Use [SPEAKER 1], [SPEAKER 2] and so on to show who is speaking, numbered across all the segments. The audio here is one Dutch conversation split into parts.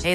[SPEAKER 1] Hey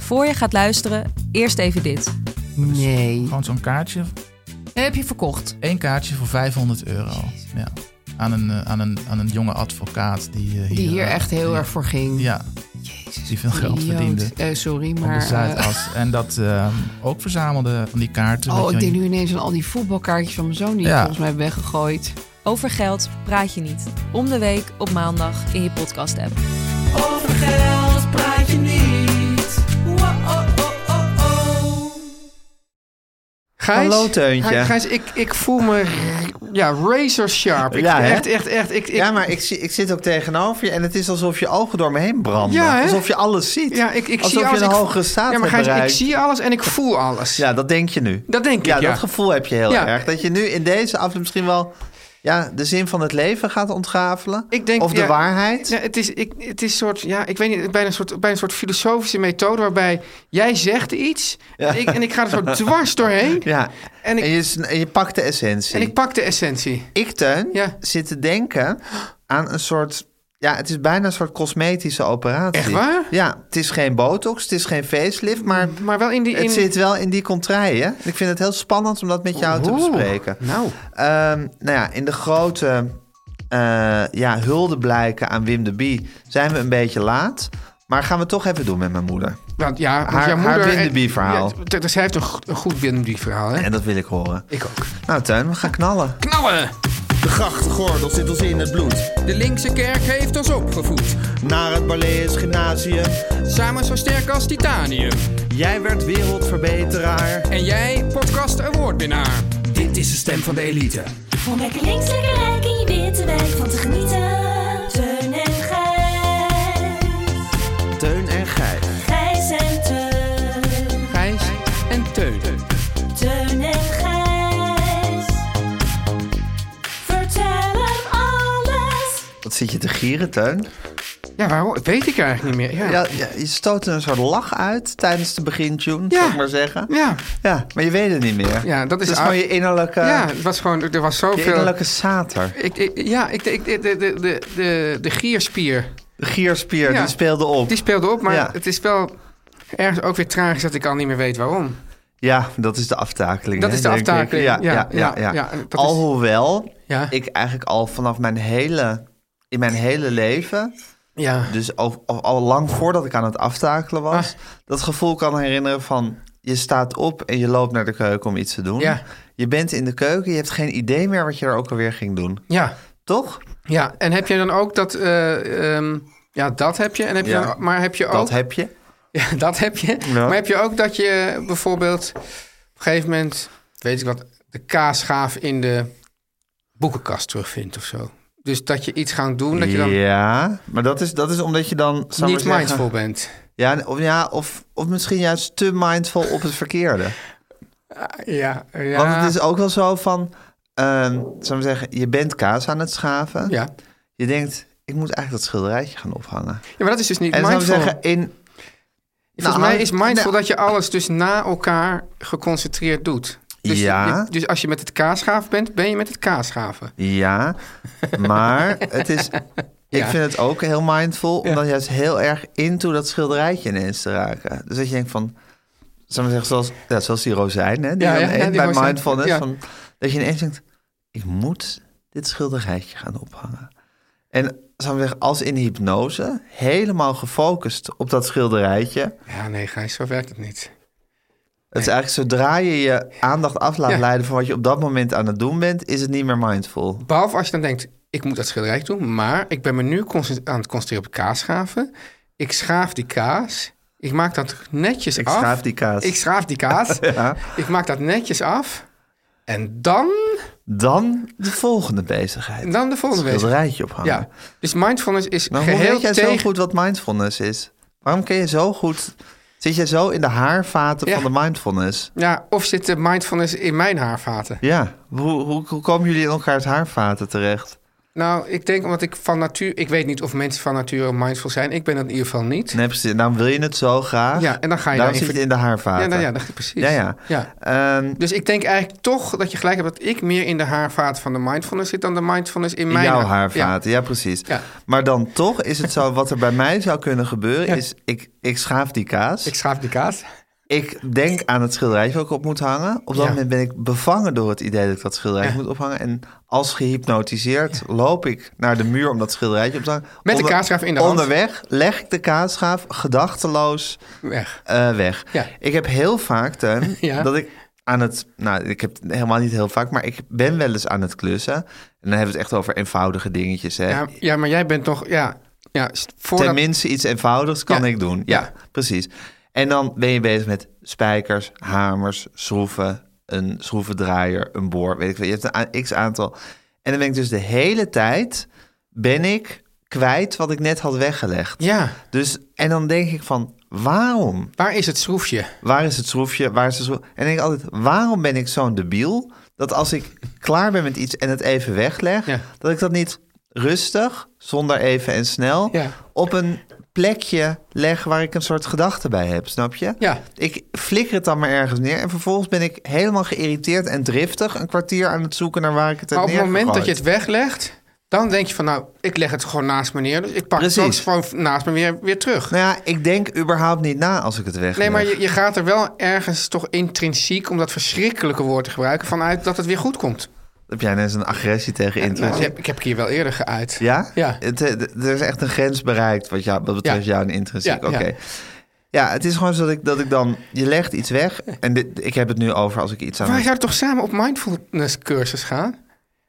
[SPEAKER 2] Voor je gaat luisteren, eerst even dit.
[SPEAKER 3] Nee.
[SPEAKER 4] Gewoon zo'n kaartje.
[SPEAKER 3] Heb je verkocht?
[SPEAKER 4] Eén kaartje voor 500 euro. Ja. Aan, een, eh, aan, een, aan een jonge advocaat die eh, hier...
[SPEAKER 3] Die hier
[SPEAKER 4] eh,
[SPEAKER 3] echt heel
[SPEAKER 4] die-
[SPEAKER 3] erg voor ging.
[SPEAKER 4] Ja,
[SPEAKER 3] Jezus,
[SPEAKER 4] die veel geld
[SPEAKER 3] idioot.
[SPEAKER 4] verdiende.
[SPEAKER 3] Eh, sorry,
[SPEAKER 4] op de
[SPEAKER 3] maar... eh,
[SPEAKER 4] Zuidas. En dat eh, ook verzamelde van die kaarten.
[SPEAKER 3] oh,
[SPEAKER 4] Weet je
[SPEAKER 3] ik
[SPEAKER 4] wel,
[SPEAKER 3] denk nu ineens aan al die voetbalkaartjes van mijn zoon... die ik
[SPEAKER 4] Ja.
[SPEAKER 3] volgens mij heb weggegooid.
[SPEAKER 2] Over geld praat je niet. Om de week op maandag in je podcast-app.
[SPEAKER 5] Gijs,
[SPEAKER 6] Hallo, Teuntje.
[SPEAKER 5] Gij- Gijs, ik, ik voel me r- ja, razor sharp. Ik,
[SPEAKER 6] Ja, hè?
[SPEAKER 5] echt, echt, echt. Ik, ik-
[SPEAKER 6] ja, maar ik, zie- ik zit ook tegenover je en het is alsof je ogen door me heen branden.
[SPEAKER 5] Ja, hè?
[SPEAKER 6] alsof je alles ziet.
[SPEAKER 5] ja, ik, ik
[SPEAKER 6] alsof
[SPEAKER 5] zie
[SPEAKER 6] je
[SPEAKER 5] alles,
[SPEAKER 6] een
[SPEAKER 5] ik-
[SPEAKER 6] hogere staat
[SPEAKER 5] Ja, maar
[SPEAKER 6] hebt
[SPEAKER 5] Gijs, ik
[SPEAKER 6] bereikt.
[SPEAKER 5] zie alles en ik voel alles.
[SPEAKER 6] Ja, dat denk je nu.
[SPEAKER 5] Dat denk ik,
[SPEAKER 6] ja,
[SPEAKER 5] ja.
[SPEAKER 6] dat gevoel heb je heel
[SPEAKER 5] Ja.
[SPEAKER 6] erg. Dat je nu in deze aflevering misschien wel ja, de zin van het leven gaat ontgrafelen.
[SPEAKER 5] Ik denk,
[SPEAKER 6] of de
[SPEAKER 5] ja,
[SPEAKER 6] waarheid.
[SPEAKER 5] Ja, het is, ik, het is soort, ja, ik weet niet, bijna een soort, bijna een soort filosofische methode waarbij jij zegt iets en, ik, en ik ga er zo dwars doorheen
[SPEAKER 6] Ja.
[SPEAKER 5] en,
[SPEAKER 6] En,
[SPEAKER 5] ik,
[SPEAKER 6] je, s- en je pakt de essentie.
[SPEAKER 5] en ik pak de essentie.
[SPEAKER 6] ik, Teun,
[SPEAKER 5] Ja.
[SPEAKER 6] zit te denken aan een soort... Ja, het is bijna een soort cosmetische operatie.
[SPEAKER 5] Echt waar? Mm-hmm.
[SPEAKER 6] Ja, het is geen botox, het is geen facelift, maar...
[SPEAKER 5] Maar wel in die... In,
[SPEAKER 6] Het zit wel in die contraien. En Ik vind het heel spannend om dat met jou te
[SPEAKER 5] Oeh,
[SPEAKER 6] bespreken.
[SPEAKER 5] Nou,
[SPEAKER 6] Ehm, nou ja, in de grote eh ja, huldeblijken aan Wim de Bie zijn we een beetje laat. Maar gaan we het toch even doen met mijn moeder.
[SPEAKER 5] want, ja, want
[SPEAKER 6] Haar-
[SPEAKER 5] jouw
[SPEAKER 6] haar
[SPEAKER 5] moeder...
[SPEAKER 6] Wim de Bie verhaal.
[SPEAKER 5] Ja, t- dus hij heeft een, go- een goed Wim de Bie verhaal, hè?
[SPEAKER 6] En dat wil ik horen.
[SPEAKER 5] Ik ook.
[SPEAKER 6] Nou, Tuin, we gaan knallen.
[SPEAKER 5] Knallen!
[SPEAKER 7] De grachtgordel zit ons in het bloed.
[SPEAKER 8] De linkse kerk heeft ons opgevoed,
[SPEAKER 7] Naar het Barlees Gymnasium.
[SPEAKER 8] samen zo sterk als titanium.
[SPEAKER 7] Jij werd wereldverbeteraar.
[SPEAKER 8] En jij, podcast awardwinnaar. Dit is de stem van de elite.
[SPEAKER 9] Om lekker links, lekker rijk in je witte wijk van te genieten. Teun en Gijs.
[SPEAKER 6] Teun en Gijs.
[SPEAKER 9] Gijs en Teun.
[SPEAKER 8] Gijs en Teun.
[SPEAKER 9] Teun en Gijs. Vertel hem alles.
[SPEAKER 6] Wat zit je te gieren, Teun?
[SPEAKER 5] Ja, waarom? Dat weet ik eigenlijk niet meer. Ja.
[SPEAKER 6] Ja, ja, je stoot een soort lach uit tijdens de begintune,
[SPEAKER 5] Ja.
[SPEAKER 6] zou ik maar zeggen.
[SPEAKER 5] Ja.
[SPEAKER 6] Ja, maar je weet het niet meer.
[SPEAKER 5] Ja, dat is
[SPEAKER 6] het is gewoon
[SPEAKER 5] oud.
[SPEAKER 6] je innerlijke,
[SPEAKER 5] Ja, het was gewoon, er was
[SPEAKER 6] je
[SPEAKER 5] zoveel...
[SPEAKER 6] innerlijke sater.
[SPEAKER 5] Ik, ik- ja, ik, ik, de, de, de, de, de gierspier,
[SPEAKER 6] De gierspier,
[SPEAKER 5] Ja.
[SPEAKER 6] die speelde op.
[SPEAKER 5] die speelde op, maar
[SPEAKER 6] Ja.
[SPEAKER 5] het is wel ergens ook weer tragisch dat ik al niet meer weet waarom.
[SPEAKER 6] Ja, dat is de aftakeling.
[SPEAKER 5] Dat
[SPEAKER 6] hè,
[SPEAKER 5] is de
[SPEAKER 6] denk ik.
[SPEAKER 5] aftakeling,
[SPEAKER 6] Ja,
[SPEAKER 5] ja,
[SPEAKER 6] ja, ja,
[SPEAKER 5] ja,
[SPEAKER 6] ja.
[SPEAKER 5] ja, dat is-
[SPEAKER 6] Alhoewel
[SPEAKER 5] Ja.
[SPEAKER 6] ik eigenlijk al vanaf mijn hele, in mijn hele leven,
[SPEAKER 5] Ja.
[SPEAKER 6] dus al, al, al lang voordat ik aan het aftakelen was,
[SPEAKER 5] Ah.
[SPEAKER 6] dat gevoel kan herinneren van je staat op en je loopt naar de keuken om iets te doen.
[SPEAKER 5] Ja.
[SPEAKER 6] Je bent in de keuken, je hebt geen idee meer wat je er ook alweer ging doen.
[SPEAKER 5] Ja.
[SPEAKER 6] Toch?
[SPEAKER 5] ja, en heb je dan ook dat... eh, ehm, ja, dat heb je. En heb je
[SPEAKER 6] Ja.
[SPEAKER 5] dan- maar heb je ook...
[SPEAKER 6] Dat heb je.
[SPEAKER 5] Ja, dat heb je.
[SPEAKER 6] Ja.
[SPEAKER 5] Maar heb je ook dat je bijvoorbeeld op een gegeven moment, weet ik wat, de kaasschaaf in de boekenkast terugvindt of zo? Dus dat je iets gaat doen dat je dan
[SPEAKER 6] Ja, maar dat is, dat is omdat je dan... zou ik
[SPEAKER 5] niet
[SPEAKER 6] maar zeggen-
[SPEAKER 5] mindful bent.
[SPEAKER 6] Ja, of, ja of, of misschien juist te mindful op het verkeerde.
[SPEAKER 5] Ja, ja.
[SPEAKER 6] Want het is ook wel zo van, ehm zou ik zeggen, je bent kaas aan het schaven.
[SPEAKER 5] ja.
[SPEAKER 6] Je denkt, ik moet eigenlijk dat schilderijtje gaan ophangen.
[SPEAKER 5] ja, maar dat is dus niet
[SPEAKER 6] En zou ik
[SPEAKER 5] mindful.
[SPEAKER 6] zeggen, in
[SPEAKER 8] Volgens
[SPEAKER 6] Nou,
[SPEAKER 8] mij is mindful
[SPEAKER 6] nou-
[SPEAKER 8] dat je alles dus na elkaar geconcentreerd doet. Dus, je-
[SPEAKER 6] Ja.
[SPEAKER 8] je- dus als je met het kaasgaaf bent, ben je met het kaasgaven.
[SPEAKER 6] Ja, maar het is.
[SPEAKER 8] Ja.
[SPEAKER 6] Ik vind het ook heel mindful om dan juist heel erg into dat schilderijtje ineens te raken. Dus dat je denkt van, zou ik maar zeggen, zoals, ja, zoals die rozijn, hè, die
[SPEAKER 8] Ja,
[SPEAKER 6] dan
[SPEAKER 8] ja,
[SPEAKER 6] eet
[SPEAKER 8] ja, die
[SPEAKER 6] bij
[SPEAKER 8] rozijn,
[SPEAKER 6] mindfulness,
[SPEAKER 8] ja.
[SPEAKER 6] van, dat je ineens denkt, ik moet dit schilderijtje gaan ophangen. En zou ik maar zeggen, als in hypnose, helemaal gefocust op dat schilderijtje.
[SPEAKER 8] Ja, nee, Gijs, zo werkt het niet.
[SPEAKER 6] Het is eigenlijk zodra je je aandacht af laat leiden van wat je op dat moment aan het doen bent, is het niet meer mindful.
[SPEAKER 8] Behalve als je dan denkt, ik moet dat schilderij doen, maar ik ben me nu conce- aan het concentreren op kaasgaven. Ik schaaf die kaas. Ik maak dat netjes
[SPEAKER 6] Ik
[SPEAKER 8] af.
[SPEAKER 6] schaaf die kaas.
[SPEAKER 8] Ik schaaf die kaas.
[SPEAKER 6] Ja.
[SPEAKER 8] Ik maak dat netjes af. En dan,
[SPEAKER 6] Dan de volgende bezigheid.
[SPEAKER 8] dan de volgende
[SPEAKER 6] Het
[SPEAKER 8] week.
[SPEAKER 6] schilderijtje ophangen.
[SPEAKER 8] Ja, dus mindfulness is
[SPEAKER 6] Maar hoe
[SPEAKER 8] geheel
[SPEAKER 6] weet jij
[SPEAKER 8] tegen...
[SPEAKER 6] zo goed wat mindfulness is? Waarom ken je zo goed... Zit jij zo in de haarvaten
[SPEAKER 8] Ja.
[SPEAKER 6] van de mindfulness?
[SPEAKER 8] Ja, of zit de mindfulness in mijn haarvaten?
[SPEAKER 6] Ja. Hoe, hoe, hoe komen jullie in elkaars haarvaten terecht?
[SPEAKER 8] Nou, ik denk omdat ik van natuur... Ik weet niet of mensen van nature mindful zijn. Ik ben dat in ieder geval niet.
[SPEAKER 6] Nee, precies. Daarom wil je het zo graag.
[SPEAKER 8] Ja, en dan ga je
[SPEAKER 6] Daarom
[SPEAKER 8] daarin
[SPEAKER 6] zit
[SPEAKER 8] ver-
[SPEAKER 6] je in de haarvaten.
[SPEAKER 8] Ja, nou ja, dat, precies.
[SPEAKER 6] Ja, ja.
[SPEAKER 8] ja.
[SPEAKER 6] Ehm,
[SPEAKER 8] Dus ik denk eigenlijk toch dat je gelijk hebt... dat ik meer in de haarvaten van de mindfulness zit... dan de mindfulness in
[SPEAKER 6] in
[SPEAKER 8] mijn
[SPEAKER 6] jouw
[SPEAKER 8] haar-
[SPEAKER 6] haarvaten, ja, precies.
[SPEAKER 8] Ja.
[SPEAKER 6] Maar dan toch is het zo, wat er bij mij zou kunnen gebeuren, is ik, ik schaaf die kaas.
[SPEAKER 8] Ja. Ik schaaf die kaas.
[SPEAKER 6] ik denk aan het schilderijtje wat ik op moet hangen. Op dat
[SPEAKER 8] Ja.
[SPEAKER 6] moment ben ik bevangen door het idee dat ik dat schilderijtje moet ophangen. En als gehypnotiseerd loop ik naar de muur om dat schilderijtje op te hangen.
[SPEAKER 8] Met de
[SPEAKER 6] Onder-
[SPEAKER 8] kaasschaaf in de hand.
[SPEAKER 6] Onderweg leg ik de kaasschaaf gedachteloos
[SPEAKER 8] Weg.
[SPEAKER 6] eh, weg.
[SPEAKER 8] Ja.
[SPEAKER 6] Ik heb heel vaak, Teun,
[SPEAKER 8] Ja.
[SPEAKER 6] dat ik aan het... Nou, ik heb het helemaal niet heel vaak, maar ik ben wel eens aan het klussen. En dan hebben we het echt over eenvoudige dingetjes. Hè?
[SPEAKER 8] Ja, ja, maar jij bent toch... Ja, ja st- voordat...
[SPEAKER 6] Tenminste, iets eenvoudigs kan
[SPEAKER 8] Ja.
[SPEAKER 6] ik doen. Ja,
[SPEAKER 8] Ja.
[SPEAKER 6] precies. En dan ben je bezig met spijkers, hamers, schroeven, een schroevendraaier, een boor, weet ik veel. Je hebt een a- x aantal. En dan ben ik dus de hele tijd ben ik kwijt wat ik net had weggelegd.
[SPEAKER 8] Ja,
[SPEAKER 6] Dus, en dan denk ik van, waarom?
[SPEAKER 8] waar is het schroefje?
[SPEAKER 6] Waar is het schroefje? Waar is de schroef? En dan denk ik altijd, waarom ben ik zo'n debiel? Dat als ik klaar ben met iets en het even wegleg,
[SPEAKER 8] Ja.
[SPEAKER 6] dat ik dat niet rustig, zonder even en snel,
[SPEAKER 8] Ja.
[SPEAKER 6] op een plekje leg waar ik een soort gedachte bij heb, snap je?
[SPEAKER 8] Ja.
[SPEAKER 6] Ik flikker het dan maar ergens neer en vervolgens ben ik helemaal geïrriteerd en driftig een kwartier aan het zoeken naar waar ik het heb
[SPEAKER 8] Maar op het moment dat je
[SPEAKER 6] neergegooid.
[SPEAKER 8] het weglegt... dan denk je van nou, ik leg het gewoon naast me neer. Dus ik pak het ook
[SPEAKER 6] Precies.
[SPEAKER 8] gewoon naast me weer, weer terug.
[SPEAKER 6] Nou ja, ik denk überhaupt niet na als ik het wegleg.
[SPEAKER 8] Nee, maar je, je gaat er wel ergens toch intrinsiek... om dat verschrikkelijke woord te gebruiken... vanuit dat het weer goed komt.
[SPEAKER 6] Heb jij net een agressie tegen
[SPEAKER 8] Nou,
[SPEAKER 6] intrinsiek?
[SPEAKER 8] ik, heb, ik heb ik hier wel eerder geuit.
[SPEAKER 6] Ja?
[SPEAKER 8] Ja.
[SPEAKER 6] Het, eh, d- er is echt een grens bereikt wat, jou, wat betreft
[SPEAKER 8] Ja.
[SPEAKER 6] jou en intrinsiek.
[SPEAKER 8] Ja,
[SPEAKER 6] Ja,
[SPEAKER 8] ja.
[SPEAKER 6] Oké. Ja, het is gewoon zo dat ik, dat ik dan... Je legt iets weg. En dit, ik heb het nu over als ik iets aan...
[SPEAKER 8] Wij zouden toch samen op mindfulness cursus gaan?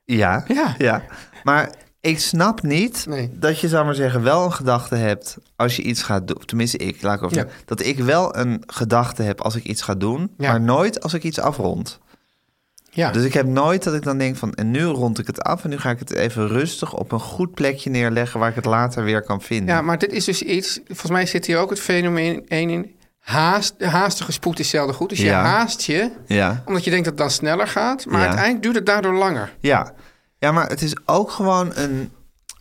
[SPEAKER 6] Ja,
[SPEAKER 8] Ja.
[SPEAKER 6] ja. Maar ik snap niet
[SPEAKER 8] Nee.
[SPEAKER 6] dat je, zou maar zeggen, wel een gedachte hebt als je iets gaat doen. Tenminste, ik, laat ik over
[SPEAKER 8] Ja.
[SPEAKER 6] zeggen. Dat ik wel een gedachte heb als ik iets ga doen,
[SPEAKER 8] Ja.
[SPEAKER 6] maar nooit als ik iets afrond.
[SPEAKER 8] Ja.
[SPEAKER 6] Dus ik heb nooit dat ik dan denk van, en nu rond ik het af en nu ga ik het even rustig op een goed plekje neerleggen waar ik het later weer kan vinden.
[SPEAKER 8] ja, maar dit is dus iets... Volgens mij zit hier ook het fenomeen één in. Haast, haastige spoed is zelden goed. Dus je
[SPEAKER 6] Ja.
[SPEAKER 8] haast je,
[SPEAKER 6] ja.
[SPEAKER 8] omdat je denkt dat het dan sneller gaat. Maar
[SPEAKER 6] Ja.
[SPEAKER 8] uiteindelijk duurt het daardoor langer.
[SPEAKER 6] Ja. ja, maar het is ook gewoon een,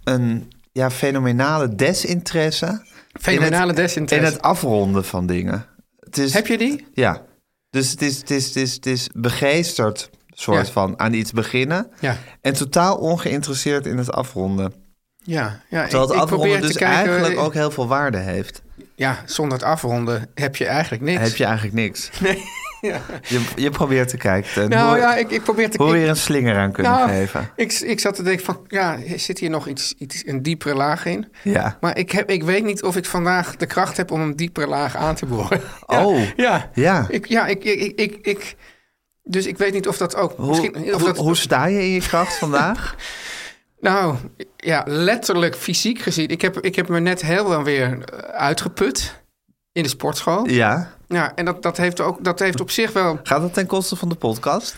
[SPEAKER 6] een ja, fenomenale desinteresse.
[SPEAKER 8] Fenomenale
[SPEAKER 6] in het,
[SPEAKER 8] desinteresse.
[SPEAKER 6] In het afronden van dingen. Het is,
[SPEAKER 8] Heb je die?
[SPEAKER 6] Ja. Dus het is, het is, het is, het is begeesterd soort
[SPEAKER 8] Ja.
[SPEAKER 6] van aan iets beginnen.
[SPEAKER 8] Ja.
[SPEAKER 6] En totaal ongeïnteresseerd in het afronden.
[SPEAKER 8] Ja, ja
[SPEAKER 6] Terwijl het
[SPEAKER 8] ik, ik probeer
[SPEAKER 6] afronden
[SPEAKER 8] te
[SPEAKER 6] dus
[SPEAKER 8] kijken...
[SPEAKER 6] eigenlijk ook heel veel waarde heeft.
[SPEAKER 8] Ja, zonder het afronden heb je eigenlijk niks.
[SPEAKER 6] Heb je eigenlijk niks. Nee. je, je probeert te kijken. Teun,
[SPEAKER 8] Nou
[SPEAKER 6] hoe,
[SPEAKER 8] ja, ik, ik probeer te...
[SPEAKER 6] hoe we
[SPEAKER 8] ik-
[SPEAKER 6] hier een slinger aan kunnen
[SPEAKER 8] nou,
[SPEAKER 6] geven.
[SPEAKER 8] Ik, ik zat te denken van, ja, zit hier nog iets, iets een diepere laag in?
[SPEAKER 6] Ja.
[SPEAKER 8] Maar ik, heb, ik weet niet of ik vandaag de kracht heb om een diepere laag aan te boren. Ja,
[SPEAKER 6] Oh.
[SPEAKER 8] Ja.
[SPEAKER 6] Ja.
[SPEAKER 8] Ik, ja, ik, ik, ik, ik, ik- dus ik weet niet of dat ook...
[SPEAKER 6] Hoe,
[SPEAKER 8] misschien, of
[SPEAKER 6] hoe,
[SPEAKER 8] dat,
[SPEAKER 6] hoe sta je in je kracht vandaag?
[SPEAKER 8] Nou, ja, letterlijk fysiek gezien. Ik heb, ik heb me net heel wel weer eh, uitgeput in de sportschool. Ja,
[SPEAKER 6] ja.
[SPEAKER 8] en dat, dat, heeft ook, dat heeft op zich wel...
[SPEAKER 6] Gaat dat ten koste van de podcast?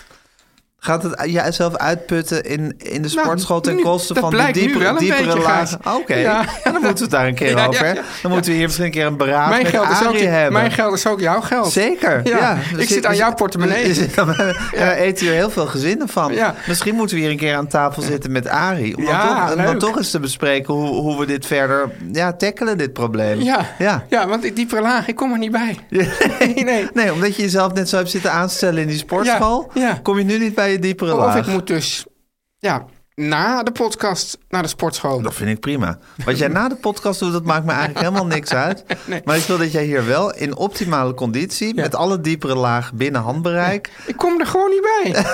[SPEAKER 6] Gaat het u- jijzelf uitputten in, in de
[SPEAKER 8] Nou,
[SPEAKER 6] sportschool ten
[SPEAKER 8] nu-
[SPEAKER 6] koste
[SPEAKER 8] dat
[SPEAKER 6] van die
[SPEAKER 8] blijkt nu wel
[SPEAKER 6] diepere,
[SPEAKER 8] een
[SPEAKER 6] diepere
[SPEAKER 8] beetje,
[SPEAKER 6] lagen? Oké,
[SPEAKER 8] Gijs. Ja.
[SPEAKER 6] dan moeten we het daar een keer
[SPEAKER 8] Ja, ja,
[SPEAKER 6] over. hè?
[SPEAKER 8] ja,
[SPEAKER 6] Dan moeten we hier misschien een keer een beraad
[SPEAKER 8] mijn,
[SPEAKER 6] met
[SPEAKER 8] geld is ook,
[SPEAKER 6] Arie hebben.
[SPEAKER 8] mijn geld is ook jouw geld.
[SPEAKER 6] Zeker, ja.
[SPEAKER 8] Ja,
[SPEAKER 6] We
[SPEAKER 8] ik
[SPEAKER 6] zitten-
[SPEAKER 8] zit aan
[SPEAKER 6] we
[SPEAKER 8] jouw
[SPEAKER 6] zitten-
[SPEAKER 8] portemonnee.
[SPEAKER 6] we zitten- Ja, we eten hier heel veel gezinnen van.
[SPEAKER 8] Ja.
[SPEAKER 6] Misschien moeten we hier een keer aan tafel zitten met Arie. Om, dan
[SPEAKER 8] Ja,
[SPEAKER 6] toch, om dan
[SPEAKER 8] leuk.
[SPEAKER 6] toch eens te bespreken hoe, hoe we dit verder ja, tackelen, dit probleem.
[SPEAKER 8] Ja,
[SPEAKER 6] ja.
[SPEAKER 8] ja. want die diepere laag, ik kom er niet bij. Nee, nee.
[SPEAKER 6] Nee, omdat je jezelf net zo hebt zitten aanstellen in die sportschool...
[SPEAKER 8] Ja, ja.
[SPEAKER 6] kom je nu niet bij je diepere
[SPEAKER 8] Of
[SPEAKER 6] laag.
[SPEAKER 8] ik moet dus ja, na de podcast naar de sportschool.
[SPEAKER 6] Dat vind ik prima. Wat jij na de podcast doet, dat maakt me eigenlijk helemaal niks uit. Maar ik wil dat jij hier wel in optimale conditie... met alle diepere lagen binnen handbereik...
[SPEAKER 8] Ik kom er gewoon niet bij.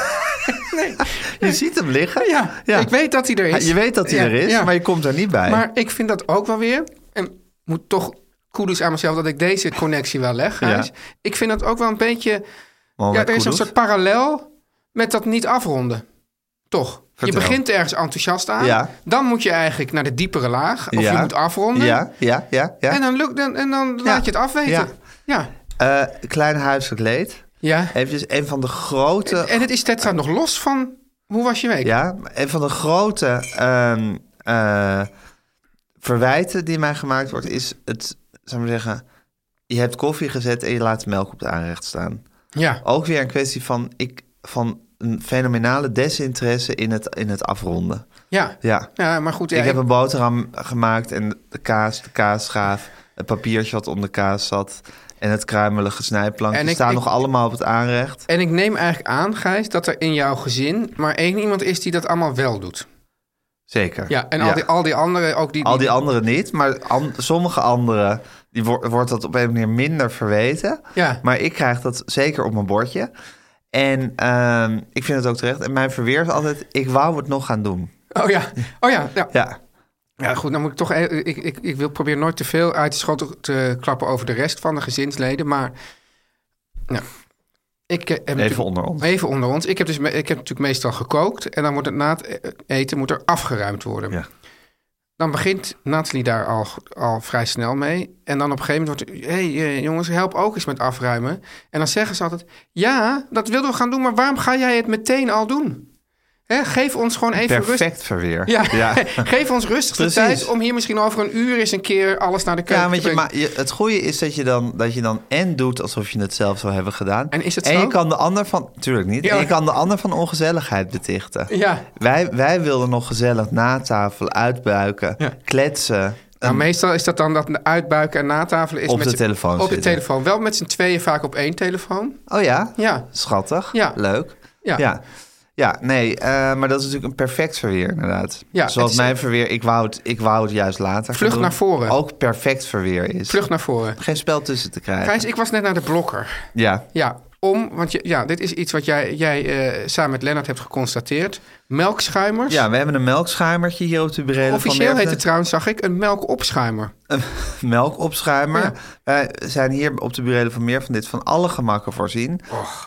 [SPEAKER 8] nee.
[SPEAKER 6] Je ziet hem liggen.
[SPEAKER 8] Ja, ik weet dat hij er is.
[SPEAKER 6] Je weet dat hij
[SPEAKER 8] Ja,
[SPEAKER 6] er is,
[SPEAKER 8] ja.
[SPEAKER 6] maar je komt er niet bij.
[SPEAKER 8] Maar ik vind dat ook wel weer. En moet toch kudos aan mezelf dat ik deze connectie wel leg. Gijs.
[SPEAKER 6] Ja.
[SPEAKER 8] Ik vind dat ook wel een beetje.
[SPEAKER 6] Mohamed
[SPEAKER 8] ja, er is een
[SPEAKER 6] Kudus.
[SPEAKER 8] soort parallel met dat niet afronden. Toch?
[SPEAKER 6] Vertel.
[SPEAKER 8] Je begint ergens enthousiast aan.
[SPEAKER 6] Ja.
[SPEAKER 8] Dan moet je eigenlijk naar de diepere laag. Of
[SPEAKER 6] Ja.
[SPEAKER 8] je moet afronden.
[SPEAKER 6] Ja, ja, ja. ja.
[SPEAKER 8] En dan, lukt, dan, en dan laat je het afweten.
[SPEAKER 6] Ja.
[SPEAKER 8] Ja. ja.
[SPEAKER 6] Eh, klein huiselijk leed. Eventjes een van de grote...
[SPEAKER 8] En het is dit staat nog los van. Hoe was je week?
[SPEAKER 6] Ja, een van de grote ehm, eh, verwijten die mij gemaakt wordt... is het, zou ik maar zeggen... je hebt koffie gezet en je laat de melk op de aanrecht staan.
[SPEAKER 8] Ja.
[SPEAKER 6] Ook weer een kwestie van, ik, van een fenomenale desinteresse in het, in het afronden.
[SPEAKER 8] Ja.
[SPEAKER 6] Ja.
[SPEAKER 8] Ja, maar goed. ja,
[SPEAKER 6] ik heb een boterham gemaakt en de kaas, de kaasschaaf, het papiertje wat onder de kaas zat en het kruimelige snijplankje
[SPEAKER 8] En ik-
[SPEAKER 6] staan
[SPEAKER 8] ik-
[SPEAKER 6] nog allemaal op het aanrecht.
[SPEAKER 8] En ik neem eigenlijk aan, Gijs, dat er in jouw gezin maar één iemand is die dat allemaal wel doet.
[SPEAKER 6] Zeker.
[SPEAKER 8] Ja, en al, Die, al die anderen ook die...
[SPEAKER 6] Al die anderen niet, maar an- sommige anderen die wo- wordt dat op een manier minder verweten.
[SPEAKER 8] Ja.
[SPEAKER 6] Maar ik krijg dat zeker op mijn bordje. En ehm, ik vind het ook terecht. En mijn verweer is altijd, ik wou het nog gaan doen.
[SPEAKER 8] Oh ja, oh ja, ja.
[SPEAKER 6] Ja,
[SPEAKER 8] Ja, goed, dan moet ik toch... e- Ik, ik, ik wil proberen nooit te veel uit de schot te klappen over de rest van de gezinsleden, maar... Nou, ik eh, heb
[SPEAKER 6] even
[SPEAKER 8] natuurlijk-
[SPEAKER 6] onder ons.
[SPEAKER 8] Even onder ons. Ik heb, dus, me- ik heb natuurlijk meestal gekookt en dan wordt het na het e- eten moet er afgeruimd worden.
[SPEAKER 6] Ja.
[SPEAKER 8] Dan begint Nathalie daar al, al vrij snel mee. En dan op een gegeven moment wordt... Hé hey, eh, jongens, help ook eens met afruimen. En dan zeggen ze altijd... Ja, dat wilden we gaan doen, maar waarom ga jij het meteen al doen? Hè, geef ons gewoon even rust.
[SPEAKER 6] Perfect verweer.
[SPEAKER 8] Ja,
[SPEAKER 6] ja.
[SPEAKER 8] geef ons rustig de
[SPEAKER 6] Precies.
[SPEAKER 8] tijd om hier misschien over een uur eens een keer alles naar de keuken
[SPEAKER 6] Ja,
[SPEAKER 8] te
[SPEAKER 6] want je,
[SPEAKER 8] brengen.
[SPEAKER 6] maar je, het goede is dat je, dan, dat je dan en doet alsof je het zelf zou hebben gedaan.
[SPEAKER 8] En is het
[SPEAKER 6] en
[SPEAKER 8] zo?
[SPEAKER 6] je kan de ander van. Tuurlijk niet.
[SPEAKER 8] Ja.
[SPEAKER 6] En je kan de ander van ongezelligheid betichten.
[SPEAKER 8] Ja.
[SPEAKER 6] Wij, wij wilden nog gezellig natafelen, uitbuiken,
[SPEAKER 8] Ja.
[SPEAKER 6] kletsen.
[SPEAKER 8] Nou, meestal is dat dan dat uitbuiken en natafelen is
[SPEAKER 6] Op
[SPEAKER 8] met
[SPEAKER 6] de
[SPEAKER 8] z'n-
[SPEAKER 6] telefoon
[SPEAKER 8] Op de
[SPEAKER 6] zitten.
[SPEAKER 8] telefoon. Wel met z'n tweeën vaak op één telefoon.
[SPEAKER 6] Oh ja?
[SPEAKER 8] Ja.
[SPEAKER 6] Schattig.
[SPEAKER 8] Ja.
[SPEAKER 6] Leuk.
[SPEAKER 8] Ja.
[SPEAKER 6] ja. Ja, nee, eh, maar dat is natuurlijk een perfect verweer, inderdaad.
[SPEAKER 8] Ja,
[SPEAKER 6] Zoals
[SPEAKER 8] het is-
[SPEAKER 6] mijn verweer, ik wou het, ik wou het juist later. gaan
[SPEAKER 8] Vlucht
[SPEAKER 6] doen,
[SPEAKER 8] naar voren.
[SPEAKER 6] Ook perfect verweer is.
[SPEAKER 8] Vlucht naar voren.
[SPEAKER 6] Geen spel tussen te krijgen.
[SPEAKER 8] Gijs, ik was net naar de blokker.
[SPEAKER 6] Ja.
[SPEAKER 8] Ja, om, want je, ja, dit is iets wat jij, jij eh, samen met Lennart hebt geconstateerd. Melkschuimers.
[SPEAKER 6] ja, we hebben een melkschuimertje hier op de brede.
[SPEAKER 8] Officieel heet het trouwens, zag ik, een melkopschuimer.
[SPEAKER 6] een melkopschuimer.
[SPEAKER 8] Ja.
[SPEAKER 6] Wij zijn hier op de burelen van meer van dit van alle gemakken voorzien.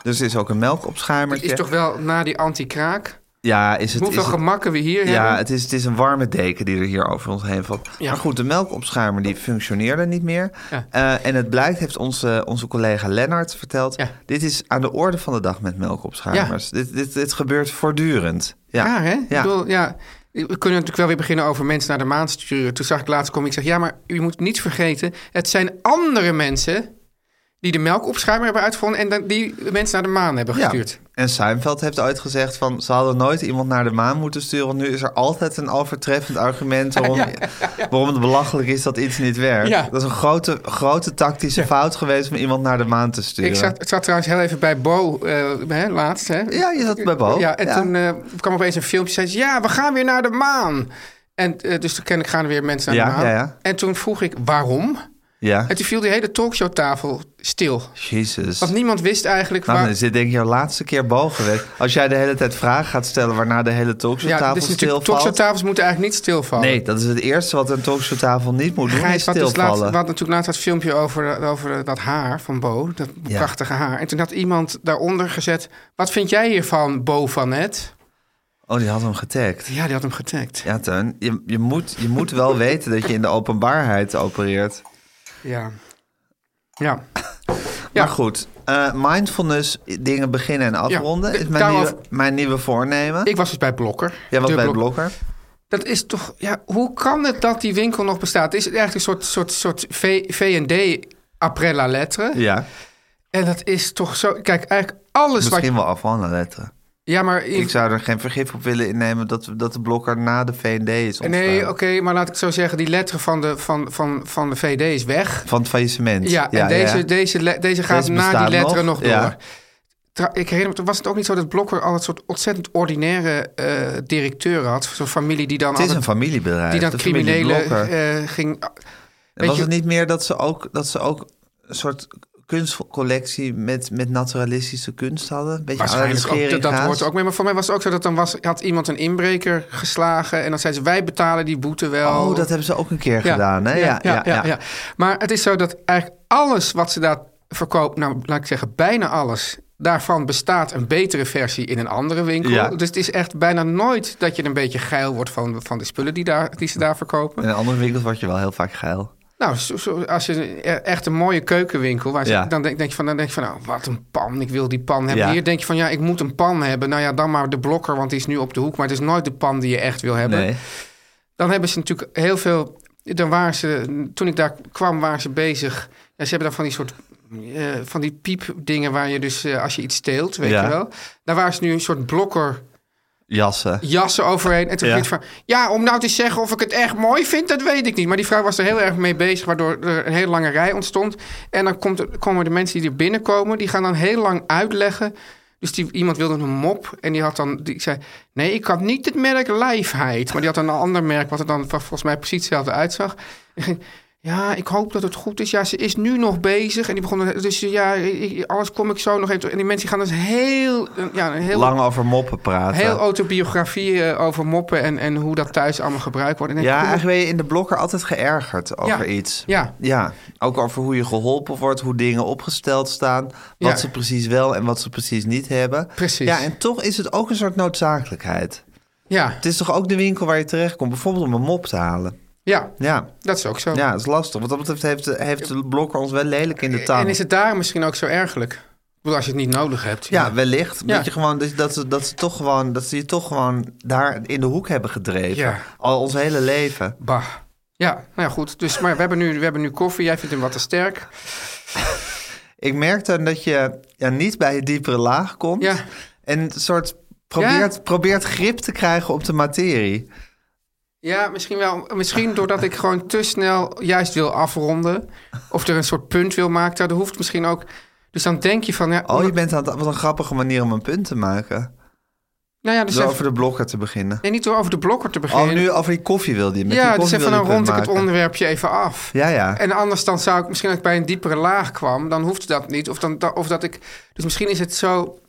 [SPEAKER 6] Dus er is ook een
[SPEAKER 8] Het
[SPEAKER 6] melkopschuimertje.
[SPEAKER 8] is toch wel na die anti-kraak.
[SPEAKER 6] Ja, is het...
[SPEAKER 8] Hoeveel
[SPEAKER 6] is het-
[SPEAKER 8] gemakken we hier
[SPEAKER 6] ja,
[SPEAKER 8] hebben.
[SPEAKER 6] het is, het is een warme deken die er hier over ons heen valt.
[SPEAKER 8] Ja.
[SPEAKER 6] Maar goed, de melkopschuimer die functioneerde niet meer.
[SPEAKER 8] Ja.
[SPEAKER 6] Eh, en het blijkt, heeft onze, onze collega Lennart verteld...
[SPEAKER 8] Ja.
[SPEAKER 6] dit is aan de orde van de dag met melkopschuimers. Dit, dit, dit gebeurt voortdurend. Ja,
[SPEAKER 8] Ja, hè?
[SPEAKER 6] Ja.
[SPEAKER 8] Ik bedoel, ja. We kunnen natuurlijk wel weer beginnen over mensen naar de maan sturen. Toen zag ik laatst kom ik zeg, ja, maar u moet niet vergeten, het zijn andere mensen die de melkopschuimer hebben uitgevonden en dan die mensen naar de maan hebben
[SPEAKER 6] Ja.
[SPEAKER 8] gestuurd.
[SPEAKER 6] En Seinfeld heeft ooit gezegd van... ze hadden nooit iemand naar de maan moeten sturen... want nu is er altijd een overtreffend argument... waarom, waarom het belachelijk is dat iets niet werkt.
[SPEAKER 8] Ja.
[SPEAKER 6] Dat is een grote, grote tactische fout geweest... om iemand naar de maan te sturen.
[SPEAKER 8] Ik zat, ik zat trouwens heel even bij Bo eh, hè, laatst. Hè?
[SPEAKER 6] Ja, je zat bij Bo.
[SPEAKER 8] Ja, en
[SPEAKER 6] Ja.
[SPEAKER 8] toen eh, kwam opeens een filmpje. Zei ze, ja, we gaan weer naar de maan. En eh, dus toen ken ik, gaan er weer mensen naar
[SPEAKER 6] Ja,
[SPEAKER 8] de maan.
[SPEAKER 6] ja, ja.
[SPEAKER 8] En toen vroeg ik, waarom?
[SPEAKER 6] Ja,
[SPEAKER 8] En toen viel die hele talkshowtafel stil.
[SPEAKER 6] jezus.
[SPEAKER 8] Want niemand wist eigenlijk
[SPEAKER 6] Nou,
[SPEAKER 8] waar...
[SPEAKER 6] dan is dit denk ik jouw laatste keer Bo geweest. Als jij de hele tijd vragen gaat stellen... waarna de hele
[SPEAKER 8] ja,
[SPEAKER 6] talkshowtafel
[SPEAKER 8] dus natuurlijk,
[SPEAKER 6] stilvalt...
[SPEAKER 8] talkshowtafels moeten eigenlijk niet stilvallen.
[SPEAKER 6] Nee, dat is het eerste wat een talkshowtafel niet moet doen, is
[SPEAKER 8] Gijs, wat dus laatst, we
[SPEAKER 6] stilvallen.
[SPEAKER 8] hadden natuurlijk laatst dat filmpje over, over dat haar van Bo. Dat
[SPEAKER 6] Ja.
[SPEAKER 8] prachtige haar. En toen had iemand daaronder gezet... Wat vind jij hiervan, Bo van het?
[SPEAKER 6] Oh, die had hem getagd.
[SPEAKER 8] Ja, die had hem getagd.
[SPEAKER 6] Ja, Teun, je, je, moet, je moet wel weten dat je in de openbaarheid opereert.
[SPEAKER 8] Ja. Ja.
[SPEAKER 6] Maar goed, eh, mindfulness, dingen beginnen en afronden
[SPEAKER 8] Ja,
[SPEAKER 6] is mijn,
[SPEAKER 8] daarover-
[SPEAKER 6] nieuwe, mijn nieuwe voornemen.
[SPEAKER 8] Ik was dus bij Blokker.
[SPEAKER 6] Jij was
[SPEAKER 8] De
[SPEAKER 6] bij
[SPEAKER 8] Blok-
[SPEAKER 6] Blokker.
[SPEAKER 8] Dat is toch, ja, hoe kan het dat die winkel nog bestaat? Is het eigenlijk een soort, soort, soort V- V&D après la lettre?
[SPEAKER 6] Ja,
[SPEAKER 8] En dat is toch zo, kijk, eigenlijk alles wat...
[SPEAKER 6] misschien wel afronden letteren.
[SPEAKER 8] Ja, maar...
[SPEAKER 6] Ik zou er geen vergif op willen innemen dat, dat de blokker na de VND is ontstaan.
[SPEAKER 8] Nee, oké, maar laat ik het zo zeggen, die letteren van de, van, van, van de VD is weg.
[SPEAKER 6] Van het faillissement.
[SPEAKER 8] Ja, en deze, Deze, le- deze gaat
[SPEAKER 6] Deze
[SPEAKER 8] na
[SPEAKER 6] bestaat
[SPEAKER 8] die letteren nog,
[SPEAKER 6] nog, ja.
[SPEAKER 8] door. Tra- ik herinner me, toen was het ook niet zo dat Blokker al een soort ontzettend ordinaire eh directeur had. Zo'n familie die dan...
[SPEAKER 6] Het is
[SPEAKER 8] altijd-
[SPEAKER 6] een familiebedrijf.
[SPEAKER 8] die
[SPEAKER 6] de
[SPEAKER 8] dan
[SPEAKER 6] familie
[SPEAKER 8] criminelen
[SPEAKER 6] Blokker. Oh,
[SPEAKER 8] eh, ging...
[SPEAKER 6] En
[SPEAKER 8] Weet
[SPEAKER 6] was
[SPEAKER 8] je-
[SPEAKER 6] het niet meer dat ze ook, dat ze ook een soort kunstcollectie met, met naturalistische kunst hadden? Een beetje
[SPEAKER 8] Waarschijnlijk ook, dat, dat hoort ook mee. Maar voor mij was het ook zo dat dan was, had iemand een inbreker geslagen. En dan zei ze, wij betalen die boete wel.
[SPEAKER 6] Oh, dat hebben ze ook een keer gedaan. Hè? Ja, ja, ja,
[SPEAKER 8] ja. Maar het is zo dat eigenlijk alles wat ze daar verkoopt... nou, laat ik zeggen, bijna alles... daarvan bestaat een betere versie in een andere winkel.
[SPEAKER 6] Ja.
[SPEAKER 8] Dus het is echt bijna nooit dat je een beetje geil wordt... van, van de spullen die, daar, die ze daar verkopen.
[SPEAKER 6] In een andere winkel word je wel heel vaak geil.
[SPEAKER 8] Nou, zo- zo- als je een- e- echt een mooie keukenwinkel, waar ze-
[SPEAKER 6] Ja.
[SPEAKER 8] dan, denk, denk je van, dan denk je van, nou, wat een pan, ik wil die pan hebben.
[SPEAKER 6] Ja.
[SPEAKER 8] Hier denk je van, ja, ik moet een pan hebben. Nou ja, dan maar de blokker, want die is nu op de hoek. Maar het is nooit de pan die je echt wil hebben.
[SPEAKER 6] Nee.
[SPEAKER 8] Dan hebben ze natuurlijk heel veel, dan waren ze, toen ik daar kwam, waren ze bezig. Ja, ze hebben daar van die soort, eh, van die piepdingen waar je dus, eh, als je iets steelt, weet
[SPEAKER 6] Ja.
[SPEAKER 8] je wel. Daar waren ze nu een soort blokker
[SPEAKER 6] Jassen.
[SPEAKER 8] jassen overheen. En toen
[SPEAKER 6] eh, Ja.
[SPEAKER 8] ging het van... Ja, om nou te zeggen of ik het echt mooi vind, dat weet ik niet. Maar die vrouw was er heel erg mee bezig, waardoor er een hele lange rij ontstond. En dan komt, er- komen de mensen die er binnenkomen, die gaan dan heel lang uitleggen... Dus die, iemand wilde een mop en die had dan, die zei, nee, ik had niet het merk Lijfheid. Maar die had dan een ander merk, wat er dan vol- volgens mij precies hetzelfde uitzag. En ging, ja, ik hoop dat het goed is. Ja, ze is nu nog bezig. En die begon, dan- dus ja, ik- alles kom ik zo nog even. En die mensen gaan dus heel, ja, een heel
[SPEAKER 6] Lang over moppen praten.
[SPEAKER 8] Heel autobiografie eh, over moppen en, en hoe dat thuis allemaal gebruikt wordt. En ik
[SPEAKER 6] ja,
[SPEAKER 8] denk,
[SPEAKER 6] eigenlijk ben je in de blokker altijd geërgerd over
[SPEAKER 8] Ja.
[SPEAKER 6] iets.
[SPEAKER 8] Ja.
[SPEAKER 6] ja, ook over hoe je geholpen wordt, hoe dingen opgesteld staan, wat
[SPEAKER 8] Ja.
[SPEAKER 6] ze precies wel en wat ze precies niet hebben.
[SPEAKER 8] Precies.
[SPEAKER 6] Ja, en toch is het ook een soort noodzakelijkheid.
[SPEAKER 8] ja,
[SPEAKER 6] Het is toch ook de winkel waar je terechtkomt, bijvoorbeeld om een mop te halen.
[SPEAKER 8] ja,
[SPEAKER 6] Ja,
[SPEAKER 8] dat is ook zo.
[SPEAKER 6] ja dat is lastig. Wat dat betreft heeft, de- heeft de blokker ons wel lelijk in de tang.
[SPEAKER 8] en is het daar misschien ook zo ergelijk? Ik bedoel, als je het niet nodig hebt.
[SPEAKER 6] Ja, wellicht.
[SPEAKER 8] Ja.
[SPEAKER 6] Dat, je gewoon, dat, dat, ze, dat, ze toch gewoon, dat ze je toch gewoon daar in de hoek hebben gedreven.
[SPEAKER 8] Ja.
[SPEAKER 6] Al ons hele leven.
[SPEAKER 8] Bah. Ja, nou ja, goed. Dus, maar we hebben, nu, we hebben nu koffie. Jij vindt hem wat te sterk.
[SPEAKER 6] Ik merk dan dat je ja, niet bij je diepere laag komt.
[SPEAKER 8] Ja.
[SPEAKER 6] En een soort probeert,
[SPEAKER 8] Ja.
[SPEAKER 6] probeert grip te krijgen op de materie.
[SPEAKER 8] Ja, misschien wel. Misschien doordat ik gewoon te snel juist wil afronden. Of er een soort punt wil maken. Daar hoeft misschien ook... Dus dan denk je van... Ja,
[SPEAKER 6] Oh, je bent aan het, wat een grappige manier om een punt te maken.
[SPEAKER 8] nou ja, dus
[SPEAKER 6] Door
[SPEAKER 8] even-
[SPEAKER 6] over de blokker te beginnen.
[SPEAKER 8] nee, niet door over de blokker te
[SPEAKER 6] Oh,
[SPEAKER 8] beginnen.
[SPEAKER 6] nu over die koffie wilde je. Met die
[SPEAKER 8] ja, dus
[SPEAKER 6] koffie
[SPEAKER 8] even
[SPEAKER 6] wilde
[SPEAKER 8] dan
[SPEAKER 6] je een punt
[SPEAKER 8] rond ik het
[SPEAKER 6] maken.
[SPEAKER 8] onderwerpje even af.
[SPEAKER 6] Ja, ja.
[SPEAKER 8] En anders dan zou ik misschien als ik bij een diepere laag kwam, dan hoeft dat niet. Of, dan, da- of dat ik. Dus misschien is het zo.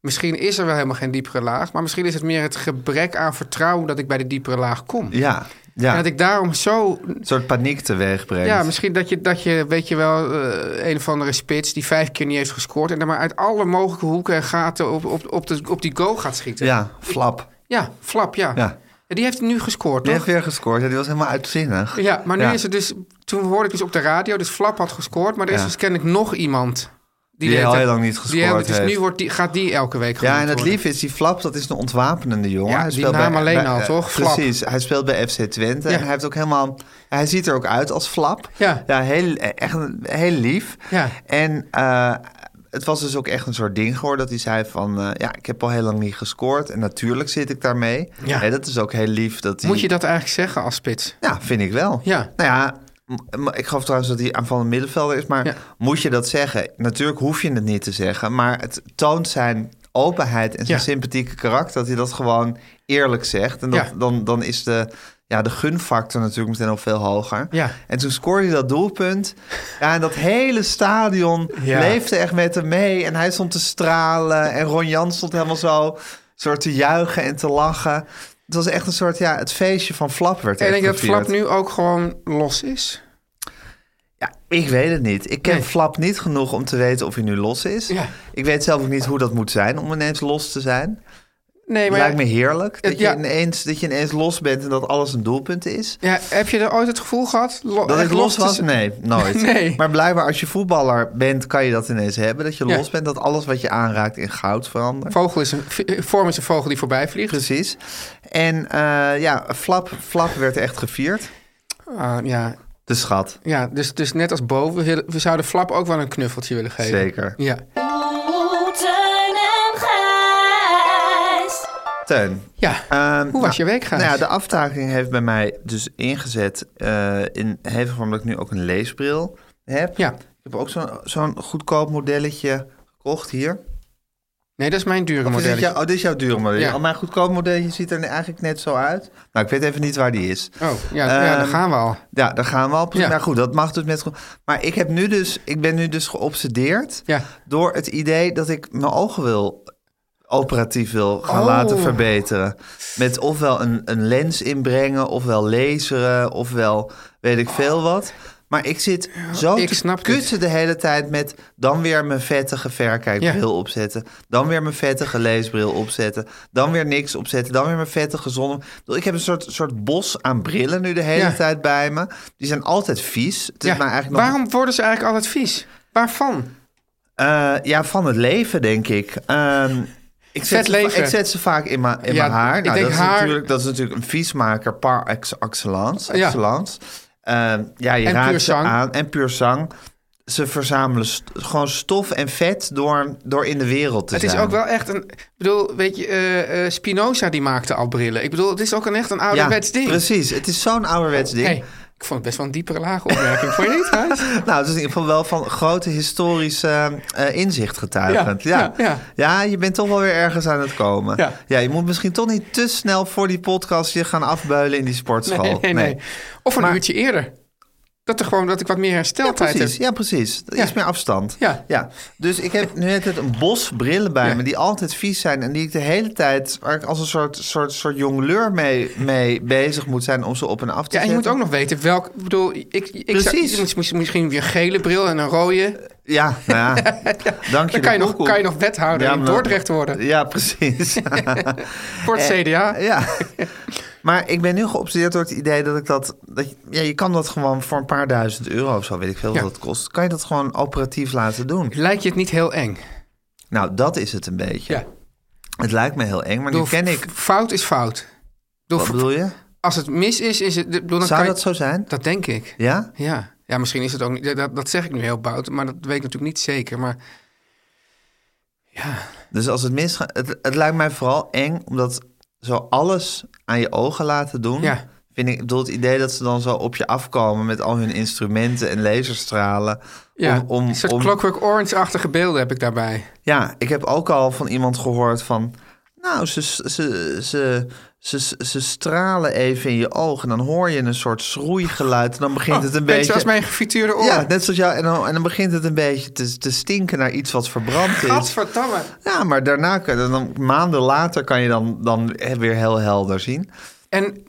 [SPEAKER 8] Misschien is er wel helemaal geen diepere laag. Maar misschien is het meer het gebrek aan vertrouwen dat ik bij de diepere laag kom.
[SPEAKER 6] ja,
[SPEAKER 8] En
[SPEAKER 6] ja.
[SPEAKER 8] dat ik daarom zo.
[SPEAKER 6] Een soort paniek teweeg brengt.
[SPEAKER 8] Ja, misschien dat je, dat je weet je wel, eh, een of andere spits die vijf keer niet heeft gescoord. en dan maar uit alle mogelijke hoeken en gaten op, op, op, de, op die goal gaat schieten.
[SPEAKER 6] Ja, flap.
[SPEAKER 8] Ja, flap, ja.
[SPEAKER 6] Ja.
[SPEAKER 8] En Die heeft nu gescoord,
[SPEAKER 6] Die
[SPEAKER 8] toch?
[SPEAKER 6] heeft weer gescoord. Ja, die was helemaal uitzinnig.
[SPEAKER 8] Ja, maar nu
[SPEAKER 6] Ja.
[SPEAKER 8] is het dus... Toen hoorde ik dus op de radio, dus Flap had gescoord... maar er is
[SPEAKER 6] Ja.
[SPEAKER 8] dus kennelijk nog iemand...
[SPEAKER 6] Die
[SPEAKER 8] de hele
[SPEAKER 6] al
[SPEAKER 8] tijd-
[SPEAKER 6] heel lang niet
[SPEAKER 8] die hele-
[SPEAKER 6] gescoord
[SPEAKER 8] Dus nu
[SPEAKER 6] heeft.
[SPEAKER 8] wordt die, gaat die elke week
[SPEAKER 6] Ja,
[SPEAKER 8] genoemd
[SPEAKER 6] en het
[SPEAKER 8] worden.
[SPEAKER 6] lief is, die Flap, dat is een ontwapenende jongen.
[SPEAKER 8] Ja,
[SPEAKER 6] Hij
[SPEAKER 8] die
[SPEAKER 6] speelt
[SPEAKER 8] naam alleen al,
[SPEAKER 6] eh,
[SPEAKER 8] toch? Flap.
[SPEAKER 6] Precies, hij speelt bij FC Twente.
[SPEAKER 8] Ja.
[SPEAKER 6] En hij, heeft ook helemaal, hij ziet er ook uit als Flap.
[SPEAKER 8] Ja.
[SPEAKER 6] ja heel, eh, echt een- heel lief.
[SPEAKER 8] Ja.
[SPEAKER 6] En eh, het was dus ook echt een soort ding geworden... dat hij zei van, eh, ja, ik heb al heel lang niet gescoord... en natuurlijk zit ik daarmee.
[SPEAKER 8] Ja.
[SPEAKER 6] Hè, dat is ook heel lief. Dat hij,
[SPEAKER 8] Moet je dat eigenlijk zeggen als spits?
[SPEAKER 6] Ja, vind ik wel.
[SPEAKER 8] Ja.
[SPEAKER 6] Nou ja, m- m- ik geloof trouwens dat hij aanvallende middenvelder is, maar
[SPEAKER 8] Ja.
[SPEAKER 6] moet je dat zeggen? Natuurlijk hoef je het niet te zeggen, maar het toont zijn openheid en zijn
[SPEAKER 8] Ja.
[SPEAKER 6] sympathieke karakter dat hij dat gewoon eerlijk zegt. En dat,
[SPEAKER 8] Ja.
[SPEAKER 6] dan, dan is de, ja, de gunfactor natuurlijk meteen al veel hoger.
[SPEAKER 8] Ja.
[SPEAKER 6] En toen scoorde hij dat doelpunt. Ja, en dat hele stadion
[SPEAKER 8] Ja.
[SPEAKER 6] leefde echt met hem mee. En hij stond te stralen. En Ron Jans stond helemaal zo soort te juichen en te lachen. Het was echt een soort, ja, het feestje van Flap werd
[SPEAKER 8] En ik
[SPEAKER 6] echt
[SPEAKER 8] denk dat
[SPEAKER 6] gevierd.
[SPEAKER 8] Flap nu ook gewoon los is.
[SPEAKER 6] Ja, ik weet het niet. Ik ken
[SPEAKER 8] Nee.
[SPEAKER 6] Flap niet genoeg om te weten of hij nu los is.
[SPEAKER 8] Ja.
[SPEAKER 6] Ik weet zelf ook niet hoe dat moet zijn om ineens los te zijn.
[SPEAKER 8] Nee, maar
[SPEAKER 6] Lijkt me heerlijk. Dat,
[SPEAKER 8] Ja.
[SPEAKER 6] je ineens, dat je ineens los bent en dat alles een doelpunt is.
[SPEAKER 8] ja, heb je er ooit het gevoel gehad? lo-
[SPEAKER 6] Dat
[SPEAKER 8] Oh, echt
[SPEAKER 6] ik los
[SPEAKER 8] te
[SPEAKER 6] was?
[SPEAKER 8] zijn?
[SPEAKER 6] Nee, nooit.
[SPEAKER 8] Nee.
[SPEAKER 6] Maar blijkbaar als je voetballer bent, kan je dat ineens hebben. Dat je
[SPEAKER 8] Ja.
[SPEAKER 6] los bent, dat alles wat je aanraakt in goud verandert.
[SPEAKER 8] Vogel is een, v- eh, vorm is een vogel die voorbij vliegt.
[SPEAKER 6] Precies. En eh, ja, Flap, Flap werd echt gevierd.
[SPEAKER 8] Ah, ja,
[SPEAKER 6] De schat,
[SPEAKER 8] ja dus, dus net als boven, we, willen- we zouden Flap ook wel een knuffeltje willen geven.
[SPEAKER 6] zeker.
[SPEAKER 8] Ja.
[SPEAKER 2] Oeh, Teun en Gijs.
[SPEAKER 6] Teun.
[SPEAKER 8] Ja.
[SPEAKER 6] Ehm,
[SPEAKER 8] Hoe was je week, Gijs?
[SPEAKER 6] Nou ja, de aftaking heeft bij mij dus ingezet eh, in hevige vorm dat ik nu ook een leesbril heb.
[SPEAKER 8] Ja.
[SPEAKER 6] Ik heb ook zo'n zo'n goedkoop modelletje gekocht hier.
[SPEAKER 8] Nee, dat is mijn dure
[SPEAKER 6] Of is dit
[SPEAKER 8] modelletje.
[SPEAKER 6] jou- oh, dit is jouw dure modelletje.
[SPEAKER 8] Ja.
[SPEAKER 6] Al mijn goedkoop modelletje ziet er eigenlijk net zo uit. Nou, ik weet even niet waar die is.
[SPEAKER 8] Oh, ja, ja, daar
[SPEAKER 6] Ehm,
[SPEAKER 8] gaan we al.
[SPEAKER 6] Ja, daar gaan we al.
[SPEAKER 8] Ja.
[SPEAKER 6] Ja. Nou goed, dat mag dus met... Maar ik, heb nu dus, ik ben nu dus geobsedeerd
[SPEAKER 8] Ja.
[SPEAKER 6] door het idee dat ik mijn ogen wil operatief wil gaan
[SPEAKER 8] Oh.
[SPEAKER 6] laten verbeteren. Met ofwel een, een lens inbrengen, ofwel laseren, ofwel weet ik veel wat. Maar ik zit zo
[SPEAKER 8] ik
[SPEAKER 6] te
[SPEAKER 8] snap dit.
[SPEAKER 6] kutsen de hele tijd met dan weer mijn vettige verkijkbril opzetten. Dan weer mijn vettige leesbril opzetten. Dan weer niks opzetten. Dan weer mijn vettige zonne. Ik bedoel, Ik heb een soort, soort bos aan brillen nu de hele
[SPEAKER 8] Ja.
[SPEAKER 6] tijd bij me. Die zijn altijd vies. Het is
[SPEAKER 8] Ja.
[SPEAKER 6] mij dus eigenlijk nog-
[SPEAKER 8] Waarom worden ze eigenlijk altijd vies? Waarvan?
[SPEAKER 6] eh, ja, van het leven, denk ik. Ehm, ik,
[SPEAKER 8] Vet
[SPEAKER 6] zet ze va-
[SPEAKER 8] leven.
[SPEAKER 6] ik zet ze vaak in mijn in
[SPEAKER 8] Ja,
[SPEAKER 6] mijn haar.
[SPEAKER 8] ik
[SPEAKER 6] Nou,
[SPEAKER 8] denk
[SPEAKER 6] dat,
[SPEAKER 8] haar-
[SPEAKER 6] Is natuurlijk, dat is natuurlijk een viesmaker par ex- excellence.
[SPEAKER 8] Ja.
[SPEAKER 6] excellence. Ehm, ja, je
[SPEAKER 8] En
[SPEAKER 6] raakt
[SPEAKER 8] puur
[SPEAKER 6] ze
[SPEAKER 8] zang.
[SPEAKER 6] aan. En puur zang. Ze verzamelen st- gewoon stof en vet door, door in de wereld te
[SPEAKER 8] Het is
[SPEAKER 6] zijn.
[SPEAKER 8] ook wel echt een... Ik bedoel, weet je, eh, eh, Spinoza die maakte al brillen. Ik bedoel, het is ook een echt een ouderwets
[SPEAKER 6] ja,
[SPEAKER 8] ding.
[SPEAKER 6] Precies, het is zo'n ouderwets ding.
[SPEAKER 8] Hey, ik vond het best wel een diepere laag opmerking. vond je niet, Gijs?
[SPEAKER 6] Nou, het is in ieder geval wel van grote historische eh, eh, inzicht getuigend.
[SPEAKER 8] Ja,
[SPEAKER 6] Ja,
[SPEAKER 8] ja,
[SPEAKER 6] ja,
[SPEAKER 8] ja.
[SPEAKER 6] je bent toch wel weer ergens aan het komen.
[SPEAKER 8] Ja.
[SPEAKER 6] Ja. je moet misschien toch niet te snel voor die podcast je gaan afbeulen in die sportschool.
[SPEAKER 8] Nee, nee, nee. Of een
[SPEAKER 6] Maar-
[SPEAKER 8] uurtje eerder. Dat, er gewoon, dat ik wat meer
[SPEAKER 6] Ja,
[SPEAKER 8] hersteltijd
[SPEAKER 6] precies.
[SPEAKER 8] heb.
[SPEAKER 6] Ja, precies. Er
[SPEAKER 8] Ja.
[SPEAKER 6] Is meer afstand.
[SPEAKER 8] Ja.
[SPEAKER 6] Dus ik heb nu net een bos brillen bij
[SPEAKER 8] Ja.
[SPEAKER 6] me die altijd vies zijn en die ik de hele tijd waar ik als een soort, soort, soort jongleur mee, mee bezig moet zijn om ze op en af te
[SPEAKER 8] Ja, en je
[SPEAKER 6] zetten.
[SPEAKER 8] moet ook nog weten welk... Ik bedoel, ik, ik Zou,
[SPEAKER 6] Precies.
[SPEAKER 8] je moet- moet- misschien weer een gele bril en een rode.
[SPEAKER 6] Ja, nou ja. Dank je.
[SPEAKER 8] Dan kan
[SPEAKER 6] de
[SPEAKER 8] je, nog,
[SPEAKER 6] koekoek.
[SPEAKER 8] kan je nog wethouder
[SPEAKER 6] Ja,
[SPEAKER 8] in
[SPEAKER 6] maar- Eh,
[SPEAKER 8] Dordrecht worden.
[SPEAKER 6] Ja, precies.
[SPEAKER 8] Voor het CDA.
[SPEAKER 6] Ja. Maar ik ben nu geobsedeerd door het idee dat ik dat... dat je- ja, je kan dat gewoon voor een paar duizend euro of zo, weet ik veel
[SPEAKER 8] Ja.
[SPEAKER 6] wat het kost. Kan je dat gewoon operatief laten doen?
[SPEAKER 8] Lijkt je het niet heel eng?
[SPEAKER 6] Nou, dat is het een beetje.
[SPEAKER 8] Ja.
[SPEAKER 6] Het lijkt me heel eng, maar
[SPEAKER 8] Bedoel,
[SPEAKER 6] nu ken
[SPEAKER 8] f-
[SPEAKER 6] ik...
[SPEAKER 8] Fout is fout. Bedoel,
[SPEAKER 6] Wat
[SPEAKER 8] f-
[SPEAKER 6] bedoel je?
[SPEAKER 8] Als het mis is, is het... ik Bedoel, dan
[SPEAKER 6] Zou
[SPEAKER 8] kan je-
[SPEAKER 6] dat zo zijn?
[SPEAKER 8] Dat denk ik.
[SPEAKER 6] Ja?
[SPEAKER 8] Ja. ja, misschien is het ook niet... Dat, dat zeg ik nu heel bout, maar dat weet ik natuurlijk niet zeker. Maar
[SPEAKER 6] Dus als het misgaat... Het, het lijkt mij vooral eng, omdat zo alles aan je ogen laten doen...
[SPEAKER 8] Ja.
[SPEAKER 6] Vind ik, ik bedoel, het idee dat ze dan zo op je afkomen met al hun instrumenten en laserstralen.
[SPEAKER 8] ja,
[SPEAKER 6] om, om,
[SPEAKER 8] een soort
[SPEAKER 6] om,
[SPEAKER 8] Clockwork Orange-achtige beelden heb ik daarbij.
[SPEAKER 6] Ja, ik heb ook al van iemand gehoord van... Nou, ze, ze, ze, ze, ze stralen even in je ogen. En dan hoor je een soort schroeigeluid. En dan begint
[SPEAKER 8] Oh,
[SPEAKER 6] het een beetje...
[SPEAKER 8] Zoals mijn gefrituurde oor.
[SPEAKER 6] Ja, net zoals jou. En dan, en dan begint het een beetje te, te stinken naar iets wat verbrand is.
[SPEAKER 8] Gadverdamme.
[SPEAKER 6] Ja, maar daarna, kun- dan, dan- maanden later, kan je dan, dan weer heel helder zien.
[SPEAKER 8] En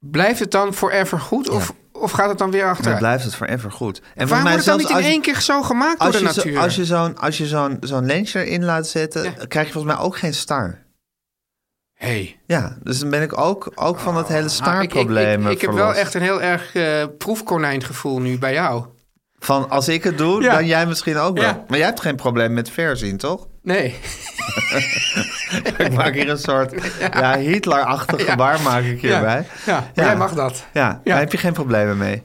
[SPEAKER 8] blijft het dan forever goed of, of gaat het dan weer
[SPEAKER 6] En dan
[SPEAKER 8] achteruit?
[SPEAKER 6] blijft het forever goed. En volgens
[SPEAKER 8] Waarom wordt het dan
[SPEAKER 6] zelfs
[SPEAKER 8] niet in
[SPEAKER 6] als je-
[SPEAKER 8] één keer zo gemaakt door
[SPEAKER 6] als
[SPEAKER 8] de
[SPEAKER 6] je, zo-
[SPEAKER 8] natuur?
[SPEAKER 6] als je zo'n als je zo'n zo'n lensje erin laat zetten,
[SPEAKER 8] Ja.
[SPEAKER 6] krijg je volgens mij ook geen star.
[SPEAKER 8] hey.
[SPEAKER 6] Ja, dus dan ben ik ook, ook van dat hele
[SPEAKER 8] Ah, ik, ik,
[SPEAKER 6] staarprobleem
[SPEAKER 8] ik, ik heb wel
[SPEAKER 6] verlost.
[SPEAKER 8] echt een heel erg eh, proefkonijn proefkonijngevoel nu bij jou.
[SPEAKER 6] Van als ik het doe,
[SPEAKER 8] Ja.
[SPEAKER 6] dan jij misschien ook wel.
[SPEAKER 8] Ja.
[SPEAKER 6] Maar jij hebt geen probleem met verzien, toch?
[SPEAKER 8] Nee.
[SPEAKER 6] Ik maak hier een soort ja, Hitler-achtig gebaar maak ik hierbij.
[SPEAKER 8] Ja, ja, maar
[SPEAKER 6] Ja.
[SPEAKER 8] jij mag dat.
[SPEAKER 6] Ja, daar heb je geen problemen mee.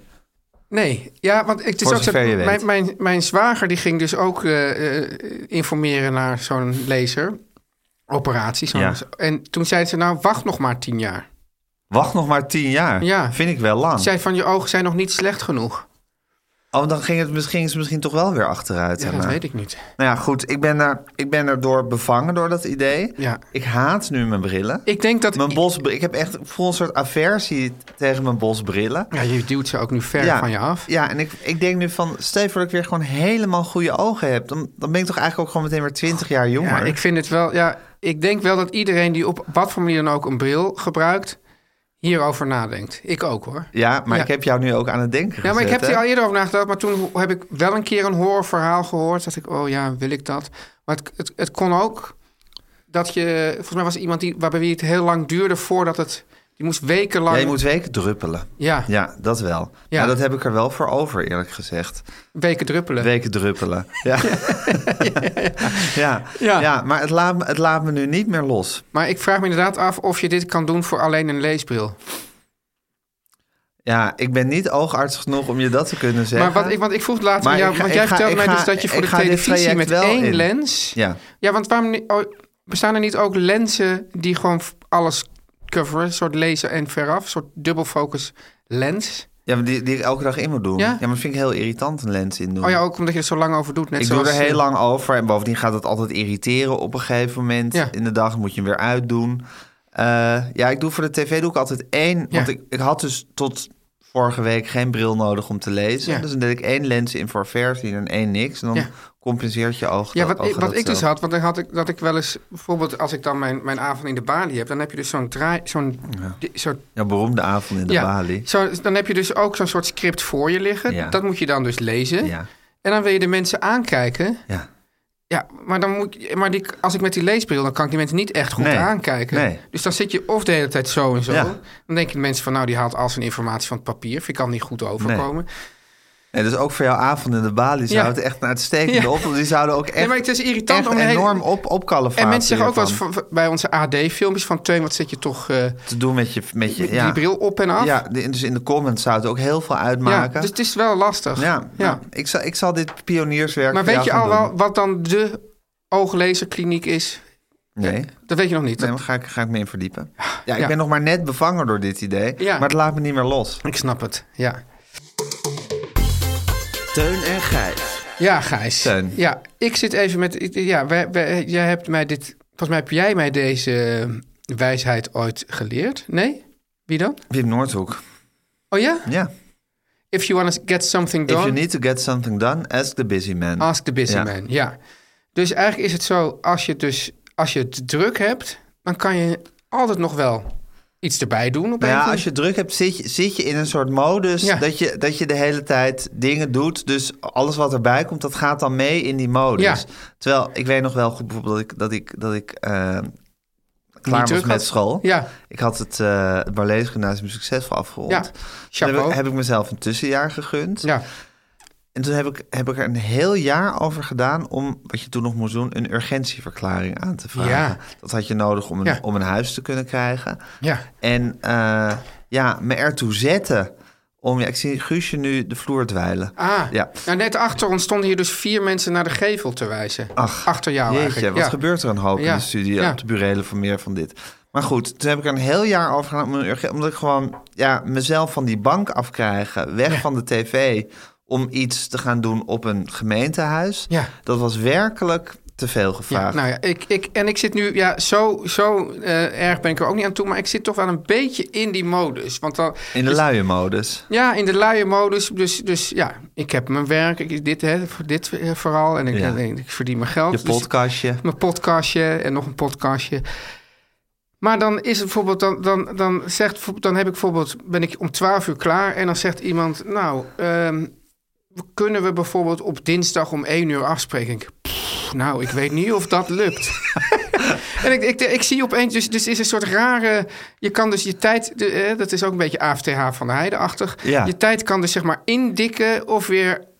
[SPEAKER 8] Nee, ja, want het is
[SPEAKER 6] Voor
[SPEAKER 8] ook zo,
[SPEAKER 6] zover je
[SPEAKER 8] mijn,
[SPEAKER 6] weet.
[SPEAKER 8] mijn, mijn zwager die ging dus ook eh, eh, informeren naar zo'n laser. Operatie. zo'n-
[SPEAKER 6] Ja.
[SPEAKER 8] En toen zei ze, nou wacht nog maar tien jaar.
[SPEAKER 6] Wacht nog maar tien jaar.
[SPEAKER 8] Ja.
[SPEAKER 6] Vind ik wel lang.
[SPEAKER 8] Zij van je ogen zijn nog niet slecht genoeg.
[SPEAKER 6] Oh, dan ging het misschien, ging ze misschien toch wel weer achteruit.
[SPEAKER 8] Ja, dat
[SPEAKER 6] daarna.
[SPEAKER 8] weet ik niet.
[SPEAKER 6] Nou ja, goed. Ik ben, daar, ik ben erdoor bevangen door dat idee.
[SPEAKER 8] Ja.
[SPEAKER 6] Ik haat nu mijn brillen.
[SPEAKER 8] Ik denk dat...
[SPEAKER 6] Mijn bos, ik heb echt ik voel een soort aversie tegen mijn bosbrillen.
[SPEAKER 8] Ja, je duwt ze ook nu ver van je af.
[SPEAKER 6] Ja, en ik, ik denk nu van, stel je voor dat ik weer gewoon helemaal goede ogen heb. Dan, dan ben ik toch eigenlijk ook gewoon meteen weer 20 jaar jonger.
[SPEAKER 8] Ja, ik vind het wel... Ja, ik denk wel dat iedereen die op wat voor manier dan ook een bril gebruikt... hierover nadenkt. Ik ook hoor.
[SPEAKER 6] Ja, maar
[SPEAKER 8] Ja.
[SPEAKER 6] ik heb jou nu ook aan het denken
[SPEAKER 8] Ja, maar ik
[SPEAKER 6] gezet,
[SPEAKER 8] heb er
[SPEAKER 6] hè?
[SPEAKER 8] al eerder over nagedacht. Maar toen heb ik wel een keer een horrorverhaal gehoord. Dat ik, oh ja, wil ik dat? Maar het, het, het kon ook dat je, volgens mij was er iemand die, waarbij wie het heel lang duurde voordat het, die moest wekenlang.
[SPEAKER 6] Ja, je moet weken druppelen.
[SPEAKER 8] Ja.
[SPEAKER 6] Ja, dat wel.
[SPEAKER 8] Ja.
[SPEAKER 6] Maar dat heb ik er wel voor over, eerlijk gezegd.
[SPEAKER 8] weken druppelen.
[SPEAKER 6] Weken druppelen. Ja. ja.
[SPEAKER 8] Ja.
[SPEAKER 6] ja. maar het laat, me- het laat me nu niet meer los.
[SPEAKER 8] Maar ik vraag me inderdaad af of je dit kan doen voor alleen een leesbril.
[SPEAKER 6] Ja, ik ben niet oogarts genoeg om je dat te kunnen zeggen.
[SPEAKER 8] Maar wat ik, want ik vroeg het laatst aan
[SPEAKER 6] Maar
[SPEAKER 8] jou,
[SPEAKER 6] ik ga-
[SPEAKER 8] want jij
[SPEAKER 6] ik ga-
[SPEAKER 8] vertelde
[SPEAKER 6] ik
[SPEAKER 8] mij dus
[SPEAKER 6] ga-
[SPEAKER 8] dat je
[SPEAKER 6] ik
[SPEAKER 8] voor de
[SPEAKER 6] ga dit
[SPEAKER 8] televisie
[SPEAKER 6] traject
[SPEAKER 8] met
[SPEAKER 6] wel
[SPEAKER 8] één
[SPEAKER 6] in.
[SPEAKER 8] lens.
[SPEAKER 6] Ja.
[SPEAKER 8] Ja, want waarom ni- oh, bestaan er niet ook lenzen die gewoon v- alles coveren? Een soort laser en veraf, een soort dubbelfocus lens.
[SPEAKER 6] ja, maar die, die ik elke dag in moet doen.
[SPEAKER 8] Ja?
[SPEAKER 6] Ja, maar dat vind ik heel irritant, een lens in doen.
[SPEAKER 8] Oh ja, ook omdat je er zo lang over doet. Net
[SPEAKER 6] ik
[SPEAKER 8] zoals,
[SPEAKER 6] doe er heel
[SPEAKER 8] eh,
[SPEAKER 6] lang over en bovendien gaat het altijd irriteren op een gegeven moment
[SPEAKER 8] Ja.
[SPEAKER 6] in de dag. Moet je hem weer uitdoen. Eh, ja, ik doe voor de tv doe ik altijd één. Want ik, ik had dus tot vorige week geen bril nodig om te lezen.
[SPEAKER 8] Ja.
[SPEAKER 6] Dus dan deed ik één lens in voor versie en één niks. En dan
[SPEAKER 8] Ja.
[SPEAKER 6] compenseert je oog.
[SPEAKER 8] Ja,
[SPEAKER 6] dat-
[SPEAKER 8] wat, ik-
[SPEAKER 6] ogen
[SPEAKER 8] wat
[SPEAKER 6] dat
[SPEAKER 8] ik dus
[SPEAKER 6] zo.
[SPEAKER 8] had, want dan had ik dat ik wel eens, bijvoorbeeld als ik dan mijn, mijn avond in de balie heb, dan heb je dus zo'n draai, zo'n, di- zo'n
[SPEAKER 6] Ja, beroemde avond in de
[SPEAKER 8] ja,
[SPEAKER 6] Bali.
[SPEAKER 8] Zo, dan heb je dus ook zo'n soort script voor je liggen.
[SPEAKER 6] Ja.
[SPEAKER 8] Dat moet je dan dus lezen.
[SPEAKER 6] Ja,
[SPEAKER 8] En dan wil je de mensen aankijken.
[SPEAKER 6] ja.
[SPEAKER 8] Ja, maar, dan moet ik, maar die, als ik met die leesbril, dan kan ik die mensen niet echt goed
[SPEAKER 6] Nee,
[SPEAKER 8] aankijken.
[SPEAKER 6] nee.
[SPEAKER 8] Dus dan zit je of de hele tijd zo en zo.
[SPEAKER 6] Ja.
[SPEAKER 8] Dan denken de mensen van, nou, die haalt al zijn informatie van het papier. Vind ik kan niet goed overkomen.
[SPEAKER 6] En dus ook voor jouw avond in de Bali zou
[SPEAKER 8] Ja.
[SPEAKER 6] het echt een uitstekende
[SPEAKER 8] Ja.
[SPEAKER 6] op. Die zouden ook echt,
[SPEAKER 8] nee, maar het is irritant
[SPEAKER 6] echt
[SPEAKER 8] om een hele-
[SPEAKER 6] enorm op, opkalferen.
[SPEAKER 8] En mensen zeggen ook wel eens van- bij onze AD-filmpjes van... Teun, wat zit je toch eh,
[SPEAKER 6] te doen met je, met je
[SPEAKER 8] met
[SPEAKER 6] ja.
[SPEAKER 8] die bril op en af?
[SPEAKER 6] Ja, de- dus in de comments zou het ook heel veel
[SPEAKER 8] Ja,
[SPEAKER 6] uitmaken.
[SPEAKER 8] dus het is wel lastig.
[SPEAKER 6] Ja, nou, ik, zal, ik zal dit pionierswerk
[SPEAKER 8] Maar
[SPEAKER 6] voor
[SPEAKER 8] weet je
[SPEAKER 6] jou
[SPEAKER 8] al
[SPEAKER 6] gaan
[SPEAKER 8] wel wat dan de ooglezerkliniek is?
[SPEAKER 6] doen. Nee,
[SPEAKER 8] Dat weet je nog niet.
[SPEAKER 6] nee maar ga ik, ga ik me in verdiepen. Ja, ik
[SPEAKER 8] Ja.
[SPEAKER 6] ben nog maar net bevangen door dit idee.
[SPEAKER 8] Ja.
[SPEAKER 6] Maar het laat me niet meer los.
[SPEAKER 8] Ik snap het, ja.
[SPEAKER 6] Teun en Gijs.
[SPEAKER 8] Ja, Gijs.
[SPEAKER 6] Teun.
[SPEAKER 8] Ja, ik zit even met... Ja, wij, wij- jij hebt mij dit... Volgens mij heb jij mij deze ehm, wijsheid ooit geleerd. Nee? Wie dan?
[SPEAKER 6] Wim Noordhoek.
[SPEAKER 8] Oh ja?
[SPEAKER 6] Ja.
[SPEAKER 8] If you want to get something
[SPEAKER 6] If you
[SPEAKER 8] done,
[SPEAKER 6] need to get something done, ask the busy man.
[SPEAKER 8] ask the busy
[SPEAKER 6] Ja.
[SPEAKER 8] man. Ja. Dus eigenlijk is het zo, als je, het dus, als je het druk hebt... dan kan je altijd nog wel iets erbij doen. Op
[SPEAKER 6] Nou
[SPEAKER 8] een
[SPEAKER 6] ja,
[SPEAKER 8] of
[SPEAKER 6] als je druk hebt, zit je, zit je in een soort modus
[SPEAKER 8] Ja.
[SPEAKER 6] dat, je, dat je de hele tijd dingen doet. Dus alles wat erbij komt, dat gaat dan mee in die modus.
[SPEAKER 8] Ja.
[SPEAKER 6] Terwijl, ik weet nog wel goed bijvoorbeeld dat ik, dat ik, dat ik eh, klaar was
[SPEAKER 8] druk
[SPEAKER 6] met
[SPEAKER 8] had.
[SPEAKER 6] school.
[SPEAKER 8] Ja.
[SPEAKER 6] Ik had het, eh het balletgymnasium succesvol afgerond.
[SPEAKER 8] Ja,
[SPEAKER 6] Toen heb
[SPEAKER 8] chapeau.
[SPEAKER 6] ik, heb ik mezelf een tussenjaar gegund.
[SPEAKER 8] Ja.
[SPEAKER 6] En toen heb ik, heb ik er een heel jaar over gedaan om, wat je toen nog moest doen, een urgentieverklaring aan te vragen.
[SPEAKER 8] Ja.
[SPEAKER 6] Dat had je nodig om een,
[SPEAKER 8] Ja.
[SPEAKER 6] om een huis te kunnen krijgen.
[SPEAKER 8] Ja.
[SPEAKER 6] En eh, ja, me ertoe zetten om... Ja, ik zie Guusje nu de vloer dwijlen.
[SPEAKER 8] Ah,
[SPEAKER 6] Ja.
[SPEAKER 8] nou, net achter ons stonden hier dus vier mensen naar de gevel te wijzen.
[SPEAKER 6] Ach,
[SPEAKER 8] achter jou
[SPEAKER 6] Jeetje,
[SPEAKER 8] Nou, eigenlijk.
[SPEAKER 6] wat
[SPEAKER 8] ja.
[SPEAKER 6] gebeurt er een hoop
[SPEAKER 8] Ja,
[SPEAKER 6] in de studie
[SPEAKER 8] ja.
[SPEAKER 6] op de burelen van meer van dit. Maar goed, toen heb ik er een heel jaar over gedaan... om een urgen- omdat ik gewoon ja, mezelf van die bank afkrijgen, weg van de tv... om iets te gaan doen op een gemeentehuis.
[SPEAKER 8] Ja.
[SPEAKER 6] Dat was werkelijk te veel
[SPEAKER 8] Ja,
[SPEAKER 6] gevraagd.
[SPEAKER 8] nou ja, ik, ik, en ik zit nu, ja, zo, zo eh, erg ben ik er ook niet aan toe, maar ik zit toch wel een beetje in die modus. Want dan,
[SPEAKER 6] in de luie modus.
[SPEAKER 8] ja, in de luie modus, dus, dus ja, ik heb mijn werk, ik, dit, hè, voor dit eh, vooral, en ik,
[SPEAKER 6] Ja.
[SPEAKER 8] en ik verdien mijn geld.
[SPEAKER 6] Je
[SPEAKER 8] Dus
[SPEAKER 6] podcastje.
[SPEAKER 8] mijn podcastje en nog een podcastje. Maar dan is het bijvoorbeeld, dan, dan, dan zegt, dan heb ik bijvoorbeeld, ben ik om 12 uur klaar en dan zegt iemand, nou, ehm, kunnen we bijvoorbeeld op dinsdag om 1 uur afspreken? Ik, pff, nou, ik weet niet of dat lukt. en ik, ik, ik zie opeens, dus, dus is een soort rare, je kan dus je tijd, de, eh, dat is ook een beetje AFTH van de Heide-achtig,
[SPEAKER 6] Ja.
[SPEAKER 8] je tijd kan dus zeg maar indikken of weer uitdijen.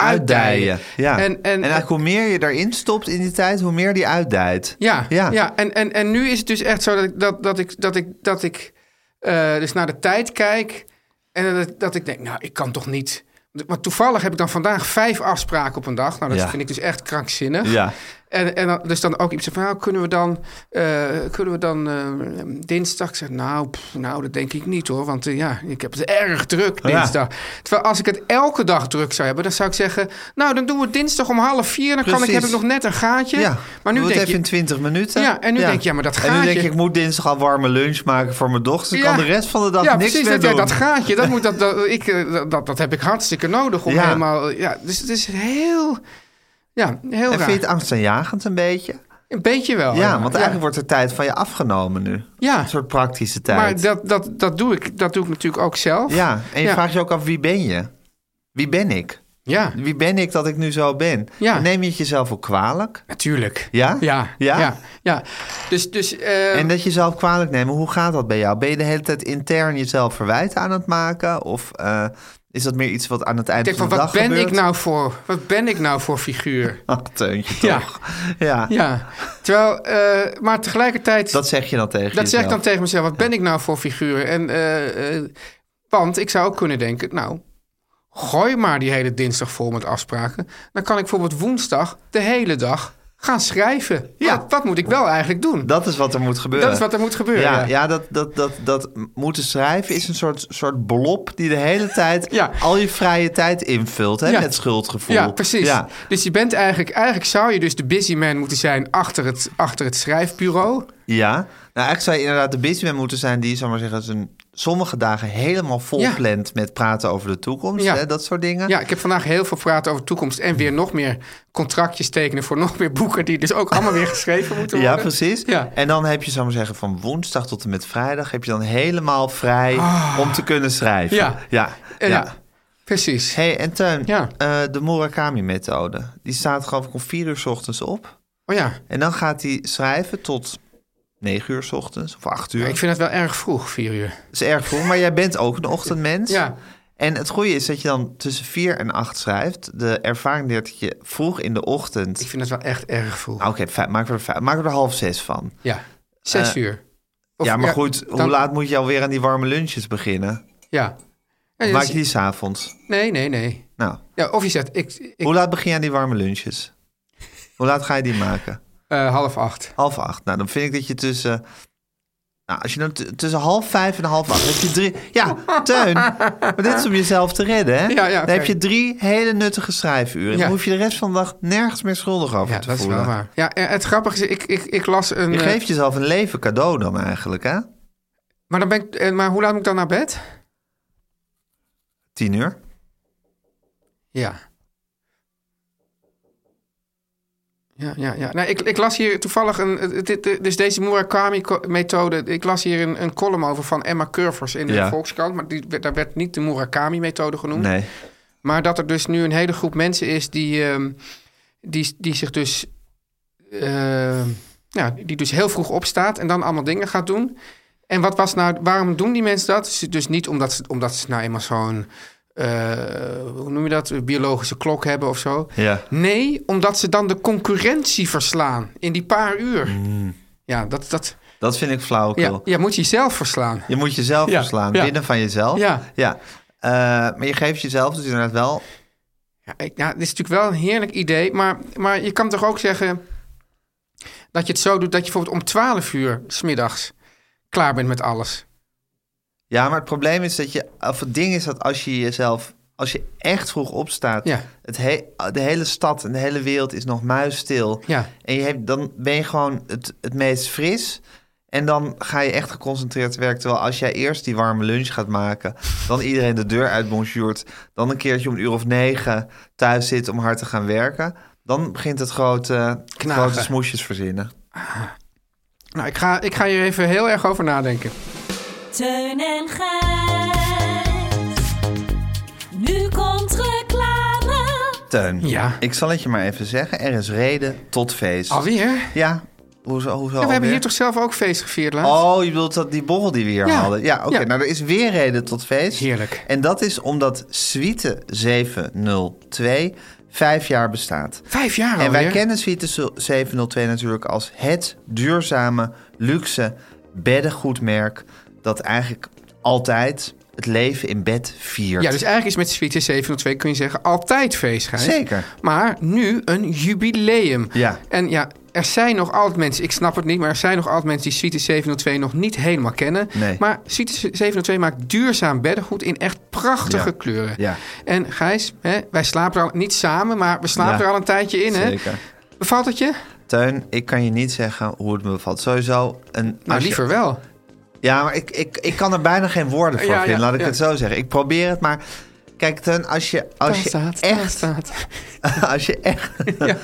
[SPEAKER 6] Uitdijen. Ja. En,
[SPEAKER 8] En, en,
[SPEAKER 6] eigenlijk hoe meer je daarin stopt in die tijd, hoe meer die uitdijt.
[SPEAKER 8] ja, ja.
[SPEAKER 6] Ja.
[SPEAKER 8] En, en, en nu is het dus echt zo dat ik, dat, dat ik, dat ik, dat ik eh, dus naar de tijd kijk. En dat, dat ik denk, nou, ik kan toch niet. Want toevallig heb ik dan vandaag vijf afspraken op een dag. Nou, dat
[SPEAKER 6] Ja.
[SPEAKER 8] vind ik dus echt krankzinnig.
[SPEAKER 6] Ja.
[SPEAKER 8] En, en dan, dus dan ook iemand zegt van, nou, kunnen we dan, eh, kunnen we dan eh, dinsdag? Ik zeg, nou, pff, nou, dat denk ik niet hoor. Want eh, ja, ik heb het erg druk
[SPEAKER 6] Ja.
[SPEAKER 8] dinsdag. Terwijl als ik het elke dag druk zou hebben, dan zou ik zeggen... nou, dan doen we het dinsdag om half vier. Dan kan ik,
[SPEAKER 6] Precies.
[SPEAKER 8] heb ik nog net een gaatje.
[SPEAKER 6] Ja,
[SPEAKER 8] Maar nu
[SPEAKER 6] doe het
[SPEAKER 8] denk
[SPEAKER 6] even
[SPEAKER 8] je,
[SPEAKER 6] in 20 minuten.
[SPEAKER 8] Ja, en nu denk je, ja, maar dat
[SPEAKER 6] En nu
[SPEAKER 8] gaatje-
[SPEAKER 6] denk je, ik moet dinsdag al warme lunch maken voor mijn dochter. Ik
[SPEAKER 8] Ja.
[SPEAKER 6] kan de rest van de dag
[SPEAKER 8] ja,
[SPEAKER 6] niks
[SPEAKER 8] precies,
[SPEAKER 6] meer
[SPEAKER 8] dat, ja,
[SPEAKER 6] doen.
[SPEAKER 8] dat gaatje, dat, moet, dat, dat, ik, eh, dat- dat, dat heb ik hartstikke nodig om
[SPEAKER 6] Ja.
[SPEAKER 8] helemaal... Ja, dus het is heel... Ja, heel
[SPEAKER 6] en
[SPEAKER 8] raar.
[SPEAKER 6] vind je het angstaanjagend een beetje?
[SPEAKER 8] Een beetje wel.
[SPEAKER 6] ja, want eigenlijk wordt er tijd van je afgenomen nu.
[SPEAKER 8] Ja.
[SPEAKER 6] Een soort praktische tijd.
[SPEAKER 8] Maar dat, dat, dat, doe ik, dat doe ik natuurlijk ook zelf.
[SPEAKER 6] Ja, en je
[SPEAKER 8] Ja.
[SPEAKER 6] vraagt je ook af, wie ben je? Wie ben ik?
[SPEAKER 8] Ja,
[SPEAKER 6] Wie ben ik dat ik nu zo ben?
[SPEAKER 8] Ja.
[SPEAKER 6] Dan neem je het jezelf ook kwalijk?
[SPEAKER 8] natuurlijk.
[SPEAKER 6] Ja?
[SPEAKER 8] Ja,
[SPEAKER 6] Ja?
[SPEAKER 8] ja, ja. Dus, dus eh,
[SPEAKER 6] En dat jezelf kwalijk nemen, hoe gaat dat bij jou? Ben je de hele tijd intern jezelf verwijten aan het maken? Of eh, is dat meer iets wat aan het eind
[SPEAKER 8] denk
[SPEAKER 6] van
[SPEAKER 8] van,
[SPEAKER 6] de
[SPEAKER 8] wat
[SPEAKER 6] dag
[SPEAKER 8] ben
[SPEAKER 6] gebeurt?
[SPEAKER 8] ik nou voor? Wat ben ik nou voor figuur?
[SPEAKER 6] Ach, Teuntje,
[SPEAKER 8] Ja.
[SPEAKER 6] toch? Ja.
[SPEAKER 8] Ja, terwijl, eh, maar tegelijkertijd...
[SPEAKER 6] Dat zeg je dan tegen
[SPEAKER 8] Dat zeg ik
[SPEAKER 6] jezelf.
[SPEAKER 8] dan tegen mezelf. Wat ben ik nou voor figuur? En, eh, eh, want ik zou ook kunnen denken, nou, gooi maar die hele dinsdag vol met afspraken. Dan kan ik bijvoorbeeld woensdag de hele dag gaan schrijven.
[SPEAKER 6] Ja.
[SPEAKER 8] Ja. Dat, dat moet ik wel eigenlijk doen.
[SPEAKER 6] Dat is wat er moet gebeuren.
[SPEAKER 8] Dat is wat er moet gebeuren.
[SPEAKER 6] Ja,
[SPEAKER 8] Ja,
[SPEAKER 6] ja dat, dat, dat, dat moeten schrijven is een soort, soort blob die de hele tijd
[SPEAKER 8] Ja.
[SPEAKER 6] al je vrije tijd invult. Hè,
[SPEAKER 8] Ja.
[SPEAKER 6] Met schuldgevoel.
[SPEAKER 8] Ja, precies.
[SPEAKER 6] Ja.
[SPEAKER 8] Dus je bent eigenlijk, eigenlijk zou je dus de busy man moeten zijn achter het, achter het schrijfbureau.
[SPEAKER 6] Ja. Nou, eigenlijk zou je inderdaad de businessman moeten zijn die, zal ik maar zeggen, zijn sommige dagen helemaal vol
[SPEAKER 8] Ja.
[SPEAKER 6] plant met praten over de toekomst.
[SPEAKER 8] Ja.
[SPEAKER 6] Hè, dat soort dingen.
[SPEAKER 8] Ja, ik heb vandaag heel veel praten over toekomst en weer nog meer contractjes tekenen voor nog meer boeken die dus ook allemaal weer geschreven moeten worden.
[SPEAKER 6] Ja, precies.
[SPEAKER 8] Ja.
[SPEAKER 6] En dan heb je, zou ik maar zeggen, van woensdag tot en met vrijdag heb je dan helemaal vrij om te kunnen schrijven.
[SPEAKER 8] Ah. Ja.
[SPEAKER 6] ja.
[SPEAKER 8] En
[SPEAKER 6] ja.
[SPEAKER 8] ja, precies.
[SPEAKER 6] Hey, en Teun,
[SPEAKER 8] Ja.
[SPEAKER 6] eh, de Murakami-methode. Die staat gewoon om vier uur 's ochtends op.
[SPEAKER 8] Oh ja.
[SPEAKER 6] En dan gaat hij schrijven tot 9 uur 's ochtends of 8 uur.
[SPEAKER 8] Ja, ik vind dat wel erg vroeg, vier uur.
[SPEAKER 6] Dat is erg vroeg, maar jij bent ook een ochtendmens.
[SPEAKER 8] Ja.
[SPEAKER 6] En het goede is dat je dan tussen 4 en 8 schrijft. De ervaring leert dat je vroeg in de ochtend...
[SPEAKER 8] Ik vind dat wel echt erg vroeg.
[SPEAKER 6] Nou, Oké, fijn, maken, we er vijf- maken we er half zes van.
[SPEAKER 8] Ja, zes
[SPEAKER 6] Eh,
[SPEAKER 8] uur. Of-
[SPEAKER 6] ja, maar goed, hoe
[SPEAKER 8] dan-
[SPEAKER 6] laat moet je alweer aan die warme lunches beginnen?
[SPEAKER 8] Ja. Ja,
[SPEAKER 6] Maak
[SPEAKER 8] dus-
[SPEAKER 6] je die s'avonds?
[SPEAKER 8] Nee, nee, nee.
[SPEAKER 6] Nou,
[SPEAKER 8] Ja, of je zegt, ik, ik,
[SPEAKER 6] hoe laat begin je aan die warme lunches? Hoe laat ga je die maken?
[SPEAKER 8] eh, half acht.
[SPEAKER 6] Half acht. Nou, dan vind ik dat je tussen. Nou, als je dan t- tussen half vijf en half acht. heb je drie. Ja, tuin. Maar dit is om jezelf te redden, hè?
[SPEAKER 8] Ja, ja,
[SPEAKER 6] Dan heb
[SPEAKER 8] oké.
[SPEAKER 6] je drie hele nuttige schrijfuren. Dan
[SPEAKER 8] Ja.
[SPEAKER 6] hoef je de rest van de dag nergens meer schuldig over
[SPEAKER 8] Ja,
[SPEAKER 6] te
[SPEAKER 8] dat is
[SPEAKER 6] voelen.
[SPEAKER 8] wel waar. Ja, en het grappige is, ik, ik, ik las een...
[SPEAKER 6] Je
[SPEAKER 8] eh,
[SPEAKER 6] geeft jezelf een leven cadeau dan eigenlijk, hè?
[SPEAKER 8] maar, dan ben ik, eh, maar hoe laat moet ik dan naar bed?
[SPEAKER 6] Tien uur.
[SPEAKER 8] Ja. Ja, ja, ja. Nou, ik, ik las hier toevallig een. het- het- het- Dus deze Murakami-methode. Ik las hier een, een column over van Emma Curvers in de
[SPEAKER 6] Ja.
[SPEAKER 8] Volkskrant. Maar die, werd- daar werd niet de Murakami-methode genoemd.
[SPEAKER 6] Nee.
[SPEAKER 8] Maar dat er dus nu een hele groep mensen is die, ehm, die, die zich dus. ehm, ja, die dus heel vroeg opstaat en dan allemaal dingen gaat doen. En wat was nou, waarom doen die mensen dat? Ze- Dus niet omdat ze, omdat ze nou eenmaal zo'n. eh, hoe noem je dat? Een biologische klok hebben of zo.
[SPEAKER 6] Ja.
[SPEAKER 8] Nee, omdat ze dan de concurrentie verslaan in die paar uur. Ja, dat, dat
[SPEAKER 6] Dat vind ik flauwekul.
[SPEAKER 8] ja, ja, moet je zelf verslaan.
[SPEAKER 6] Je moet jezelf
[SPEAKER 8] Ja,
[SPEAKER 6] verslaan.
[SPEAKER 8] ja.
[SPEAKER 6] Binnen van jezelf.
[SPEAKER 8] Ja.
[SPEAKER 6] ja. Eh, maar je geeft jezelf dus inderdaad wel
[SPEAKER 8] Ja, ik, ja, dit is natuurlijk wel een heerlijk idee. Maar, maar je kan toch ook zeggen dat je het zo doet dat je bijvoorbeeld om 12 uur smiddags klaar bent met alles.
[SPEAKER 6] Ja, maar het probleem is dat je, of het ding is dat als je jezelf, als je echt vroeg opstaat,
[SPEAKER 8] Ja.
[SPEAKER 6] het he- de hele stad en de hele wereld is nog muisstil.
[SPEAKER 8] Ja.
[SPEAKER 6] En je hebt, dan ben je gewoon het, het meest fris. En dan ga je echt geconcentreerd te werk. Terwijl als jij eerst die warme lunch gaat maken, dan iedereen de deur uit bonjourd, dan een keertje om een uur of negen thuis zit om hard te gaan werken, dan begint het grote,
[SPEAKER 8] Knagen.
[SPEAKER 6] grote smoesjes verzinnen.
[SPEAKER 8] Nou, ik ga, ik ga hier even heel erg over nadenken.
[SPEAKER 2] Teun en Gijs. Nu komt reclame.
[SPEAKER 6] Teun,
[SPEAKER 8] Ja.
[SPEAKER 6] ik zal het je maar even zeggen. Er is reden tot feest.
[SPEAKER 8] Alweer? Ja,
[SPEAKER 6] Ja, hoezo, hoezo
[SPEAKER 8] we hebben
[SPEAKER 6] alweer?
[SPEAKER 8] hier toch zelf ook feest gevierd laatst?
[SPEAKER 6] Oh, je bedoelt dat die borrel die we hier
[SPEAKER 8] Ja.
[SPEAKER 6] hadden. Ja, oké.
[SPEAKER 8] Ja.
[SPEAKER 6] Nou, er is weer reden tot feest.
[SPEAKER 8] Heerlijk.
[SPEAKER 6] En dat is omdat Suite 702 vijf jaar bestaat.
[SPEAKER 8] Vijf jaar alweer?
[SPEAKER 6] En wij kennen Suite 702 natuurlijk als het duurzame, luxe beddengoedmerk... dat eigenlijk altijd het leven in bed viert.
[SPEAKER 8] Ja, dus eigenlijk is met Suite 702 kun je zeggen altijd feest, Gijs.
[SPEAKER 6] Zeker.
[SPEAKER 8] Maar nu een jubileum.
[SPEAKER 6] Ja.
[SPEAKER 8] En ja, er zijn nog altijd mensen, ik snap het niet, maar er zijn nog altijd mensen die Suite 702 nog niet helemaal kennen.
[SPEAKER 6] Nee.
[SPEAKER 8] Maar Suite 702 maakt duurzaam beddengoed in echt prachtige
[SPEAKER 6] Ja.
[SPEAKER 8] kleuren.
[SPEAKER 6] Ja.
[SPEAKER 8] En Gijs, hè, wij slapen er al, niet samen, maar we slapen
[SPEAKER 6] Ja.
[SPEAKER 8] er al een tijdje in. Hè?
[SPEAKER 6] Zeker.
[SPEAKER 8] Bevalt het je? Nou,
[SPEAKER 6] Teun, ik kan je niet zeggen hoe het me bevalt. Sowieso een... als
[SPEAKER 8] Nou,
[SPEAKER 6] je-
[SPEAKER 8] liever wel.
[SPEAKER 6] Ja, maar ik, ik, ik kan er bijna geen woorden voor
[SPEAKER 8] Ja, ja,
[SPEAKER 6] vinden, laat ik
[SPEAKER 8] ja.
[SPEAKER 6] het zo zeggen. Ik probeer het, maar kijk, ten, als je, als
[SPEAKER 8] Daar
[SPEAKER 6] je
[SPEAKER 8] staat, daar
[SPEAKER 6] echt,
[SPEAKER 8] staat.
[SPEAKER 6] als je echt, ja.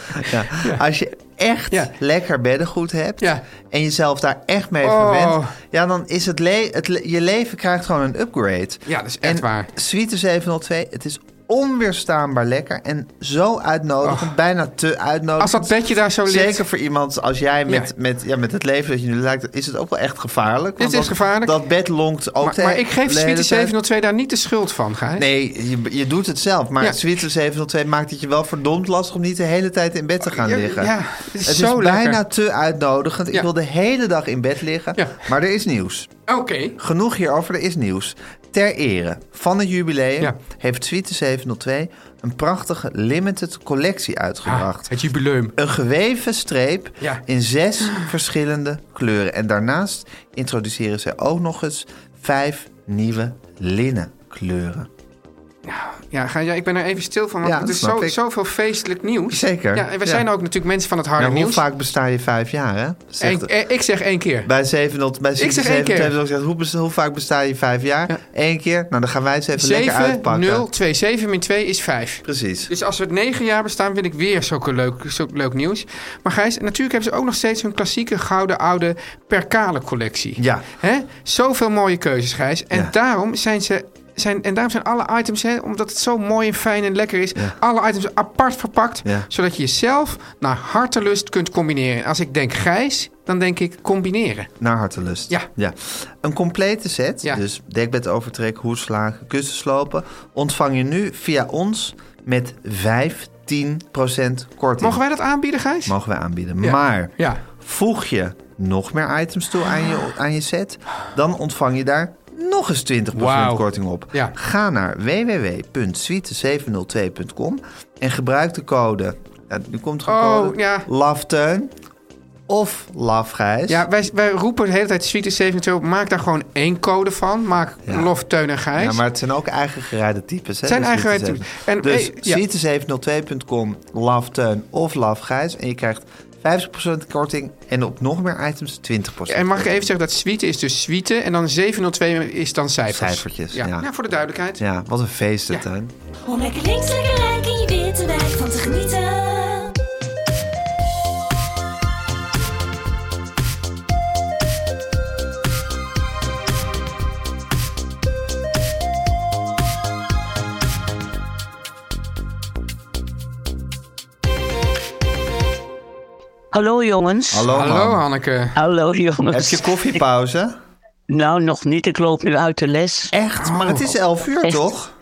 [SPEAKER 6] als je echt
[SPEAKER 8] Ja.
[SPEAKER 6] lekker beddengoed hebt
[SPEAKER 8] Ja.
[SPEAKER 6] en jezelf daar echt mee
[SPEAKER 8] Oh.
[SPEAKER 6] verwendt, ja, dan is het, le het le- je leven krijgt gewoon een upgrade.
[SPEAKER 8] Ja, dat is echt
[SPEAKER 6] en
[SPEAKER 8] waar.
[SPEAKER 6] Suite 702, het is onweerstaanbaar lekker en zo uitnodigend, bijna te uitnodigend.
[SPEAKER 8] Oh. Als dat bedje daar zo ligt.
[SPEAKER 6] Zeker voor iemand als jij met,
[SPEAKER 8] Ja.
[SPEAKER 6] Met, ja, met het leven dat je nu lijkt, is het ook wel echt gevaarlijk.
[SPEAKER 8] Dit
[SPEAKER 6] want
[SPEAKER 8] is
[SPEAKER 6] dat-
[SPEAKER 8] gevaarlijk.
[SPEAKER 6] Dat bed lonkt ook
[SPEAKER 8] Maar,
[SPEAKER 6] de
[SPEAKER 8] maar ik geef
[SPEAKER 6] hele tijd.
[SPEAKER 8] Sweetie 702 daar niet de schuld van, Gijs.
[SPEAKER 6] Nee, je, je doet het zelf. Maar
[SPEAKER 8] Ja.
[SPEAKER 6] Zwitser 702 maakt het je wel verdomd lastig om niet de hele tijd in bed te gaan
[SPEAKER 8] Ja,
[SPEAKER 6] liggen.
[SPEAKER 8] ja, het is zo lekker.
[SPEAKER 6] bijna te uitnodigend. Ik
[SPEAKER 8] Ja.
[SPEAKER 6] wil de hele dag in bed liggen.
[SPEAKER 8] Ja.
[SPEAKER 6] Maar er is nieuws.
[SPEAKER 8] Oké.
[SPEAKER 6] Genoeg hierover, er is nieuws. Ter ere van het jubileum
[SPEAKER 8] Ja.
[SPEAKER 6] heeft Sweeter 702 een prachtige limited
[SPEAKER 8] Ah,
[SPEAKER 6] collectie uitgebracht.
[SPEAKER 8] Het jubileum.
[SPEAKER 6] Een geweven streep
[SPEAKER 8] Ja.
[SPEAKER 6] in zes verschillende kleuren. En daarnaast introduceren zij ook nog eens vijf nieuwe linnen kleuren.
[SPEAKER 8] Ja, ga, ja, ik ben er even stil van, want
[SPEAKER 6] Ja,
[SPEAKER 8] het
[SPEAKER 6] dat
[SPEAKER 8] is
[SPEAKER 6] snap
[SPEAKER 8] zo,
[SPEAKER 6] ik.
[SPEAKER 8] zoveel feestelijk nieuws.
[SPEAKER 6] Zeker,
[SPEAKER 8] Ja, en we
[SPEAKER 6] ja.
[SPEAKER 8] zijn ook natuurlijk mensen van het harde
[SPEAKER 6] Nou, hoe
[SPEAKER 8] nieuws.
[SPEAKER 6] vaak besta je vijf jaar, hè? Zegt-
[SPEAKER 8] Eén- eh, ik zeg één keer.
[SPEAKER 6] bij 700, bij
[SPEAKER 8] zeg één
[SPEAKER 6] 700
[SPEAKER 8] keer.
[SPEAKER 6] hebben ze ook gezegd, hoe, besta- hoe vaak besta je vijf jaar? Eén keer? Nou, dan gaan wij eens even lekker
[SPEAKER 8] 7,
[SPEAKER 6] uitpakken.
[SPEAKER 8] 0, 2, 7 min 2 is 5.
[SPEAKER 6] Precies.
[SPEAKER 8] Dus als we het negen jaar bestaan, wil ik weer zulke leuk, zulk leuk nieuws. Maar Gijs, natuurlijk hebben ze ook nog steeds hun klassieke gouden oude perkale collectie.
[SPEAKER 6] Ja.
[SPEAKER 8] Hè? Zoveel mooie keuzes, Gijs. En
[SPEAKER 6] Ja.
[SPEAKER 8] daarom zijn ze... Zijn, en daarom zijn alle items, hè, omdat het zo mooi en fijn en lekker is, alle items apart verpakt.
[SPEAKER 6] Ja.
[SPEAKER 8] Zodat je jezelf naar hartelust kunt combineren. En als ik denk Gijs, dan denk ik combineren.
[SPEAKER 6] Naar hartelust.
[SPEAKER 8] Ja.
[SPEAKER 6] Een complete set,
[SPEAKER 8] Ja.
[SPEAKER 6] dus dekbed overtrek, hoedslagen, kussenslopen, ontvang je nu via ons met 15% korting.
[SPEAKER 8] Mogen wij dat aanbieden, Gijs?
[SPEAKER 6] Mogen wij aanbieden.
[SPEAKER 8] Ja.
[SPEAKER 6] Maar
[SPEAKER 8] Ja.
[SPEAKER 6] voeg je nog meer items toe aan je, aan je set, dan ontvang je daar nog eens 20%
[SPEAKER 8] Wauw.
[SPEAKER 6] korting op.
[SPEAKER 8] Ja.
[SPEAKER 6] Ga naar www.suite702.com en gebruik de code. Ja, nu komt er een
[SPEAKER 8] Oh,
[SPEAKER 6] code.
[SPEAKER 8] ja.
[SPEAKER 6] Lafteun of Lafgijs.
[SPEAKER 8] Ja, wij, wij roepen de hele tijd Suite 72. Maak daar gewoon één code van. Maak
[SPEAKER 6] Ja.
[SPEAKER 8] Lof, Teun en Gijs.
[SPEAKER 6] Ja, maar het zijn ook eigen gerijde types. Hè?
[SPEAKER 8] Het zijn
[SPEAKER 6] de
[SPEAKER 8] eigen
[SPEAKER 6] Suite
[SPEAKER 8] gerijde types.
[SPEAKER 6] 7.
[SPEAKER 8] En,
[SPEAKER 6] Dus
[SPEAKER 8] eh, ja.
[SPEAKER 6] suite702.com, lafteun of lafgijs. En je krijgt 50% korting en op nog meer items 20%.
[SPEAKER 8] En mag ik even zeggen dat suite is dus suite. En dan 702 is dan cijfers.
[SPEAKER 6] Cijfertjes, ja.
[SPEAKER 8] ja. voor de duidelijkheid.
[SPEAKER 6] Ja, wat een feest het,
[SPEAKER 8] Ja.
[SPEAKER 6] hè?
[SPEAKER 2] Om lekker links, lekker rechts in je witte wijk van te genieten.
[SPEAKER 10] Hallo jongens.
[SPEAKER 6] Hallo,
[SPEAKER 8] Hallo
[SPEAKER 6] man.
[SPEAKER 8] Hanneke.
[SPEAKER 10] Hallo
[SPEAKER 6] Heb
[SPEAKER 10] jongens.
[SPEAKER 6] je koffiepauze?
[SPEAKER 10] Nou, nog niet. Ik loop nu uit de les.
[SPEAKER 6] Echt? Maar het is 11 uur,
[SPEAKER 10] Echt?
[SPEAKER 6] toch?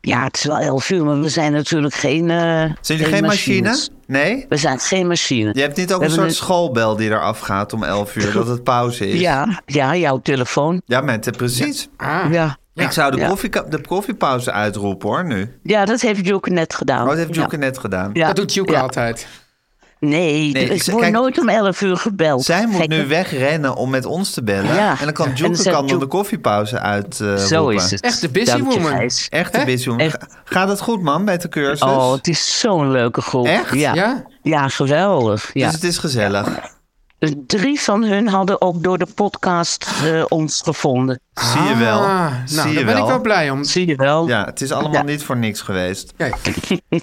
[SPEAKER 10] Ja, het is wel elf uur, maar we zijn natuurlijk geen. eh
[SPEAKER 6] Zijn jullie geen machine?
[SPEAKER 10] machines.
[SPEAKER 6] Nee?
[SPEAKER 10] We zijn geen machine.
[SPEAKER 6] Je hebt niet ook
[SPEAKER 10] We
[SPEAKER 6] een soort
[SPEAKER 10] hebben
[SPEAKER 6] schoolbel die eraf gaat om 11 uur, dat het pauze is?
[SPEAKER 10] Ja, ja, jouw telefoon.
[SPEAKER 6] Ja, met, eh, precies.
[SPEAKER 8] Ah.
[SPEAKER 10] Ja.
[SPEAKER 6] Ik zou de,
[SPEAKER 10] Ja.
[SPEAKER 6] koffieka- de koffiepauze uitroepen, hoor, nu.
[SPEAKER 10] ja, dat heeft Joke net gedaan.
[SPEAKER 6] Oh, dat heeft
[SPEAKER 10] Ja.
[SPEAKER 6] Joeke net gedaan.
[SPEAKER 10] Ja.
[SPEAKER 8] Dat doet Joeke
[SPEAKER 10] Ja.
[SPEAKER 8] altijd.
[SPEAKER 10] Nee,
[SPEAKER 6] Nee,
[SPEAKER 10] ik
[SPEAKER 6] ze-
[SPEAKER 10] word
[SPEAKER 6] kijk-
[SPEAKER 10] nooit om elf uur gebeld.
[SPEAKER 6] Zij moet
[SPEAKER 10] Gekke-
[SPEAKER 6] nu wegrennen om met ons te bellen.
[SPEAKER 10] Ja.
[SPEAKER 6] En dan kan
[SPEAKER 10] En
[SPEAKER 6] Joeke
[SPEAKER 10] dan zegt
[SPEAKER 6] kan dan
[SPEAKER 10] Joeke-
[SPEAKER 6] de koffiepauze uit. eh,
[SPEAKER 10] Zo
[SPEAKER 6] roepen.
[SPEAKER 10] is het.
[SPEAKER 8] Echt de busy
[SPEAKER 10] Dank je,
[SPEAKER 8] woman.
[SPEAKER 10] Gijs.
[SPEAKER 6] Echt een busy woman.
[SPEAKER 10] Echt.
[SPEAKER 6] Ga- Gaat het goed, man, met de cursus?
[SPEAKER 10] Oh, het is zo'n leuke groep.
[SPEAKER 6] Echt?
[SPEAKER 10] Ja, ja?
[SPEAKER 8] Ja?
[SPEAKER 10] geweldig. Ja. Dus
[SPEAKER 6] Dus het is gezellig.
[SPEAKER 10] Drie van hun hadden ook door de podcast eh, ons gevonden.
[SPEAKER 6] Zie je wel.
[SPEAKER 8] Ah, nou,
[SPEAKER 6] Zie je
[SPEAKER 8] daar ben ik wel blij om.
[SPEAKER 10] Zie je wel?
[SPEAKER 6] Ja, het is allemaal
[SPEAKER 10] Ja.
[SPEAKER 6] niet voor niks geweest.
[SPEAKER 8] Kijk,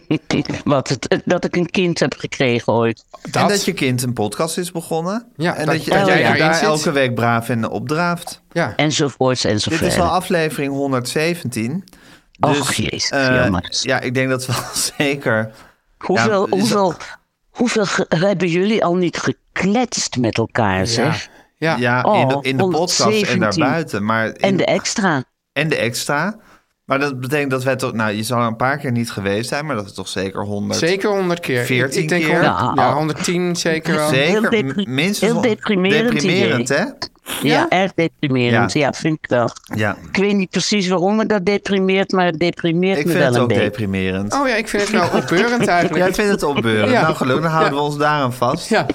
[SPEAKER 10] Wat het, dat ik een kind heb gekregen ooit.
[SPEAKER 8] dat,
[SPEAKER 6] En dat je kind een podcast is begonnen.
[SPEAKER 8] Ja,
[SPEAKER 6] en dat,
[SPEAKER 8] dat-
[SPEAKER 6] je,
[SPEAKER 8] dat
[SPEAKER 6] dat
[SPEAKER 10] jij
[SPEAKER 6] jij
[SPEAKER 8] daarin
[SPEAKER 6] daar
[SPEAKER 8] zit.
[SPEAKER 6] elke week braaf in opdraaft.
[SPEAKER 8] ja.
[SPEAKER 10] Enzovoorts
[SPEAKER 6] Dit
[SPEAKER 10] enzovoort.
[SPEAKER 6] is al aflevering 117.
[SPEAKER 10] Och,
[SPEAKER 6] Dus,
[SPEAKER 10] jezus,
[SPEAKER 6] eh,
[SPEAKER 10] jammer.
[SPEAKER 6] ja, ik denk dat we al zeker...
[SPEAKER 10] hoeveel,
[SPEAKER 6] Ja, is
[SPEAKER 10] hoeveel, hoeveel ge- hebben jullie al niet gekletst met elkaar, zeg?
[SPEAKER 8] Ja.
[SPEAKER 6] Ja, in, de,
[SPEAKER 10] Oh,
[SPEAKER 6] in de podcast en
[SPEAKER 10] 117.
[SPEAKER 6] daarbuiten. Maar in-
[SPEAKER 10] En de extra.
[SPEAKER 6] En de extra. Maar dat betekent dat wij toch... Nou, je zal er een paar keer niet geweest zijn, maar dat is toch zeker 100.
[SPEAKER 8] Zeker 100 keer. Ik-
[SPEAKER 6] 14
[SPEAKER 8] ik denk
[SPEAKER 6] keer.
[SPEAKER 8] honderd-
[SPEAKER 10] Nou.
[SPEAKER 8] ja, 110 zeker wel.
[SPEAKER 6] Zeker.
[SPEAKER 10] Heel depri-
[SPEAKER 6] m- minstens
[SPEAKER 10] heel deprimerend
[SPEAKER 6] Deprimerend, hè?
[SPEAKER 10] Ja, erg deprimerend.
[SPEAKER 6] Ja.
[SPEAKER 10] Ja. vind ik wel.
[SPEAKER 6] Ja.
[SPEAKER 10] Ik weet niet precies waarom me dat deprimeert, maar het deprimeert
[SPEAKER 6] Ik
[SPEAKER 10] me
[SPEAKER 6] vind
[SPEAKER 10] wel
[SPEAKER 6] het
[SPEAKER 10] een
[SPEAKER 6] ook
[SPEAKER 10] beetje.
[SPEAKER 6] deprimerend.
[SPEAKER 8] Oh ja, ik vind het wel opbeurend
[SPEAKER 6] Jij
[SPEAKER 8] eigenlijk.
[SPEAKER 6] vindt het opbeuren.
[SPEAKER 8] Ja.
[SPEAKER 6] Nou, gelukkig, dan houden we ons daaraan vast.
[SPEAKER 8] Ja.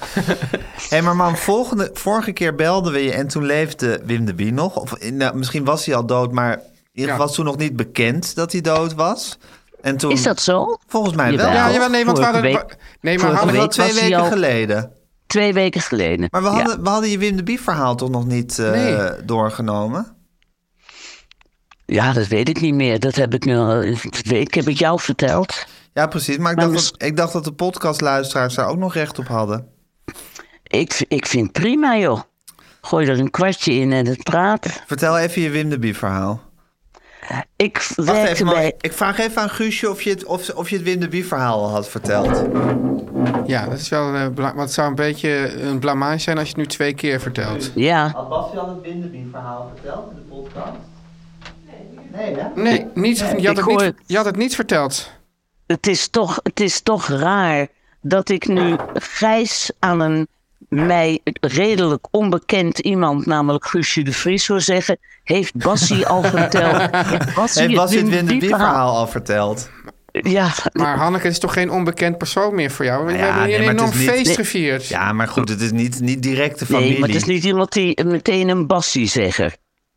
[SPEAKER 6] Hé, maar man, volgende, vorige keer belden we je en toen leefde Wim de Bie nog. Of eh, nou, misschien was hij al dood, maar in ieder
[SPEAKER 8] Ja.
[SPEAKER 6] geval was toen nog niet bekend dat hij dood was. En toen,
[SPEAKER 10] Is dat zo?
[SPEAKER 6] Volgens mij wel.
[SPEAKER 10] Jawel.
[SPEAKER 8] Ja, jawel, nee, want we
[SPEAKER 10] Vorige
[SPEAKER 8] hadden...
[SPEAKER 10] week-
[SPEAKER 8] Nee,
[SPEAKER 6] Dat
[SPEAKER 8] maar
[SPEAKER 10] vorige
[SPEAKER 6] was
[SPEAKER 8] hadden
[SPEAKER 6] wel
[SPEAKER 10] week
[SPEAKER 6] twee
[SPEAKER 10] was hij
[SPEAKER 6] weken
[SPEAKER 10] al-
[SPEAKER 6] geleden.
[SPEAKER 10] Twee weken geleden.
[SPEAKER 6] Maar we
[SPEAKER 10] Ja.
[SPEAKER 6] hadden, we hadden je Wim de Bie verhaal toch nog niet eh,
[SPEAKER 8] Nee.
[SPEAKER 6] doorgenomen?
[SPEAKER 10] Ja. dat weet ik niet meer. Dat heb ik nu al een week heb ik jou verteld.
[SPEAKER 6] Ja, precies. Maar ik,
[SPEAKER 10] Maar
[SPEAKER 6] dacht,
[SPEAKER 10] mis-
[SPEAKER 6] dat, ik dacht dat de podcastluisteraars daar ook nog recht op hadden.
[SPEAKER 10] Ik, v- ik vind prima, joh. Gooi er een kwartje in en het praat.
[SPEAKER 6] Vertel even je Wim de Bie verhaal.
[SPEAKER 10] ik
[SPEAKER 6] Wacht
[SPEAKER 10] werkte
[SPEAKER 6] even, maar
[SPEAKER 10] bij...
[SPEAKER 6] ik vraag even aan Guusje of je het, of, of je het Wim de Bie verhaal al had verteld.
[SPEAKER 8] Ja, dat is wel, eh, bla- maar het zou een beetje een blamage zijn als je het nu twee keer vertelt.
[SPEAKER 10] Ja.
[SPEAKER 6] Had Bas je al het Wim de Bie verhaal verteld in de podcast? Nee, hè?
[SPEAKER 8] Nee, niet, je, had
[SPEAKER 10] Ik
[SPEAKER 8] het niet,
[SPEAKER 10] hoor-
[SPEAKER 8] je had het niet verteld.
[SPEAKER 10] Het is, toch, het is toch raar dat ik nu Gijs aan een mij redelijk onbekend iemand, namelijk Guusje de Vries, hoor zeggen... Heeft Bassie al verteld? Heeft Bassie
[SPEAKER 6] Heeft Bas je het Wim de
[SPEAKER 10] Wim
[SPEAKER 6] Bie verhaal al verteld?
[SPEAKER 10] Ja,
[SPEAKER 8] Maar Hanneke is toch geen onbekend persoon meer voor jou? We
[SPEAKER 6] Nou
[SPEAKER 10] Nou
[SPEAKER 6] Ja,
[SPEAKER 8] hebben hier
[SPEAKER 6] nee, maar
[SPEAKER 8] een
[SPEAKER 6] het is
[SPEAKER 8] enorm
[SPEAKER 6] niet-
[SPEAKER 8] feest
[SPEAKER 6] Nee.
[SPEAKER 8] gevierd. Ja.
[SPEAKER 6] Ja, maar goed, het is niet, niet direct de familie.
[SPEAKER 10] nee, maar het is niet iemand die meteen een Bassie zegt.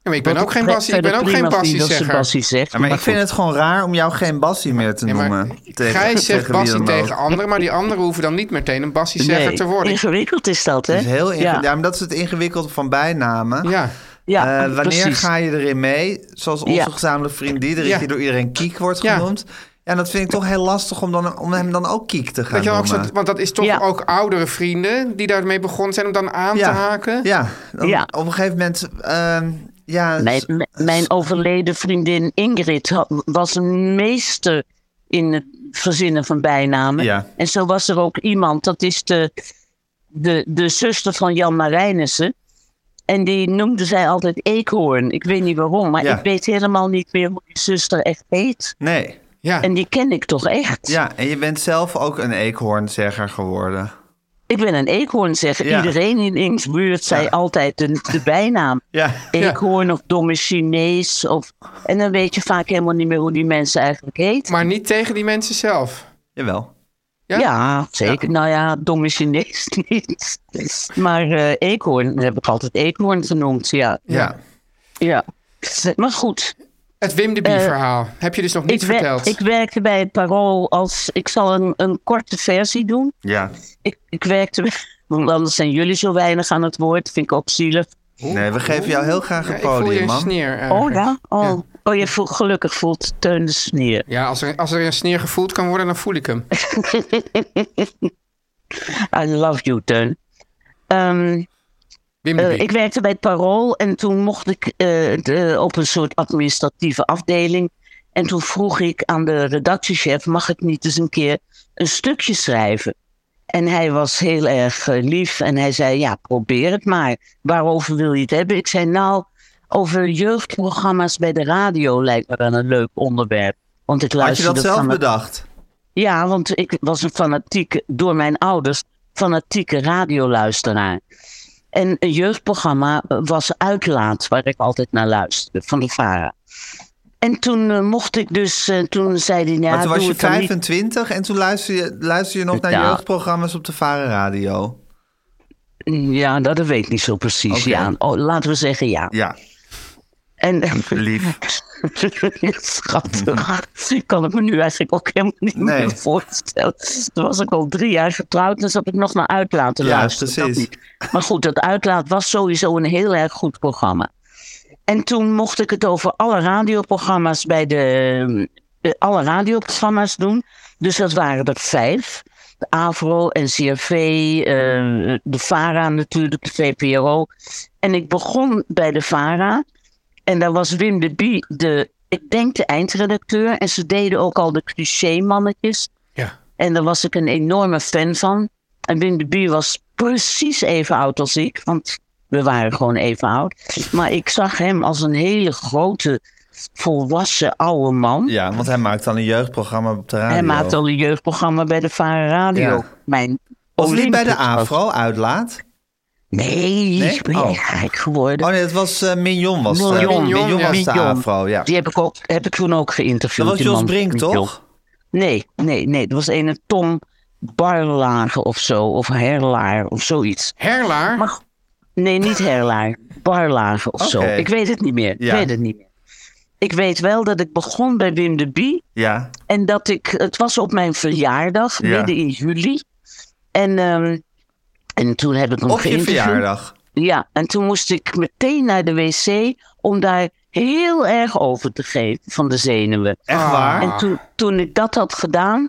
[SPEAKER 8] maar ik ben
[SPEAKER 10] Wat
[SPEAKER 8] ook geen
[SPEAKER 10] pre-
[SPEAKER 8] Bassie, ik ben
[SPEAKER 10] verder
[SPEAKER 8] ook geen
[SPEAKER 10] prima vind dat ze
[SPEAKER 8] Bassie-zegger.
[SPEAKER 10] Bassie zegt.
[SPEAKER 6] Ja, maar ik vind het gewoon raar om jou geen Bassie meer te
[SPEAKER 8] Nee, maar
[SPEAKER 6] noemen. eh, Tegen-
[SPEAKER 8] Gij zegt
[SPEAKER 6] tegen wie
[SPEAKER 8] Bassie
[SPEAKER 6] dan ook.
[SPEAKER 8] tegen anderen, maar die anderen hoeven dan niet meteen een Bassie-zegger
[SPEAKER 10] Nee,
[SPEAKER 8] te worden.
[SPEAKER 10] Ingewikkeld is dat, hè?
[SPEAKER 6] Dat is heel ingewikkeld. Ja.
[SPEAKER 10] Ja,
[SPEAKER 6] maar dat is het ingewikkelde van bijnamen.
[SPEAKER 8] Ja,
[SPEAKER 10] ja,
[SPEAKER 6] Eh, wanneer
[SPEAKER 10] precies.
[SPEAKER 6] ga je erin mee? Zoals onze
[SPEAKER 10] Ja.
[SPEAKER 6] gezamenlijke vriend Diederik,
[SPEAKER 8] Ja.
[SPEAKER 6] die door iedereen Kiek wordt
[SPEAKER 8] Ja.
[SPEAKER 6] genoemd. Ja, dat vind ik toch heel lastig om, dan, om hem dan eh, ook Kiek te gaan
[SPEAKER 8] dat je dan ook
[SPEAKER 6] noemen.
[SPEAKER 8] zo, want dat is toch
[SPEAKER 10] Ja.
[SPEAKER 8] ook oudere vrienden die daarmee begonnen zijn om dan aan
[SPEAKER 6] ja.
[SPEAKER 8] te haken.
[SPEAKER 6] Ja. Dan
[SPEAKER 10] Ja.
[SPEAKER 6] op een gegeven moment... ehm, ja,
[SPEAKER 10] Mijn,
[SPEAKER 6] s-
[SPEAKER 10] mijn- mijn overleden vriendin Ingrid had- was een meester in het verzinnen van bijnamen.
[SPEAKER 6] Ja.
[SPEAKER 10] En zo was er ook iemand, dat is de, de, de zuster van Jan Marijnissen. En die noemde zij altijd Eekhoorn. Ik weet niet waarom, maar
[SPEAKER 6] Ja.
[SPEAKER 10] ik weet helemaal niet meer hoe die zuster echt heet.
[SPEAKER 6] nee.
[SPEAKER 8] Ja.
[SPEAKER 10] En die ken ik toch echt?
[SPEAKER 6] Ja, en je bent zelf ook een eekhoornzegger geworden.
[SPEAKER 10] Ik ben een eekhoorn, zeg.
[SPEAKER 6] Ja.
[SPEAKER 10] Iedereen in Inksbuurt zei altijd de, de bijnaam.
[SPEAKER 6] Ja.
[SPEAKER 10] Eekhoorn of domme Chinees. Of... En dan weet je vaak helemaal niet meer hoe die mensen eigenlijk heten.
[SPEAKER 8] Maar niet tegen die mensen zelf.
[SPEAKER 6] Jawel.
[SPEAKER 8] ja?
[SPEAKER 10] ja? zeker. Nou ja, domme Chinees niet. Maar eh eekhoorn heb ik altijd eekhoorn genoemd, ja.
[SPEAKER 6] Ja.
[SPEAKER 10] ja. Maar goed,
[SPEAKER 8] Het Wim de Bie-verhaal heb je dus nog niet
[SPEAKER 10] Eh, ik, wer-
[SPEAKER 8] verteld.
[SPEAKER 10] ik werkte bij het Parool als... Ik zal een, een korte versie doen.
[SPEAKER 6] Ja.
[SPEAKER 10] Ik, ik werkte... bij- Want anders zijn jullie zo weinig aan het woord. Vind ik ook zielig.
[SPEAKER 6] Nee, we geven jou heel graag
[SPEAKER 8] Ja,
[SPEAKER 6] een
[SPEAKER 8] ik voel
[SPEAKER 6] podium,
[SPEAKER 8] je een
[SPEAKER 6] Oh, man.
[SPEAKER 8] sneer. eh.
[SPEAKER 10] Oh ja? Oh, oh je voelt, gelukkig voelt Teun de sneer.
[SPEAKER 8] Ja, als er, als er een sneer gevoeld kan worden, dan voel ik hem.
[SPEAKER 10] I love you, Teun. Ehm,
[SPEAKER 8] Wim de
[SPEAKER 10] eh,
[SPEAKER 8] Bie.
[SPEAKER 10] ik werkte bij het Parool en toen mocht ik eh, de- op een soort administratieve afdeling. En toen vroeg ik aan de redactiechef, mag ik niet eens een keer een stukje schrijven? En hij was heel erg eh, lief en hij zei, ja, probeer het maar. Waarover wil je het hebben? Ik zei, nou, over jeugdprogramma's bij de radio lijkt me wel een leuk onderwerp. Want ik
[SPEAKER 6] Had je
[SPEAKER 10] luisterde
[SPEAKER 6] dat zelf
[SPEAKER 10] van het-
[SPEAKER 6] bedacht?
[SPEAKER 10] Ja, want ik was een fanatieke, door mijn ouders, fanatieke radioluisteraar. En een jeugdprogramma was Uitlaat, waar ik altijd naar luisterde, van de VARA. En toen eh, mocht ik dus, eh, toen zei hij... Ja,
[SPEAKER 6] maar toen was
[SPEAKER 10] doe
[SPEAKER 6] je
[SPEAKER 10] het dan niet."
[SPEAKER 6] 25 en toen luister je, luister je nog naar
[SPEAKER 10] Ja.
[SPEAKER 6] jeugdprogramma's op de Varen Radio.
[SPEAKER 10] Ja, dat weet ik niet zo precies,
[SPEAKER 6] Oké.
[SPEAKER 10] ja. Oh, laten we zeggen ja.
[SPEAKER 6] Ja,
[SPEAKER 10] En,
[SPEAKER 6] lief.
[SPEAKER 10] Schattig. Ik kan het me nu eigenlijk ook helemaal niet
[SPEAKER 6] Nee.
[SPEAKER 10] meer voorstellen. Toen was ik al drie jaar getrouwd en zat ik nog naar Uitlaat te
[SPEAKER 6] Ja,
[SPEAKER 10] luisteren. dat
[SPEAKER 6] precies.
[SPEAKER 10] niet. Maar goed, dat Uitlaat was sowieso een heel erg goed programma. En toen mocht ik het over alle radioprogramma's bij de... eh, Alle radioprogramma's doen. Dus dat waren er vijf. De AVRO, NCRV, eh de VARA natuurlijk, de VPRO. En ik begon bij de VARA. En daar was Wim de Bie de, ik denk de eindredacteur. En ze deden ook al de cliché-mannetjes.
[SPEAKER 8] Ja.
[SPEAKER 10] En daar was ik een enorme fan van. En Wim de Bie was precies even oud als ik. Want we waren gewoon even oud. Maar ik zag hem als een hele grote, volwassen oude man.
[SPEAKER 6] Ja, want hij maakt dan een jeugdprogramma op de radio.
[SPEAKER 10] Hm? Hij maakte al een jeugdprogramma bij de Varen Radio.
[SPEAKER 6] Ja.
[SPEAKER 10] Mijn
[SPEAKER 6] Was het niet bij de
[SPEAKER 10] Olympus was-
[SPEAKER 6] AVRO uitlaat?
[SPEAKER 10] Nee,
[SPEAKER 6] Nee?
[SPEAKER 10] ik ben jij
[SPEAKER 6] Oh.
[SPEAKER 10] gek geworden.
[SPEAKER 6] Oh nee, dat was eh, Mignon was de,
[SPEAKER 10] Mignon,
[SPEAKER 6] Mignon
[SPEAKER 8] ja.
[SPEAKER 6] was de
[SPEAKER 10] Mignon.
[SPEAKER 6] AVRO, ja.
[SPEAKER 10] Die heb ik, ook, heb ik toen ook
[SPEAKER 6] Dat
[SPEAKER 10] geïnterviewd.
[SPEAKER 6] was
[SPEAKER 10] die
[SPEAKER 6] Jos
[SPEAKER 10] man.
[SPEAKER 6] Brink, toch?
[SPEAKER 10] Nee, nee, nee. Dat was een Tom Barlage of zo. Of Herlaar of zoiets.
[SPEAKER 8] Herlaar?
[SPEAKER 10] Maar, go- nee, niet Herlaar. Barlage of zo.
[SPEAKER 6] Oké.
[SPEAKER 10] Ik weet het niet meer.
[SPEAKER 6] Ja.
[SPEAKER 10] Ik weet het niet meer. Ik weet wel dat ik begon bij Wim de Bie.
[SPEAKER 6] Ja.
[SPEAKER 10] En dat ik, het was op mijn verjaardag,
[SPEAKER 6] Ja.
[SPEAKER 10] midden in juli. En, ehm, en toen heb ik hem
[SPEAKER 6] Op je
[SPEAKER 10] geïnterviewd.
[SPEAKER 6] verjaardag.
[SPEAKER 10] Ja, en toen moest ik meteen naar de wc om daar heel erg over te geven van de zenuwen.
[SPEAKER 6] Echt
[SPEAKER 8] Ah.
[SPEAKER 6] waar?
[SPEAKER 10] En toen, toen ik dat had gedaan,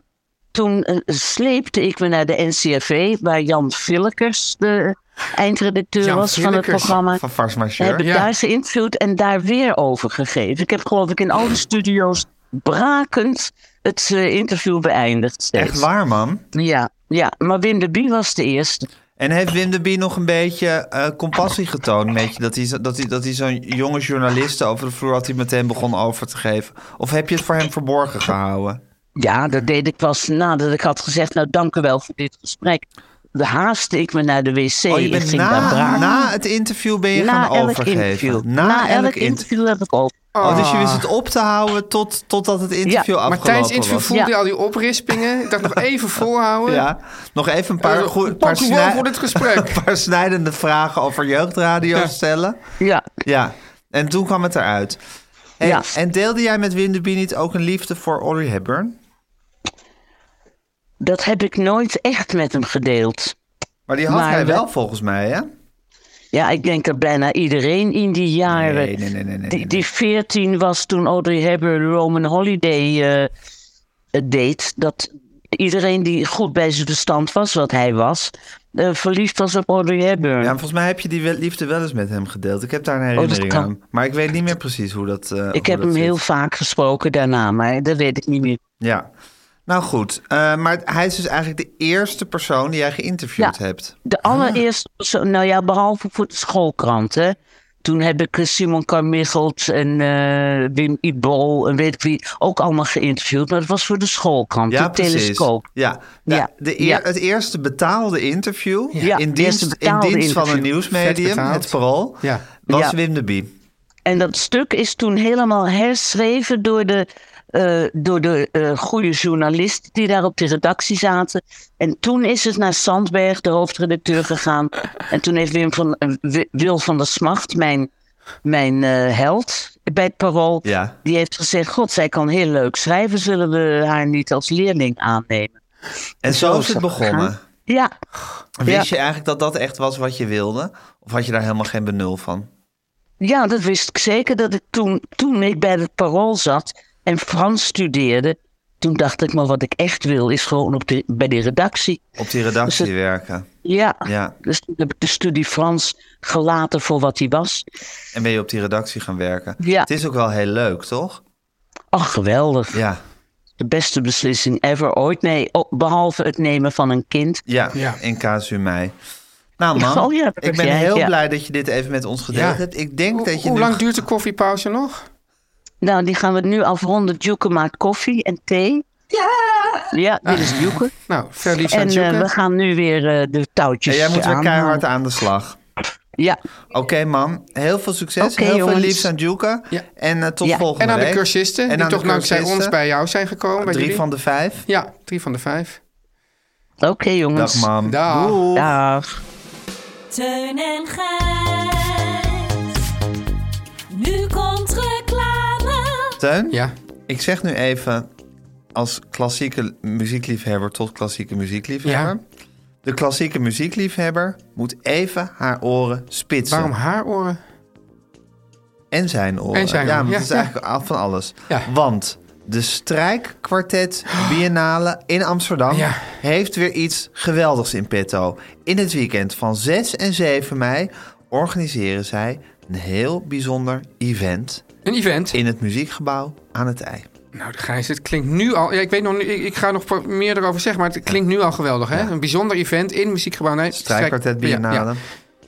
[SPEAKER 10] toen eh, sleepte ik me naar de NCRV, waar Jan Villekers de eindredacteur
[SPEAKER 6] Jan
[SPEAKER 10] was van het
[SPEAKER 6] Villekers
[SPEAKER 10] programma.
[SPEAKER 6] van Vars Majeur,
[SPEAKER 10] Heb ik
[SPEAKER 6] ja.
[SPEAKER 10] daar geïnterviewd en daar weer over gegeven. Ik heb geloof ik in alle studio's brakend het eh, interview beëindigd. steeds.
[SPEAKER 6] Echt waar, man.
[SPEAKER 10] Ja, ja, maar Wim de Bie was de eerste.
[SPEAKER 6] En heeft Wim de Bie nog een beetje eh, compassie getoond met je? Dat hij, zo- dat, hij, dat hij zo'n jonge journalist over de vloer had hij meteen begon over te geven? Of heb je het voor hem verborgen gehouden?
[SPEAKER 10] Ja, dat deed ik pas nadat ik had gezegd, nou dank u wel voor dit gesprek. Haaste ik me naar de wc
[SPEAKER 6] oh, je
[SPEAKER 10] en
[SPEAKER 6] bent
[SPEAKER 10] ging
[SPEAKER 6] na,
[SPEAKER 10] daar braken.
[SPEAKER 6] na het interview ben je
[SPEAKER 10] Na
[SPEAKER 6] gaan
[SPEAKER 10] elk
[SPEAKER 6] overgeven.
[SPEAKER 10] interview.
[SPEAKER 6] Na,
[SPEAKER 10] Na
[SPEAKER 6] elk,
[SPEAKER 10] elk interview heb ik op.
[SPEAKER 6] Oh, dus je wist het op te houden tot, totdat het interview
[SPEAKER 8] Ah. Maar
[SPEAKER 6] afgelopen
[SPEAKER 8] tijdens het interview
[SPEAKER 6] was.
[SPEAKER 8] voelde je al die oprispingen. Ik dacht nog even volhouden.
[SPEAKER 6] Ja, nog even een paar,
[SPEAKER 8] Eh,
[SPEAKER 6] goe-
[SPEAKER 8] pak
[SPEAKER 6] paar,
[SPEAKER 8] u wel voor dit gesprek.
[SPEAKER 6] een paar snijdende vragen over jeugdradio
[SPEAKER 8] Ja.
[SPEAKER 6] stellen.
[SPEAKER 10] Ja.
[SPEAKER 6] Ja, en toen kwam het eruit. En,
[SPEAKER 10] Ja.
[SPEAKER 6] en deelde jij met Winderby niet ook een liefde voor Audrey Hepburn?
[SPEAKER 10] Dat heb ik nooit echt met hem gedeeld.
[SPEAKER 6] Maar die had
[SPEAKER 10] Maar
[SPEAKER 6] hij
[SPEAKER 10] we-
[SPEAKER 6] wel volgens mij, hè?
[SPEAKER 10] Ja, ik denk dat bijna iedereen in die jaren...
[SPEAKER 6] Nee, nee, nee, nee. nee,
[SPEAKER 10] Die, die 14 was toen Audrey Hepburn Roman Holiday eh, het deed. Dat iedereen die goed bij zijn verstand was, wat hij was, eh, verliefd was op Audrey Hepburn.
[SPEAKER 6] Ja, maar volgens mij heb je die wel- liefde wel eens met hem gedeeld. Ik heb daar een
[SPEAKER 8] Oh,
[SPEAKER 10] dat
[SPEAKER 6] herinnering
[SPEAKER 10] kan.
[SPEAKER 6] aan. Maar ik weet niet meer precies hoe dat. eh, hoe
[SPEAKER 10] ik heb
[SPEAKER 6] dat
[SPEAKER 10] hem
[SPEAKER 6] zit.
[SPEAKER 10] heel vaak gesproken daarna, maar dat weet ik niet meer.
[SPEAKER 6] Ja. Nou goed, eh, maar hij is dus eigenlijk de eerste persoon die jij geïnterviewd
[SPEAKER 10] Ja.
[SPEAKER 6] hebt.
[SPEAKER 10] De allereerste persoon, nou ja, behalve voor de schoolkrant, hè. Toen heb ik eh, Simon Carmichelt en eh, Wim Ibol en weet ik wie ook allemaal geïnterviewd. Maar dat was voor de schoolkrant,
[SPEAKER 6] Ja,
[SPEAKER 10] de
[SPEAKER 6] precies.
[SPEAKER 10] telescoop.
[SPEAKER 6] Ja, de,
[SPEAKER 10] Ja.
[SPEAKER 6] de eer-
[SPEAKER 10] Ja.
[SPEAKER 6] het eerste betaalde interview
[SPEAKER 10] Ja,
[SPEAKER 6] in,
[SPEAKER 10] het
[SPEAKER 6] dienst,
[SPEAKER 10] eerste betaalde
[SPEAKER 6] in dienst van een
[SPEAKER 10] interview.
[SPEAKER 8] Vet
[SPEAKER 6] nieuwsmedium,
[SPEAKER 8] betaald.
[SPEAKER 6] het Parool,
[SPEAKER 8] Ja.
[SPEAKER 6] was
[SPEAKER 10] Ja.
[SPEAKER 6] Wim de Bie.
[SPEAKER 10] En dat stuk is toen helemaal herschreven door de, eh, door de eh, goede journalisten die daar op de redactie zaten. En toen is het naar Sandberg, de hoofdredacteur, gegaan. En toen heeft Wim van, eh, Wi- Wil van der Smacht, mijn, mijn eh, held bij het Parool,
[SPEAKER 6] Ja.
[SPEAKER 10] die heeft gezegd: God, zij kan heel leuk schrijven, zullen we haar niet als leerling aannemen?
[SPEAKER 6] En zo is het
[SPEAKER 10] gegaan.
[SPEAKER 6] begonnen.
[SPEAKER 10] Ja, Ja.
[SPEAKER 6] Wist je eigenlijk dat dat echt was wat je wilde? Of had je daar helemaal geen benul van?
[SPEAKER 10] Ja, dat wist ik zeker. Dat ik toen, toen ik bij het Parool zat en Frans studeerde, toen dacht ik, maar wat ik echt wil is gewoon op de, bij die redactie.
[SPEAKER 6] Op die redactie
[SPEAKER 10] Dus
[SPEAKER 6] werken.
[SPEAKER 10] Ja.
[SPEAKER 6] Ja.
[SPEAKER 10] dus toen heb ik de studie Frans gelaten voor wat die was.
[SPEAKER 6] En ben je op die redactie gaan werken?
[SPEAKER 10] Ja.
[SPEAKER 6] Het is ook wel heel leuk, toch?
[SPEAKER 10] Ach, geweldig.
[SPEAKER 6] Ja.
[SPEAKER 10] De beste beslissing ever ooit. Nee, oh, behalve het nemen van een kind.
[SPEAKER 6] Ja,
[SPEAKER 8] Ja.
[SPEAKER 6] in casu mei. Nou man,
[SPEAKER 10] Oh ja, dat
[SPEAKER 6] ik
[SPEAKER 10] heb
[SPEAKER 6] ben
[SPEAKER 10] jij,
[SPEAKER 6] heel
[SPEAKER 10] ja.
[SPEAKER 6] blij dat je dit even met ons gedeeld
[SPEAKER 8] Ja.
[SPEAKER 6] hebt. Ik denk dat
[SPEAKER 8] Hoe,
[SPEAKER 6] je
[SPEAKER 8] hoe
[SPEAKER 6] nu...
[SPEAKER 8] lang duurt de koffiepauze nog?
[SPEAKER 10] Nou, die gaan we nu afronden. Djoeke maakt koffie en thee. Ja! Ja, dit is Djoeke.
[SPEAKER 8] Nou, verliefd aan
[SPEAKER 10] En eh,
[SPEAKER 8] Joeken.
[SPEAKER 10] we gaan nu weer eh, de touwtjes
[SPEAKER 6] Ja, jij moet weer
[SPEAKER 10] aanhalen.
[SPEAKER 6] keihard aan de slag.
[SPEAKER 10] Ja,
[SPEAKER 6] Oké man, heel veel succes.
[SPEAKER 10] Oké,
[SPEAKER 6] heel veel
[SPEAKER 10] jongens.
[SPEAKER 6] liefs aan Juka.
[SPEAKER 8] Ja.
[SPEAKER 6] En eh, tot
[SPEAKER 10] Ja.
[SPEAKER 6] volgende
[SPEAKER 8] En aan de
[SPEAKER 6] week.
[SPEAKER 8] cursisten, die
[SPEAKER 6] aan de
[SPEAKER 8] toch dankzij
[SPEAKER 6] cursisten.
[SPEAKER 8] ons bij jou zijn gekomen. bij
[SPEAKER 6] Drie
[SPEAKER 8] jullie.
[SPEAKER 6] van de vijf.
[SPEAKER 8] Ja, drie van de vijf.
[SPEAKER 10] oké
[SPEAKER 6] Dag
[SPEAKER 10] jongens.
[SPEAKER 6] man.
[SPEAKER 8] Dag.
[SPEAKER 6] Doeg.
[SPEAKER 10] Dag.
[SPEAKER 2] Teun en Gijs. Nu komt reclame.
[SPEAKER 6] Teun,
[SPEAKER 8] Ja.
[SPEAKER 6] ik zeg nu even als klassieke muziekliefhebber tot klassieke muziekliefhebber. De klassieke muziekliefhebber moet even haar oren spitsen.
[SPEAKER 8] Waarom haaroren?
[SPEAKER 6] En zijn oren.
[SPEAKER 8] En zijn
[SPEAKER 6] ja,
[SPEAKER 8] oren,
[SPEAKER 6] maar
[SPEAKER 8] ja,
[SPEAKER 6] dat is
[SPEAKER 8] ja.
[SPEAKER 6] eigenlijk al van alles.
[SPEAKER 8] Ja.
[SPEAKER 6] Want de Strijkkwartet Biennale in Amsterdam
[SPEAKER 8] Ja.
[SPEAKER 6] heeft weer iets geweldigs in petto. In het weekend van 6 en 7 mei organiseren zij een heel bijzonder event
[SPEAKER 8] Een event.
[SPEAKER 6] in het muziekgebouw aan het ei.
[SPEAKER 8] Nou, de Gijs, het klinkt nu al... Ja, ik, weet nog, niet- ik, ik ga nog wat meer erover zeggen, maar het klinkt nu al geweldig, hè? Een bijzonder event in Muziekgebouw. Nee,
[SPEAKER 6] Strijkkwartet
[SPEAKER 8] Strijk- ja, ja.
[SPEAKER 6] Biennale.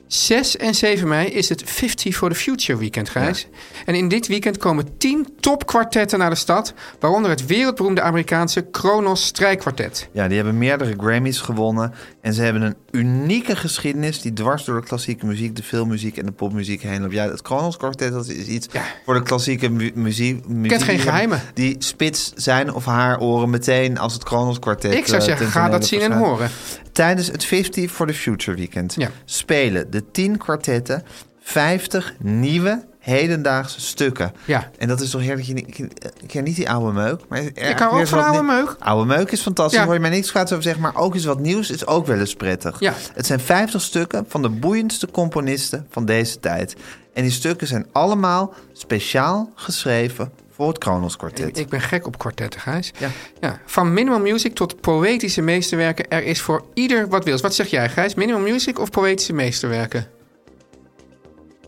[SPEAKER 8] 6 en 7 mei is het 50 for the Future weekend, Gijs. En in dit weekend komen 10 topkwartetten naar de stad... waaronder het wereldberoemde Amerikaanse Kronos Strijkkwartet.
[SPEAKER 6] Ja, die hebben meerdere Grammys gewonnen. En ze hebben een unieke geschiedenis die dwars door de klassieke muziek, de filmmuziek en de popmuziek heen loopt. Ja, het Kronos Quartet dat is iets voor de klassieke mu- muziek. muziek
[SPEAKER 8] geen geheimen.
[SPEAKER 6] Die spits zijn of haar oren meteen als het Kronos Quartet.
[SPEAKER 8] ik zou
[SPEAKER 6] eh,
[SPEAKER 8] zeggen,
[SPEAKER 6] ten
[SPEAKER 8] ga
[SPEAKER 6] tonele
[SPEAKER 8] dat zien en
[SPEAKER 6] verschijnt.
[SPEAKER 8] horen.
[SPEAKER 6] Tijdens het 50 for the Future weekend
[SPEAKER 8] Ja.
[SPEAKER 6] spelen de 10 kwartetten 50 nieuwe hedendaagse stukken.
[SPEAKER 8] Ja.
[SPEAKER 6] En dat is toch heerlijk. Ik ken- ik ken niet die oude meuk. Maar
[SPEAKER 8] Ik hou ook van oude meuk.
[SPEAKER 6] Oude meuk is fantastisch,
[SPEAKER 8] Ja.
[SPEAKER 6] hoor je mij niks kwaads over zeggen. Maar ook eens wat nieuws is ook wel eens prettig.
[SPEAKER 8] Ja.
[SPEAKER 6] Het zijn 50 stukken van de boeiendste componisten van deze tijd. En die stukken zijn allemaal speciaal geschreven voor het Kronos Quartet.
[SPEAKER 8] Ik, ik ben gek op kwartetten, Gijs. Ja. Van minimal music tot poëtische meesterwerken. Er is voor ieder wat wils. Wat zeg jij, Gijs? Minimal music of poëtische meesterwerken?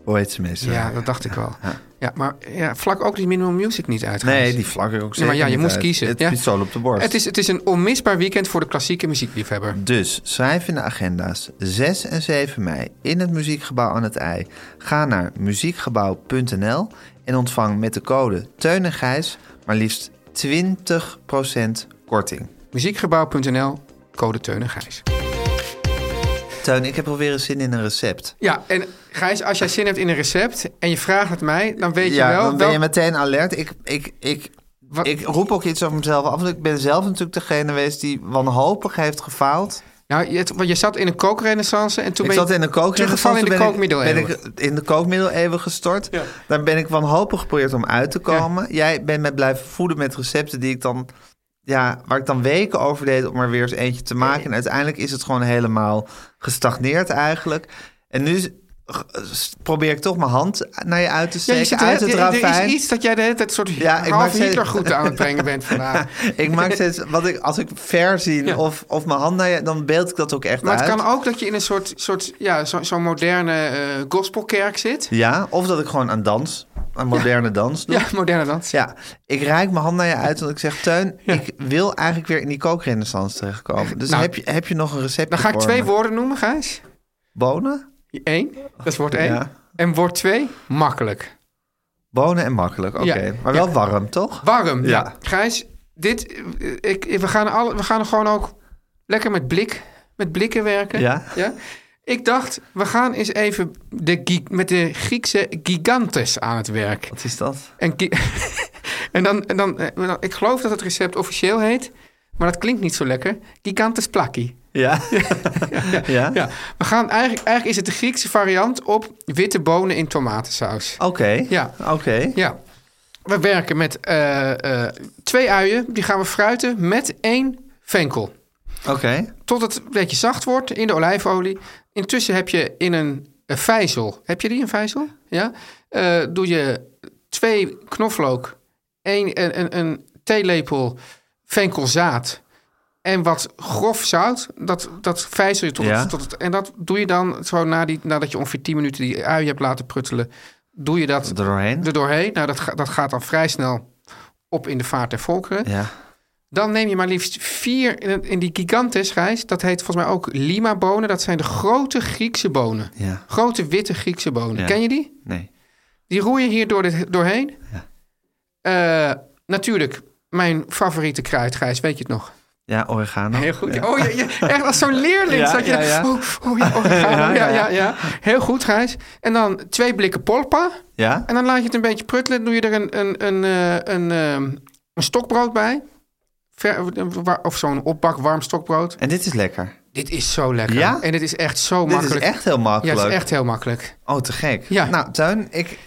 [SPEAKER 6] Hoe heet ze meestal?
[SPEAKER 8] Ja, dat dacht ik wel. Ja, maar ja, vlak ook die minimal music niet uit. Gijs.
[SPEAKER 6] Nee, die vlak ik ook
[SPEAKER 8] Ja,
[SPEAKER 6] zeker
[SPEAKER 8] maar ja, je
[SPEAKER 6] niet
[SPEAKER 8] moest
[SPEAKER 6] uit.
[SPEAKER 8] kiezen.
[SPEAKER 6] Het
[SPEAKER 8] ja.
[SPEAKER 6] pistool op de borst.
[SPEAKER 8] Het is, het is een onmisbaar weekend voor de klassieke muziekliefhebber.
[SPEAKER 6] Dus schrijf in de agenda's 6 en 7 mei in het Muziekgebouw aan het IJ. Ga naar muziekgebouw.nl en ontvang met de code Teun en Gijs maar liefst 20% korting.
[SPEAKER 8] Muziekgebouw.nl, code Teun en Gijs.
[SPEAKER 6] Teun, ik heb alweer eens zin in een recept.
[SPEAKER 8] Ja, en Gijs, als jij zin hebt in een recept en je vraagt het mij, dan weet
[SPEAKER 6] ja,
[SPEAKER 8] je wel...
[SPEAKER 6] dan ben
[SPEAKER 8] wel-
[SPEAKER 6] je meteen alert. Ik, ik, ik, ik roep ook iets over mezelf af. Want ik ben zelf natuurlijk degene geweest die wanhopig heeft gefaald.
[SPEAKER 8] Nou, je, want je zat in een kookrenaissance en toen
[SPEAKER 6] ik
[SPEAKER 8] ben je
[SPEAKER 6] zat in de kookrenaissance.
[SPEAKER 8] teruggevallen in de
[SPEAKER 6] ben ik-
[SPEAKER 8] kookmiddeleeuwen.
[SPEAKER 6] Ben ik in de kookmiddeleeuwen gestort. Daar ben ik wanhopig geprobeerd om uit te komen. Jij bent mij blijven voeden met recepten die ik dan... Ja, waar ik dan weken over deed om er weer eens eentje te maken. En uiteindelijk is het gewoon helemaal gestagneerd eigenlijk. En nu s- g- s- probeer ik toch mijn hand naar je uit te
[SPEAKER 8] ja,
[SPEAKER 6] steken.
[SPEAKER 8] je zit er,
[SPEAKER 6] uit
[SPEAKER 8] er-
[SPEAKER 6] het
[SPEAKER 8] er
[SPEAKER 6] ravijn.
[SPEAKER 8] is iets dat jij de hele tijd een soort
[SPEAKER 6] Ja, ik maak
[SPEAKER 8] half
[SPEAKER 6] steeds-
[SPEAKER 8] Hitlergroeten aan het brengen bent vandaag.
[SPEAKER 6] ik maak steeds, wat ik, als ik ver zie
[SPEAKER 8] Ja.
[SPEAKER 6] of, of mijn hand naar je, dan beeld ik dat ook echt
[SPEAKER 8] Maar
[SPEAKER 6] uit.
[SPEAKER 8] het kan ook dat je in een soort, soort ja, zo- zo'n moderne eh, gospelkerk zit.
[SPEAKER 6] Ja, of dat ik gewoon aan dans, aan moderne dans doe.
[SPEAKER 8] Ja, moderne dans.
[SPEAKER 6] Ja, ik reik mijn hand naar je uit en ik zeg... Teun, ik wil eigenlijk weer in die kookrenaissance terechtkomen. Dus
[SPEAKER 8] Nou,
[SPEAKER 6] heb, je, heb je nog een recept
[SPEAKER 8] Dan ga ik twee woorden noemen, Gijs.
[SPEAKER 6] Bonen?
[SPEAKER 8] Eén, dat is woord één.
[SPEAKER 6] Ja.
[SPEAKER 8] En woord twee, makkelijk.
[SPEAKER 6] Bonen en makkelijk, oké.
[SPEAKER 8] Ja.
[SPEAKER 6] Maar wel warm, toch?
[SPEAKER 8] Warm.
[SPEAKER 6] Ja.
[SPEAKER 8] Ja. Gijs, dit, eh, ik, we, gaan alle, we gaan gewoon ook lekker met, blik, met blikken werken.
[SPEAKER 6] Ja.
[SPEAKER 8] Ik dacht, we gaan eens even de, gi- met de Griekse gigantes aan het werk.
[SPEAKER 6] Wat is dat?
[SPEAKER 8] En, ki- en, dan, en dan, eh, dan- ik geloof dat het recept officieel heet, maar dat klinkt niet zo lekker. Gigantes plakkie.
[SPEAKER 6] Ja.
[SPEAKER 8] Ja,
[SPEAKER 6] Ja?
[SPEAKER 8] ja. We gaan eigenlijk, eigenlijk is het de Griekse variant op witte bonen in tomatensaus.
[SPEAKER 6] Oké,
[SPEAKER 8] Ja.
[SPEAKER 6] oké.
[SPEAKER 8] Ja. We werken met eh, eh, twee uien. Die gaan we fruiten met één venkel.
[SPEAKER 6] Oké,
[SPEAKER 8] Tot het een beetje zacht wordt in de olijfolie. Intussen heb je in een, een vijzel. Heb je die, een vijzel? Ja. Eh, doe je twee knoflook, één, een, een, een theelepel venkelzaad en wat grof zout. Dat, dat vijzel je tot,
[SPEAKER 6] Ja.
[SPEAKER 8] het, tot het... En dat doe je dan zo na die, nadat je ongeveer 10 minuten die ui hebt laten pruttelen. Doe je dat
[SPEAKER 6] er doorheen.
[SPEAKER 8] er doorheen. Nou, dat, ga- dat gaat dan vrij snel op in de vaart der volkeren.
[SPEAKER 6] Ja.
[SPEAKER 8] Dan neem je maar liefst vier in, in die gigantes rijst. Dat heet volgens mij ook lima bonen. Dat zijn de grote Griekse bonen.
[SPEAKER 6] ja,
[SPEAKER 8] Grote witte Griekse bonen.
[SPEAKER 6] Ja.
[SPEAKER 8] Ken je die?
[SPEAKER 6] nee.
[SPEAKER 8] Die roer je hier door dit, doorheen. Eh, natuurlijk, mijn favoriete kruid, Gijs, weet je het nog?
[SPEAKER 6] Ja, oregano.
[SPEAKER 8] Heel goed. Oh, je, je- echt als zo'n leerling.
[SPEAKER 6] Ja,
[SPEAKER 8] zat je
[SPEAKER 6] ja,
[SPEAKER 8] daar,
[SPEAKER 6] ja.
[SPEAKER 8] Oh, oh ja, oregano.
[SPEAKER 6] Ja, ja,
[SPEAKER 8] ja, ja,
[SPEAKER 6] ja.
[SPEAKER 8] ja. Heel goed, Gijs. En dan twee blikken polpa.
[SPEAKER 6] Ja?
[SPEAKER 8] En dan laat je het een beetje pruttelen. Doe je er een, een, een, eh, een, ehm, een stokbrood bij. Ver- wa- of zo'n opbak warm stokbrood.
[SPEAKER 6] En dit is lekker.
[SPEAKER 8] Dit is zo lekker.
[SPEAKER 6] Ja?
[SPEAKER 8] En dit is echt zo
[SPEAKER 6] Dit is
[SPEAKER 8] makkelijk.
[SPEAKER 6] echt heel
[SPEAKER 8] ja,
[SPEAKER 6] makkelijk.
[SPEAKER 8] het is echt heel makkelijk.
[SPEAKER 6] Oh, te gek.
[SPEAKER 8] Ja.
[SPEAKER 6] Nou, Tuin, ik,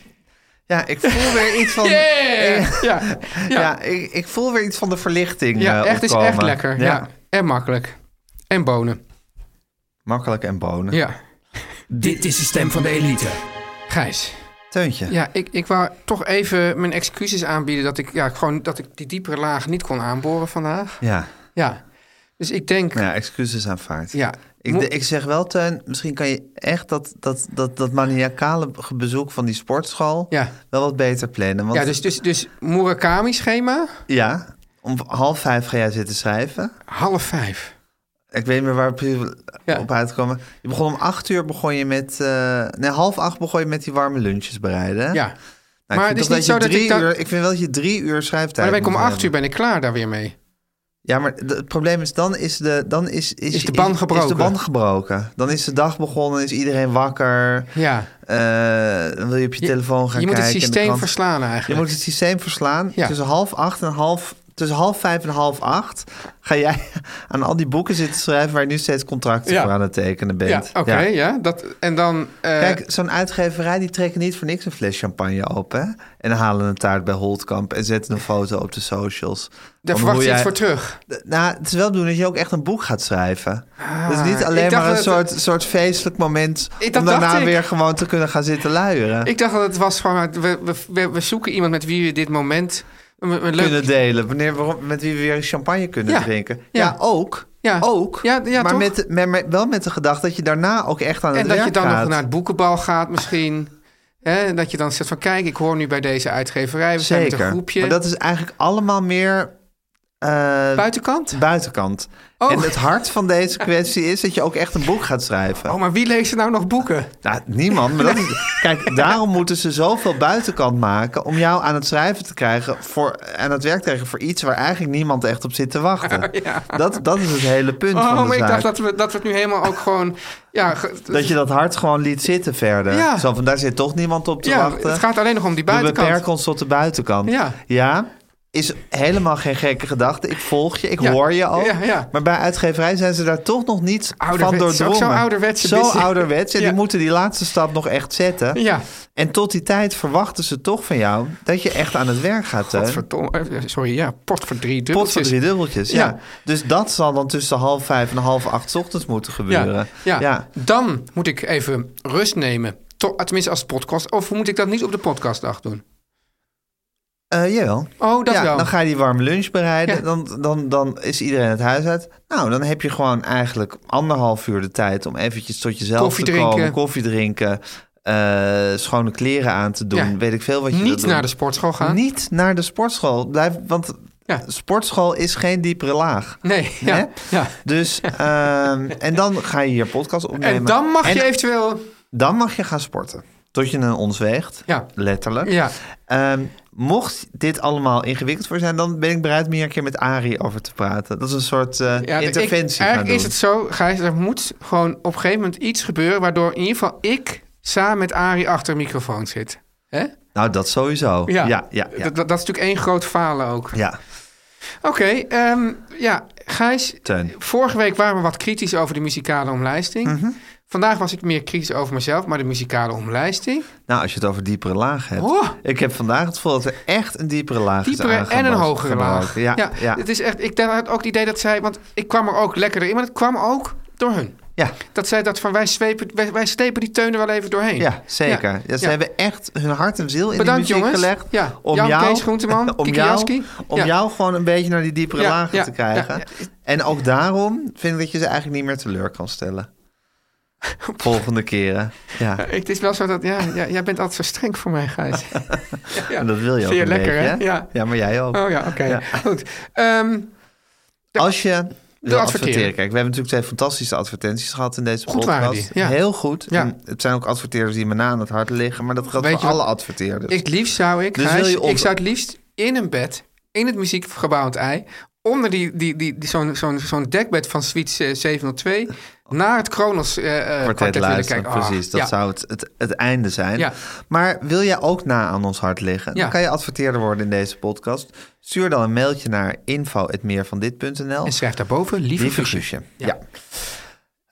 [SPEAKER 6] ja, ik voel weer iets van...
[SPEAKER 11] Eh.
[SPEAKER 8] Yeah! Ja,
[SPEAKER 6] Ja,
[SPEAKER 8] ja.
[SPEAKER 6] ik, ik voel weer iets van de verlichting
[SPEAKER 8] Ja,
[SPEAKER 6] eh,
[SPEAKER 8] echt is
[SPEAKER 6] opkomen.
[SPEAKER 8] echt lekker. Ja. En makkelijk. En bonen.
[SPEAKER 6] Makkelijk en bonen.
[SPEAKER 8] Ja.
[SPEAKER 11] Dit is de stem van de elite.
[SPEAKER 8] Gijs.
[SPEAKER 6] Teuntje.
[SPEAKER 8] Ja, ik, ik wou toch even mijn excuses aanbieden dat ik, ja, gewoon, dat ik die diepere laag niet kon aanboren vandaag.
[SPEAKER 6] Ja.
[SPEAKER 8] Ja. Dus ik denk,
[SPEAKER 6] Nou ja, excuses aanvaard.
[SPEAKER 8] ja.
[SPEAKER 6] Ik,
[SPEAKER 8] Mo-
[SPEAKER 6] de- ik zeg wel, Teun, misschien kan je echt dat, dat, dat, dat maniacale ge- bezoek van die sportschool
[SPEAKER 8] Ja.
[SPEAKER 6] wel wat beter plannen. Want,
[SPEAKER 8] ja, dus, dus, dus Murakami-schema,
[SPEAKER 6] ja, om half vijf ga jij zitten schrijven.
[SPEAKER 8] half vijf.
[SPEAKER 6] Ik weet niet meer waar we precies
[SPEAKER 8] Ja.
[SPEAKER 6] op uitkomen. Je begon om acht uur begon je met... eh, nee, half acht begon je met die warme lunches bereiden.
[SPEAKER 8] Ja.
[SPEAKER 6] Nou,
[SPEAKER 8] maar
[SPEAKER 6] ik
[SPEAKER 8] het
[SPEAKER 6] vind
[SPEAKER 8] is
[SPEAKER 6] toch
[SPEAKER 8] niet
[SPEAKER 6] je
[SPEAKER 8] zo dat
[SPEAKER 6] drie
[SPEAKER 8] ik dan...
[SPEAKER 6] uur, Ik vind wel dat je drie uur
[SPEAKER 8] Maar
[SPEAKER 6] schrijftijd
[SPEAKER 8] dan ben ik om
[SPEAKER 6] moet
[SPEAKER 8] acht
[SPEAKER 6] hebben.
[SPEAKER 8] uur ben ik klaar daar weer mee.
[SPEAKER 6] Ja, maar de- het probleem is, dan is de, dan is,
[SPEAKER 8] Is de band
[SPEAKER 6] Is de
[SPEAKER 8] gebroken.
[SPEAKER 6] band gebroken. Dan is de dag begonnen, is iedereen wakker.
[SPEAKER 8] Ja.
[SPEAKER 6] Eh, dan wil je op je,
[SPEAKER 8] Je-
[SPEAKER 6] telefoon gaan
[SPEAKER 8] Je moet
[SPEAKER 6] kijken.
[SPEAKER 8] het
[SPEAKER 6] in de
[SPEAKER 8] systeem
[SPEAKER 6] krant.
[SPEAKER 8] verslaan eigenlijk.
[SPEAKER 6] Je moet het systeem verslaan.
[SPEAKER 8] Ja.
[SPEAKER 6] Tussen half acht en half tussen half vijf en half acht ga jij aan al die boeken zitten schrijven waar je nu steeds contracten
[SPEAKER 8] Ja.
[SPEAKER 6] voor aan het tekenen bent.
[SPEAKER 8] Ja, oké, ja. dat, en dan... eh,
[SPEAKER 6] Kijk, zo'n uitgeverij die trekken niet voor niks een fles champagne open en halen een taart bij Holtkamp en zetten een foto op de socials. Van
[SPEAKER 8] Daar verwacht
[SPEAKER 6] hoe
[SPEAKER 8] je
[SPEAKER 6] jij-
[SPEAKER 8] iets voor terug.
[SPEAKER 6] Nou, het is wel doen dat je ook echt een boek gaat schrijven.
[SPEAKER 8] Ah,
[SPEAKER 6] dus niet
[SPEAKER 8] ik
[SPEAKER 6] alleen
[SPEAKER 8] dacht
[SPEAKER 6] maar een
[SPEAKER 8] dat-
[SPEAKER 6] soort, soort feestelijk moment
[SPEAKER 8] Ik- dat
[SPEAKER 6] om daarna
[SPEAKER 8] dacht ik.
[SPEAKER 6] weer gewoon te kunnen gaan zitten luieren.
[SPEAKER 8] Ik dacht dat het was van, we, we, we, we zoeken iemand met wie we dit moment... Een, een leuk,
[SPEAKER 6] kunnen delen. Wanneer we, met wie we weer champagne kunnen
[SPEAKER 8] Ja.
[SPEAKER 6] drinken. Ja,
[SPEAKER 8] Ja.
[SPEAKER 6] ook.
[SPEAKER 8] Ja.
[SPEAKER 6] Ook.
[SPEAKER 8] Ja, ja,
[SPEAKER 6] maar
[SPEAKER 8] toch?
[SPEAKER 6] met, de- met- met- wel met de gedachte dat je daarna ook echt aan het
[SPEAKER 8] en dat je
[SPEAKER 6] werk
[SPEAKER 8] dan
[SPEAKER 6] gaat.
[SPEAKER 8] nog naar het boekenbal gaat misschien. Hè, en dat je dan zegt van, kijk, ik hoor nu bij deze uitgeverij. We zijn met een
[SPEAKER 6] Zeker.
[SPEAKER 8] groepje.
[SPEAKER 6] Maar dat is eigenlijk allemaal meer... eh,
[SPEAKER 8] Buitenkant?
[SPEAKER 6] Buitenkant.
[SPEAKER 8] Oh.
[SPEAKER 6] En het hart van deze kwestie is dat je ook echt een boek gaat schrijven.
[SPEAKER 8] Oh, maar wie leest er nou nog boeken?
[SPEAKER 6] Nou, niemand. Maar dat is, kijk, daarom moeten ze zoveel buitenkant maken om jou aan het schrijven te krijgen, voor, aan het werk te krijgen voor iets waar eigenlijk niemand echt op zit te wachten. dat, dat is het hele punt
[SPEAKER 8] Oh,
[SPEAKER 6] van
[SPEAKER 8] maar
[SPEAKER 6] de
[SPEAKER 8] ik
[SPEAKER 6] zaak.
[SPEAKER 8] dacht dat we, dat we het nu helemaal ook gewoon... Ja, ge-
[SPEAKER 6] Dat je dat hart gewoon liet zitten verder.
[SPEAKER 8] Ja.
[SPEAKER 6] Zo van, daar zit toch niemand op te
[SPEAKER 8] ja,
[SPEAKER 6] wachten.
[SPEAKER 8] het gaat alleen nog om die
[SPEAKER 6] We
[SPEAKER 8] buitenkant.
[SPEAKER 6] beperken ons tot de buitenkant.
[SPEAKER 8] Ja.
[SPEAKER 6] is helemaal geen gekke gedachte. Ik volg je, ik
[SPEAKER 8] Ja.
[SPEAKER 6] hoor je ook.
[SPEAKER 8] Ja, ja.
[SPEAKER 6] Maar bij uitgeverij zijn ze daar toch nog niet van
[SPEAKER 8] Ouderwets,
[SPEAKER 6] doordrongen.
[SPEAKER 8] ook zo'n ouderwetse
[SPEAKER 6] Zo
[SPEAKER 8] business.
[SPEAKER 6] ouderwets. En
[SPEAKER 8] Ja.
[SPEAKER 6] die moeten die laatste stap nog echt zetten.
[SPEAKER 8] Ja.
[SPEAKER 6] En tot die tijd verwachten ze toch van jou... dat je echt aan het werk gaat. Teun.
[SPEAKER 8] Potverdomme, eh, Sorry, ja, pot voor drie
[SPEAKER 6] Pot voor
[SPEAKER 8] dubbeltjes.
[SPEAKER 6] drie dubbeltjes, ja.
[SPEAKER 8] Ja.
[SPEAKER 6] Dus dat zal dan tussen half vijf en half acht 's ochtends moeten gebeuren.
[SPEAKER 8] Ja, ja. Dan moet ik even rust nemen. To- tenminste, als podcast. Of moet ik dat niet op de podcastdag doen?
[SPEAKER 6] Eh, jawel.
[SPEAKER 8] Oh, dat
[SPEAKER 6] ja,
[SPEAKER 8] wel.
[SPEAKER 6] Dan ga je die warme lunch bereiden.
[SPEAKER 8] Ja.
[SPEAKER 6] Dan, dan, dan is iedereen het huis uit. Nou, dan heb je gewoon eigenlijk anderhalf uur de tijd om eventjes tot jezelf
[SPEAKER 8] Koffie
[SPEAKER 6] te komen.
[SPEAKER 8] drinken.
[SPEAKER 6] Koffie drinken. eh, schone kleren aan te doen.
[SPEAKER 8] Ja.
[SPEAKER 6] Weet ik veel wat je wilt
[SPEAKER 8] Niet
[SPEAKER 6] doen.
[SPEAKER 8] naar de sportschool gaan.
[SPEAKER 6] Niet naar de sportschool. Blijf, want
[SPEAKER 8] Ja.
[SPEAKER 6] sportschool is geen diepere laag.
[SPEAKER 8] Nee, ja.
[SPEAKER 6] Hè?
[SPEAKER 8] ja.
[SPEAKER 6] Dus, ehm, en dan ga je je podcast opnemen.
[SPEAKER 8] En dan mag je
[SPEAKER 6] En
[SPEAKER 8] eventueel...
[SPEAKER 6] dan mag je gaan sporten. Tot je een ons weegt.
[SPEAKER 8] Ja.
[SPEAKER 6] Letterlijk.
[SPEAKER 8] Ja.
[SPEAKER 6] Ehm, mocht dit allemaal ingewikkeld voor zijn, dan ben ik bereid meer een keer met Arie over te praten. Dat is een soort eh,
[SPEAKER 8] Ja, ik-
[SPEAKER 6] interventie. gaan
[SPEAKER 8] eigenlijk
[SPEAKER 6] doen.
[SPEAKER 8] is het zo, Gijs, er moet gewoon op een gegeven moment iets gebeuren... waardoor in ieder geval ik samen met Arie achter een microfoon zit. Hè?
[SPEAKER 6] Nou, dat sowieso. Ja, ja, ja.
[SPEAKER 8] Dat, dat, dat is natuurlijk één groot falen ook.
[SPEAKER 6] Ja.
[SPEAKER 8] Oké, ehm, ja, Gijs,
[SPEAKER 6] Teun.
[SPEAKER 8] vorige week waren we wat kritisch over de muzikale omlijsting.
[SPEAKER 6] Mhm.
[SPEAKER 8] Vandaag was ik meer kritisch over mezelf, maar de muzikale omlijsting...
[SPEAKER 6] Nou, als je het over diepere laag hebt.
[SPEAKER 8] Oh.
[SPEAKER 6] Ik heb vandaag het gevoel dat er echt een diepere laag is
[SPEAKER 8] Diepere en een
[SPEAKER 6] aangebouwd-
[SPEAKER 8] hogere laag.
[SPEAKER 6] gebouwd. Ja, ja. ja.
[SPEAKER 8] Het is echt, ik had ook het idee dat zij, want ik kwam er ook lekkerder in, maar het kwam ook door hun. Dat zij dat van wij, zwepen, wij, wij slepen die teunen wel even doorheen.
[SPEAKER 6] Ja, zeker. Ja, ze
[SPEAKER 8] ja.
[SPEAKER 6] hebben echt hun hart en ziel in
[SPEAKER 8] Bedankt,
[SPEAKER 6] de muziek
[SPEAKER 8] jongens.
[SPEAKER 6] gelegd.
[SPEAKER 8] Ja.
[SPEAKER 6] Om
[SPEAKER 8] Jan
[SPEAKER 6] jou,
[SPEAKER 8] Kees Groenteman,
[SPEAKER 6] om
[SPEAKER 8] Kiki
[SPEAKER 6] jou,
[SPEAKER 8] Jaski.
[SPEAKER 6] om
[SPEAKER 8] Ja.
[SPEAKER 6] jou gewoon een beetje naar die diepere
[SPEAKER 8] Ja,
[SPEAKER 6] lagen
[SPEAKER 8] ja,
[SPEAKER 6] te krijgen.
[SPEAKER 8] ja,
[SPEAKER 6] En ook daarom vind ik dat je ze eigenlijk niet meer teleur kan stellen. Volgende keren. Ja.
[SPEAKER 8] Eh, Het is wel zo dat, ja, ja, jij bent altijd zo streng voor mij, Gijs. ja, ja.
[SPEAKER 6] En dat wil je ook
[SPEAKER 8] Vind je
[SPEAKER 6] een
[SPEAKER 8] lekker,
[SPEAKER 6] beetje,
[SPEAKER 8] hè? Ja.
[SPEAKER 6] maar jij ook.
[SPEAKER 8] Oh ja, oké.
[SPEAKER 6] Ja.
[SPEAKER 8] Goed. Ehm,
[SPEAKER 6] Als je wil
[SPEAKER 8] adverteren.
[SPEAKER 6] adverteren. Kijk, we hebben natuurlijk twee fantastische advertenties gehad in deze
[SPEAKER 8] Goed
[SPEAKER 6] podcast.
[SPEAKER 8] waren die, ja.
[SPEAKER 6] Heel goed.
[SPEAKER 8] Ja.
[SPEAKER 6] En het zijn ook adverteerders die me na aan het hart liggen. Maar dat geldt
[SPEAKER 8] Weet
[SPEAKER 6] voor
[SPEAKER 8] je
[SPEAKER 6] alle
[SPEAKER 8] wat?
[SPEAKER 6] adverteerders.
[SPEAKER 8] ik het liefst zou ik,
[SPEAKER 6] Dus
[SPEAKER 8] Gijs,
[SPEAKER 6] wil je
[SPEAKER 8] ik
[SPEAKER 6] onder-
[SPEAKER 8] zou het liefst in een bed, in het muziekgebouw aan het ei, onder die, die, die, die, zo'n, zo'n, zo'n dekbed van Suite eh, 702, naar het Kronos eh, eh,
[SPEAKER 6] kwartet
[SPEAKER 8] kwartet willen
[SPEAKER 6] luisteren.
[SPEAKER 8] kijken. Ah,
[SPEAKER 6] precies, dat
[SPEAKER 8] ja.
[SPEAKER 6] zou het, het, het einde zijn.
[SPEAKER 8] Ja.
[SPEAKER 6] Maar wil jij ook na aan ons hart liggen? Dan
[SPEAKER 8] Ja.
[SPEAKER 6] kan je adverteerder worden in deze podcast. Stuur dan een mailtje naar info.meervandit.nl.
[SPEAKER 8] En schrijf daarboven, lieve,
[SPEAKER 6] Lieve
[SPEAKER 8] Guusje.
[SPEAKER 6] Guusje. Ja.
[SPEAKER 8] Ja.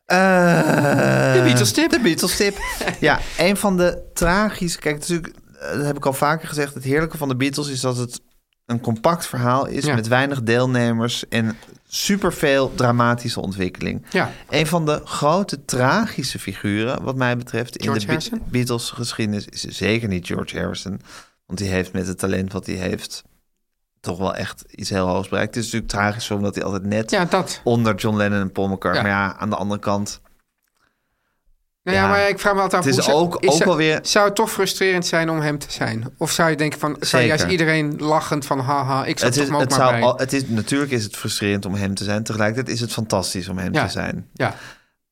[SPEAKER 6] Eh,
[SPEAKER 8] De Beatles tip.
[SPEAKER 6] De Beatles tip. ja, een van de tragische... Kijk, natuurlijk, eh, dat heb ik al vaker gezegd. Het heerlijke van de Beatles is dat het een compact verhaal is...
[SPEAKER 8] Ja.
[SPEAKER 6] met weinig deelnemers en superveel dramatische ontwikkeling.
[SPEAKER 8] Ja.
[SPEAKER 6] Een van de grote tragische figuren, wat mij betreft... in
[SPEAKER 8] George
[SPEAKER 6] de Be-
[SPEAKER 8] Harrison?
[SPEAKER 6] Beatles geschiedenis is zeker niet George Harrison. Want die heeft met het talent wat hij heeft... toch wel echt iets heel hoogs bereikt. Het is natuurlijk tragisch omdat hij altijd net
[SPEAKER 8] Ja, dat.
[SPEAKER 6] onder John Lennon en Paul McCartney.
[SPEAKER 8] Ja.
[SPEAKER 6] Maar ja, aan de andere kant.
[SPEAKER 8] Nou ja,
[SPEAKER 6] Ja.
[SPEAKER 8] maar ik vraag me altijd af...
[SPEAKER 6] Het is
[SPEAKER 8] hoe zou-
[SPEAKER 6] ook- ook
[SPEAKER 8] zou-
[SPEAKER 6] alweer-
[SPEAKER 8] Zou het toch frustrerend zijn om hem te zijn? Of zou je denken van... Zou
[SPEAKER 6] Zeker.
[SPEAKER 8] juist iedereen lachend van... Haha, ik zat
[SPEAKER 6] Het
[SPEAKER 8] toch
[SPEAKER 6] is,
[SPEAKER 8] maar ook
[SPEAKER 6] het
[SPEAKER 8] maar
[SPEAKER 6] zou,
[SPEAKER 8] bij.
[SPEAKER 6] al- het is, natuurlijk is het frustrerend om hem te zijn. Tegelijkertijd is het fantastisch om hem
[SPEAKER 8] Ja.
[SPEAKER 6] te zijn.
[SPEAKER 8] Ja,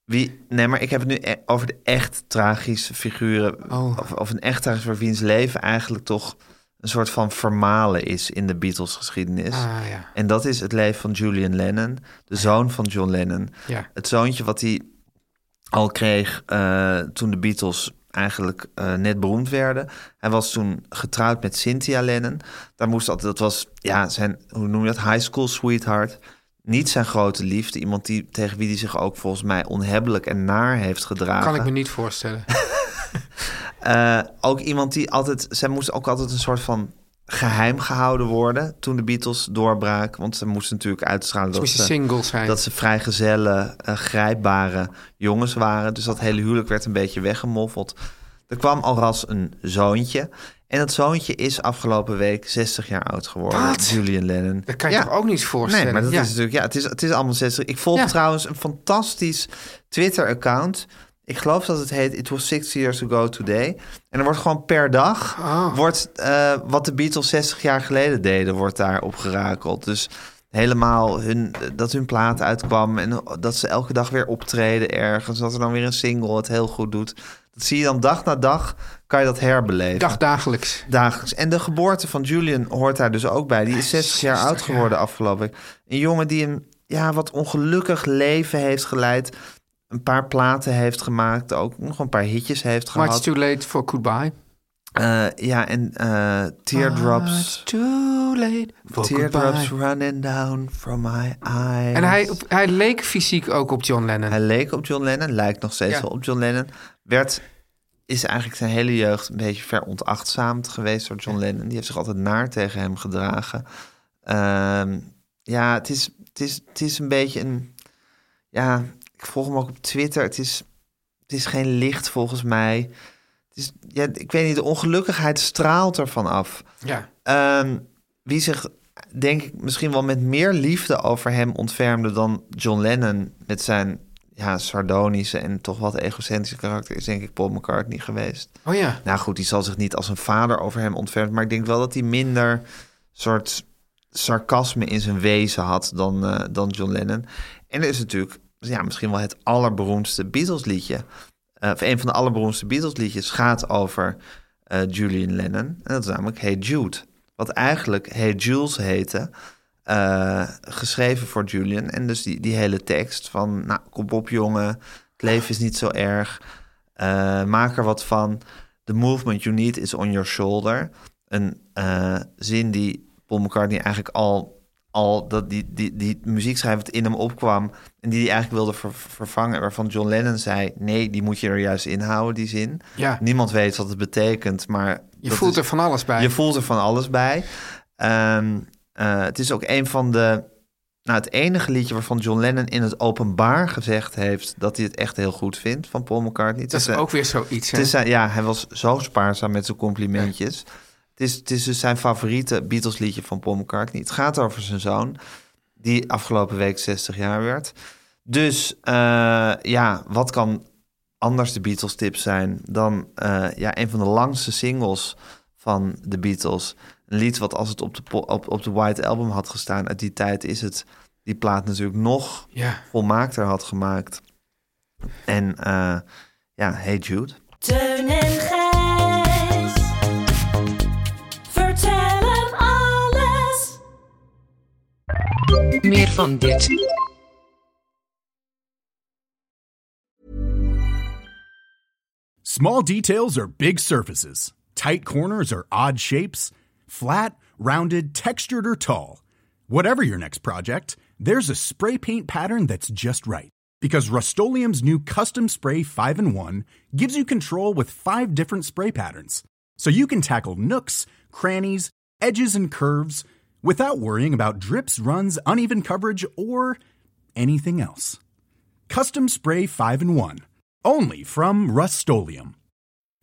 [SPEAKER 6] Wie, nee, maar ik heb het nu e- over de echt tragische figuren.
[SPEAKER 8] Oh.
[SPEAKER 6] Of, of een echt tragisch voor wiens leven eigenlijk toch een soort van vermalen is in de Beatles geschiedenis.
[SPEAKER 8] ah ja.
[SPEAKER 6] En dat is het leven van Julian Lennon, de zoon van John Lennon.
[SPEAKER 8] Ja.
[SPEAKER 6] Het zoontje wat hij al kreeg eh, toen de Beatles eigenlijk eh, net beroemd werden. Hij was toen getrouwd met Cynthia Lennon. Daar moest altijd, dat was ja, zijn, hoe noem je dat, high school sweetheart. Niet zijn grote liefde. Iemand die, tegen wie hij zich ook volgens mij onhebbelijk en naar heeft gedragen.
[SPEAKER 8] Kan ik me niet voorstellen.
[SPEAKER 6] Eh, ook iemand die altijd... Zij moest ook altijd een soort van geheim gehouden worden... toen de Beatles doorbraken. Want ze moesten natuurlijk uitstralen
[SPEAKER 8] Ze
[SPEAKER 6] dat
[SPEAKER 8] moesten
[SPEAKER 6] ze,
[SPEAKER 8] single zijn.
[SPEAKER 6] eh, dat ze vrijgezellen, eh, grijpbare jongens waren. Dus dat hele huwelijk werd een beetje weggemoffeld. Er kwam al ras een zoontje. En dat zoontje is afgelopen week 60 jaar oud geworden.
[SPEAKER 8] Wat?
[SPEAKER 6] Julian Lennon.
[SPEAKER 8] Dat kan je toch ook niet voorstellen?
[SPEAKER 6] Nee, maar dat
[SPEAKER 8] Ja.
[SPEAKER 6] is natuurlijk, ja, het is, het is allemaal 60. Ik volg
[SPEAKER 8] Ja.
[SPEAKER 6] trouwens een fantastisch Twitter-account. Ik geloof dat het heet It Was 60 Years Ago Today. En er wordt gewoon per dag,
[SPEAKER 8] Ah.
[SPEAKER 6] wordt, eh, wat de Beatles 60 jaar geleden deden, wordt daar opgerakeld. Dus helemaal hun, dat hun plaat uitkwam en dat ze elke dag weer optreden ergens. Dat er dan weer een single het heel goed doet. Dat zie je dan dag na dag, kan je dat herbeleven.
[SPEAKER 8] Dag dagelijks.
[SPEAKER 6] Dagelijks. En de geboorte van Julian hoort daar dus ook bij. Die is 60 jaar oud geworden afgelopen week. Een jongen die een ja, wat ongelukkig leven heeft geleid. Een paar platen heeft gemaakt. Ook nog een paar hitjes heeft
[SPEAKER 8] Maar
[SPEAKER 6] gehad.
[SPEAKER 8] it's too late for goodbye.
[SPEAKER 6] Eh, ja, en eh, Teardrops.
[SPEAKER 8] It's too late for
[SPEAKER 6] Teardrops
[SPEAKER 8] goodbye.
[SPEAKER 6] running down from my eyes.
[SPEAKER 8] En hij, hij leek fysiek ook op John Lennon.
[SPEAKER 6] Hij leek op John Lennon, lijkt nog steeds
[SPEAKER 8] Ja.
[SPEAKER 6] wel op John Lennon. Werd, is eigenlijk zijn hele jeugd een beetje veronachtzaamd geweest door John Lennon. Die heeft zich altijd naar tegen hem gedragen. Ehm, ja, het is, het, is, het is een beetje een... Ja, ik volg hem ook op Twitter. Het is, het is geen licht volgens mij. Het is, ja, ik weet niet, de ongelukkigheid straalt ervan af.
[SPEAKER 8] Ja.
[SPEAKER 6] Ehm, wie zich, denk ik, misschien wel met meer liefde over hem ontfermde dan John Lennon met zijn ja, sardonische en toch wat egocentrische karakter, is denk ik Paul McCartney geweest.
[SPEAKER 8] Oh ja.
[SPEAKER 6] Nou goed, die zal zich niet als een vader over hem ontfermen, maar ik denk wel dat hij minder soort sarcasme in zijn wezen had dan, eh, dan John Lennon. En er is natuurlijk ja, misschien wel het allerberoemdste Beatles liedje. eh, of een van de allerberoemdste Beatles liedjes gaat over eh, Julian Lennon. En dat is namelijk Hey Jude. Wat eigenlijk Hey Jules heette. eh, geschreven voor Julian. En dus die, die hele tekst van... Nou, kom op jongen, het leven is niet zo erg. Eh, maak er wat van. The movement you need is on your shoulder. Een eh, zin die Paul McCartney eigenlijk al... al dat die, die, die muziekschrijver het in hem opkwam... en die hij eigenlijk wilde ver- vervangen... waarvan John Lennon zei... nee, die moet je er juist inhouden, die zin.
[SPEAKER 8] Ja.
[SPEAKER 6] Niemand weet wat het betekent, maar...
[SPEAKER 8] Je
[SPEAKER 6] dat
[SPEAKER 8] voelt
[SPEAKER 6] is-
[SPEAKER 8] er van alles bij.
[SPEAKER 6] je voelt er van alles bij. Ehm, eh, het is ook een van de. Nou, het enige liedje waarvan John Lennon in het openbaar gezegd heeft dat hij het echt heel goed vindt van Paul McCartney. Het
[SPEAKER 8] dat is
[SPEAKER 6] een-
[SPEAKER 8] ook weer zoiets. hè?
[SPEAKER 6] het is zijn- ja, hij was zo spaarzaam met zijn complimentjes. Het, is, het is dus zijn favoriete Beatles liedje van Paul McCartney. Het gaat over zijn zoon, die afgelopen week 60 jaar werd. Dus eh, ja, wat kan anders de Beatles tip zijn dan eh, ja, een van de langste singles van de Beatles. Een lied wat als het op de, po- op, op de White Album had gestaan uit die tijd... is het die plaat natuurlijk nog
[SPEAKER 8] Ja.
[SPEAKER 6] volmaakter had gemaakt. En eh, ja, Hey Jude...
[SPEAKER 2] Teun en Gijs. Vertel hem alles.
[SPEAKER 12] Meer van dit.
[SPEAKER 13] Small details are big surfaces. Tight corners are odd shapes. Flat, rounded, textured, or tall. Whatever your next project, there's a spray paint pattern that's just right. Because Rust new Custom Spray 5 in 1 gives you control with five different spray patterns. So you can tackle nooks, crannies, edges, and curves without worrying about drips, runs, uneven coverage, or anything else. Custom Spray 5 in 1. Only from Rust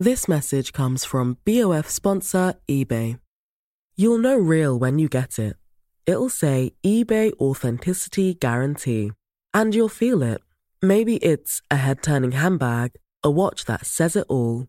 [SPEAKER 14] This message comes from BOF sponsor eBay. You'll know real when you get it. It'll say eBay Authenticity Guarantee. And you'll feel it. Maybe it's a head turning handbag, a watch that says it all,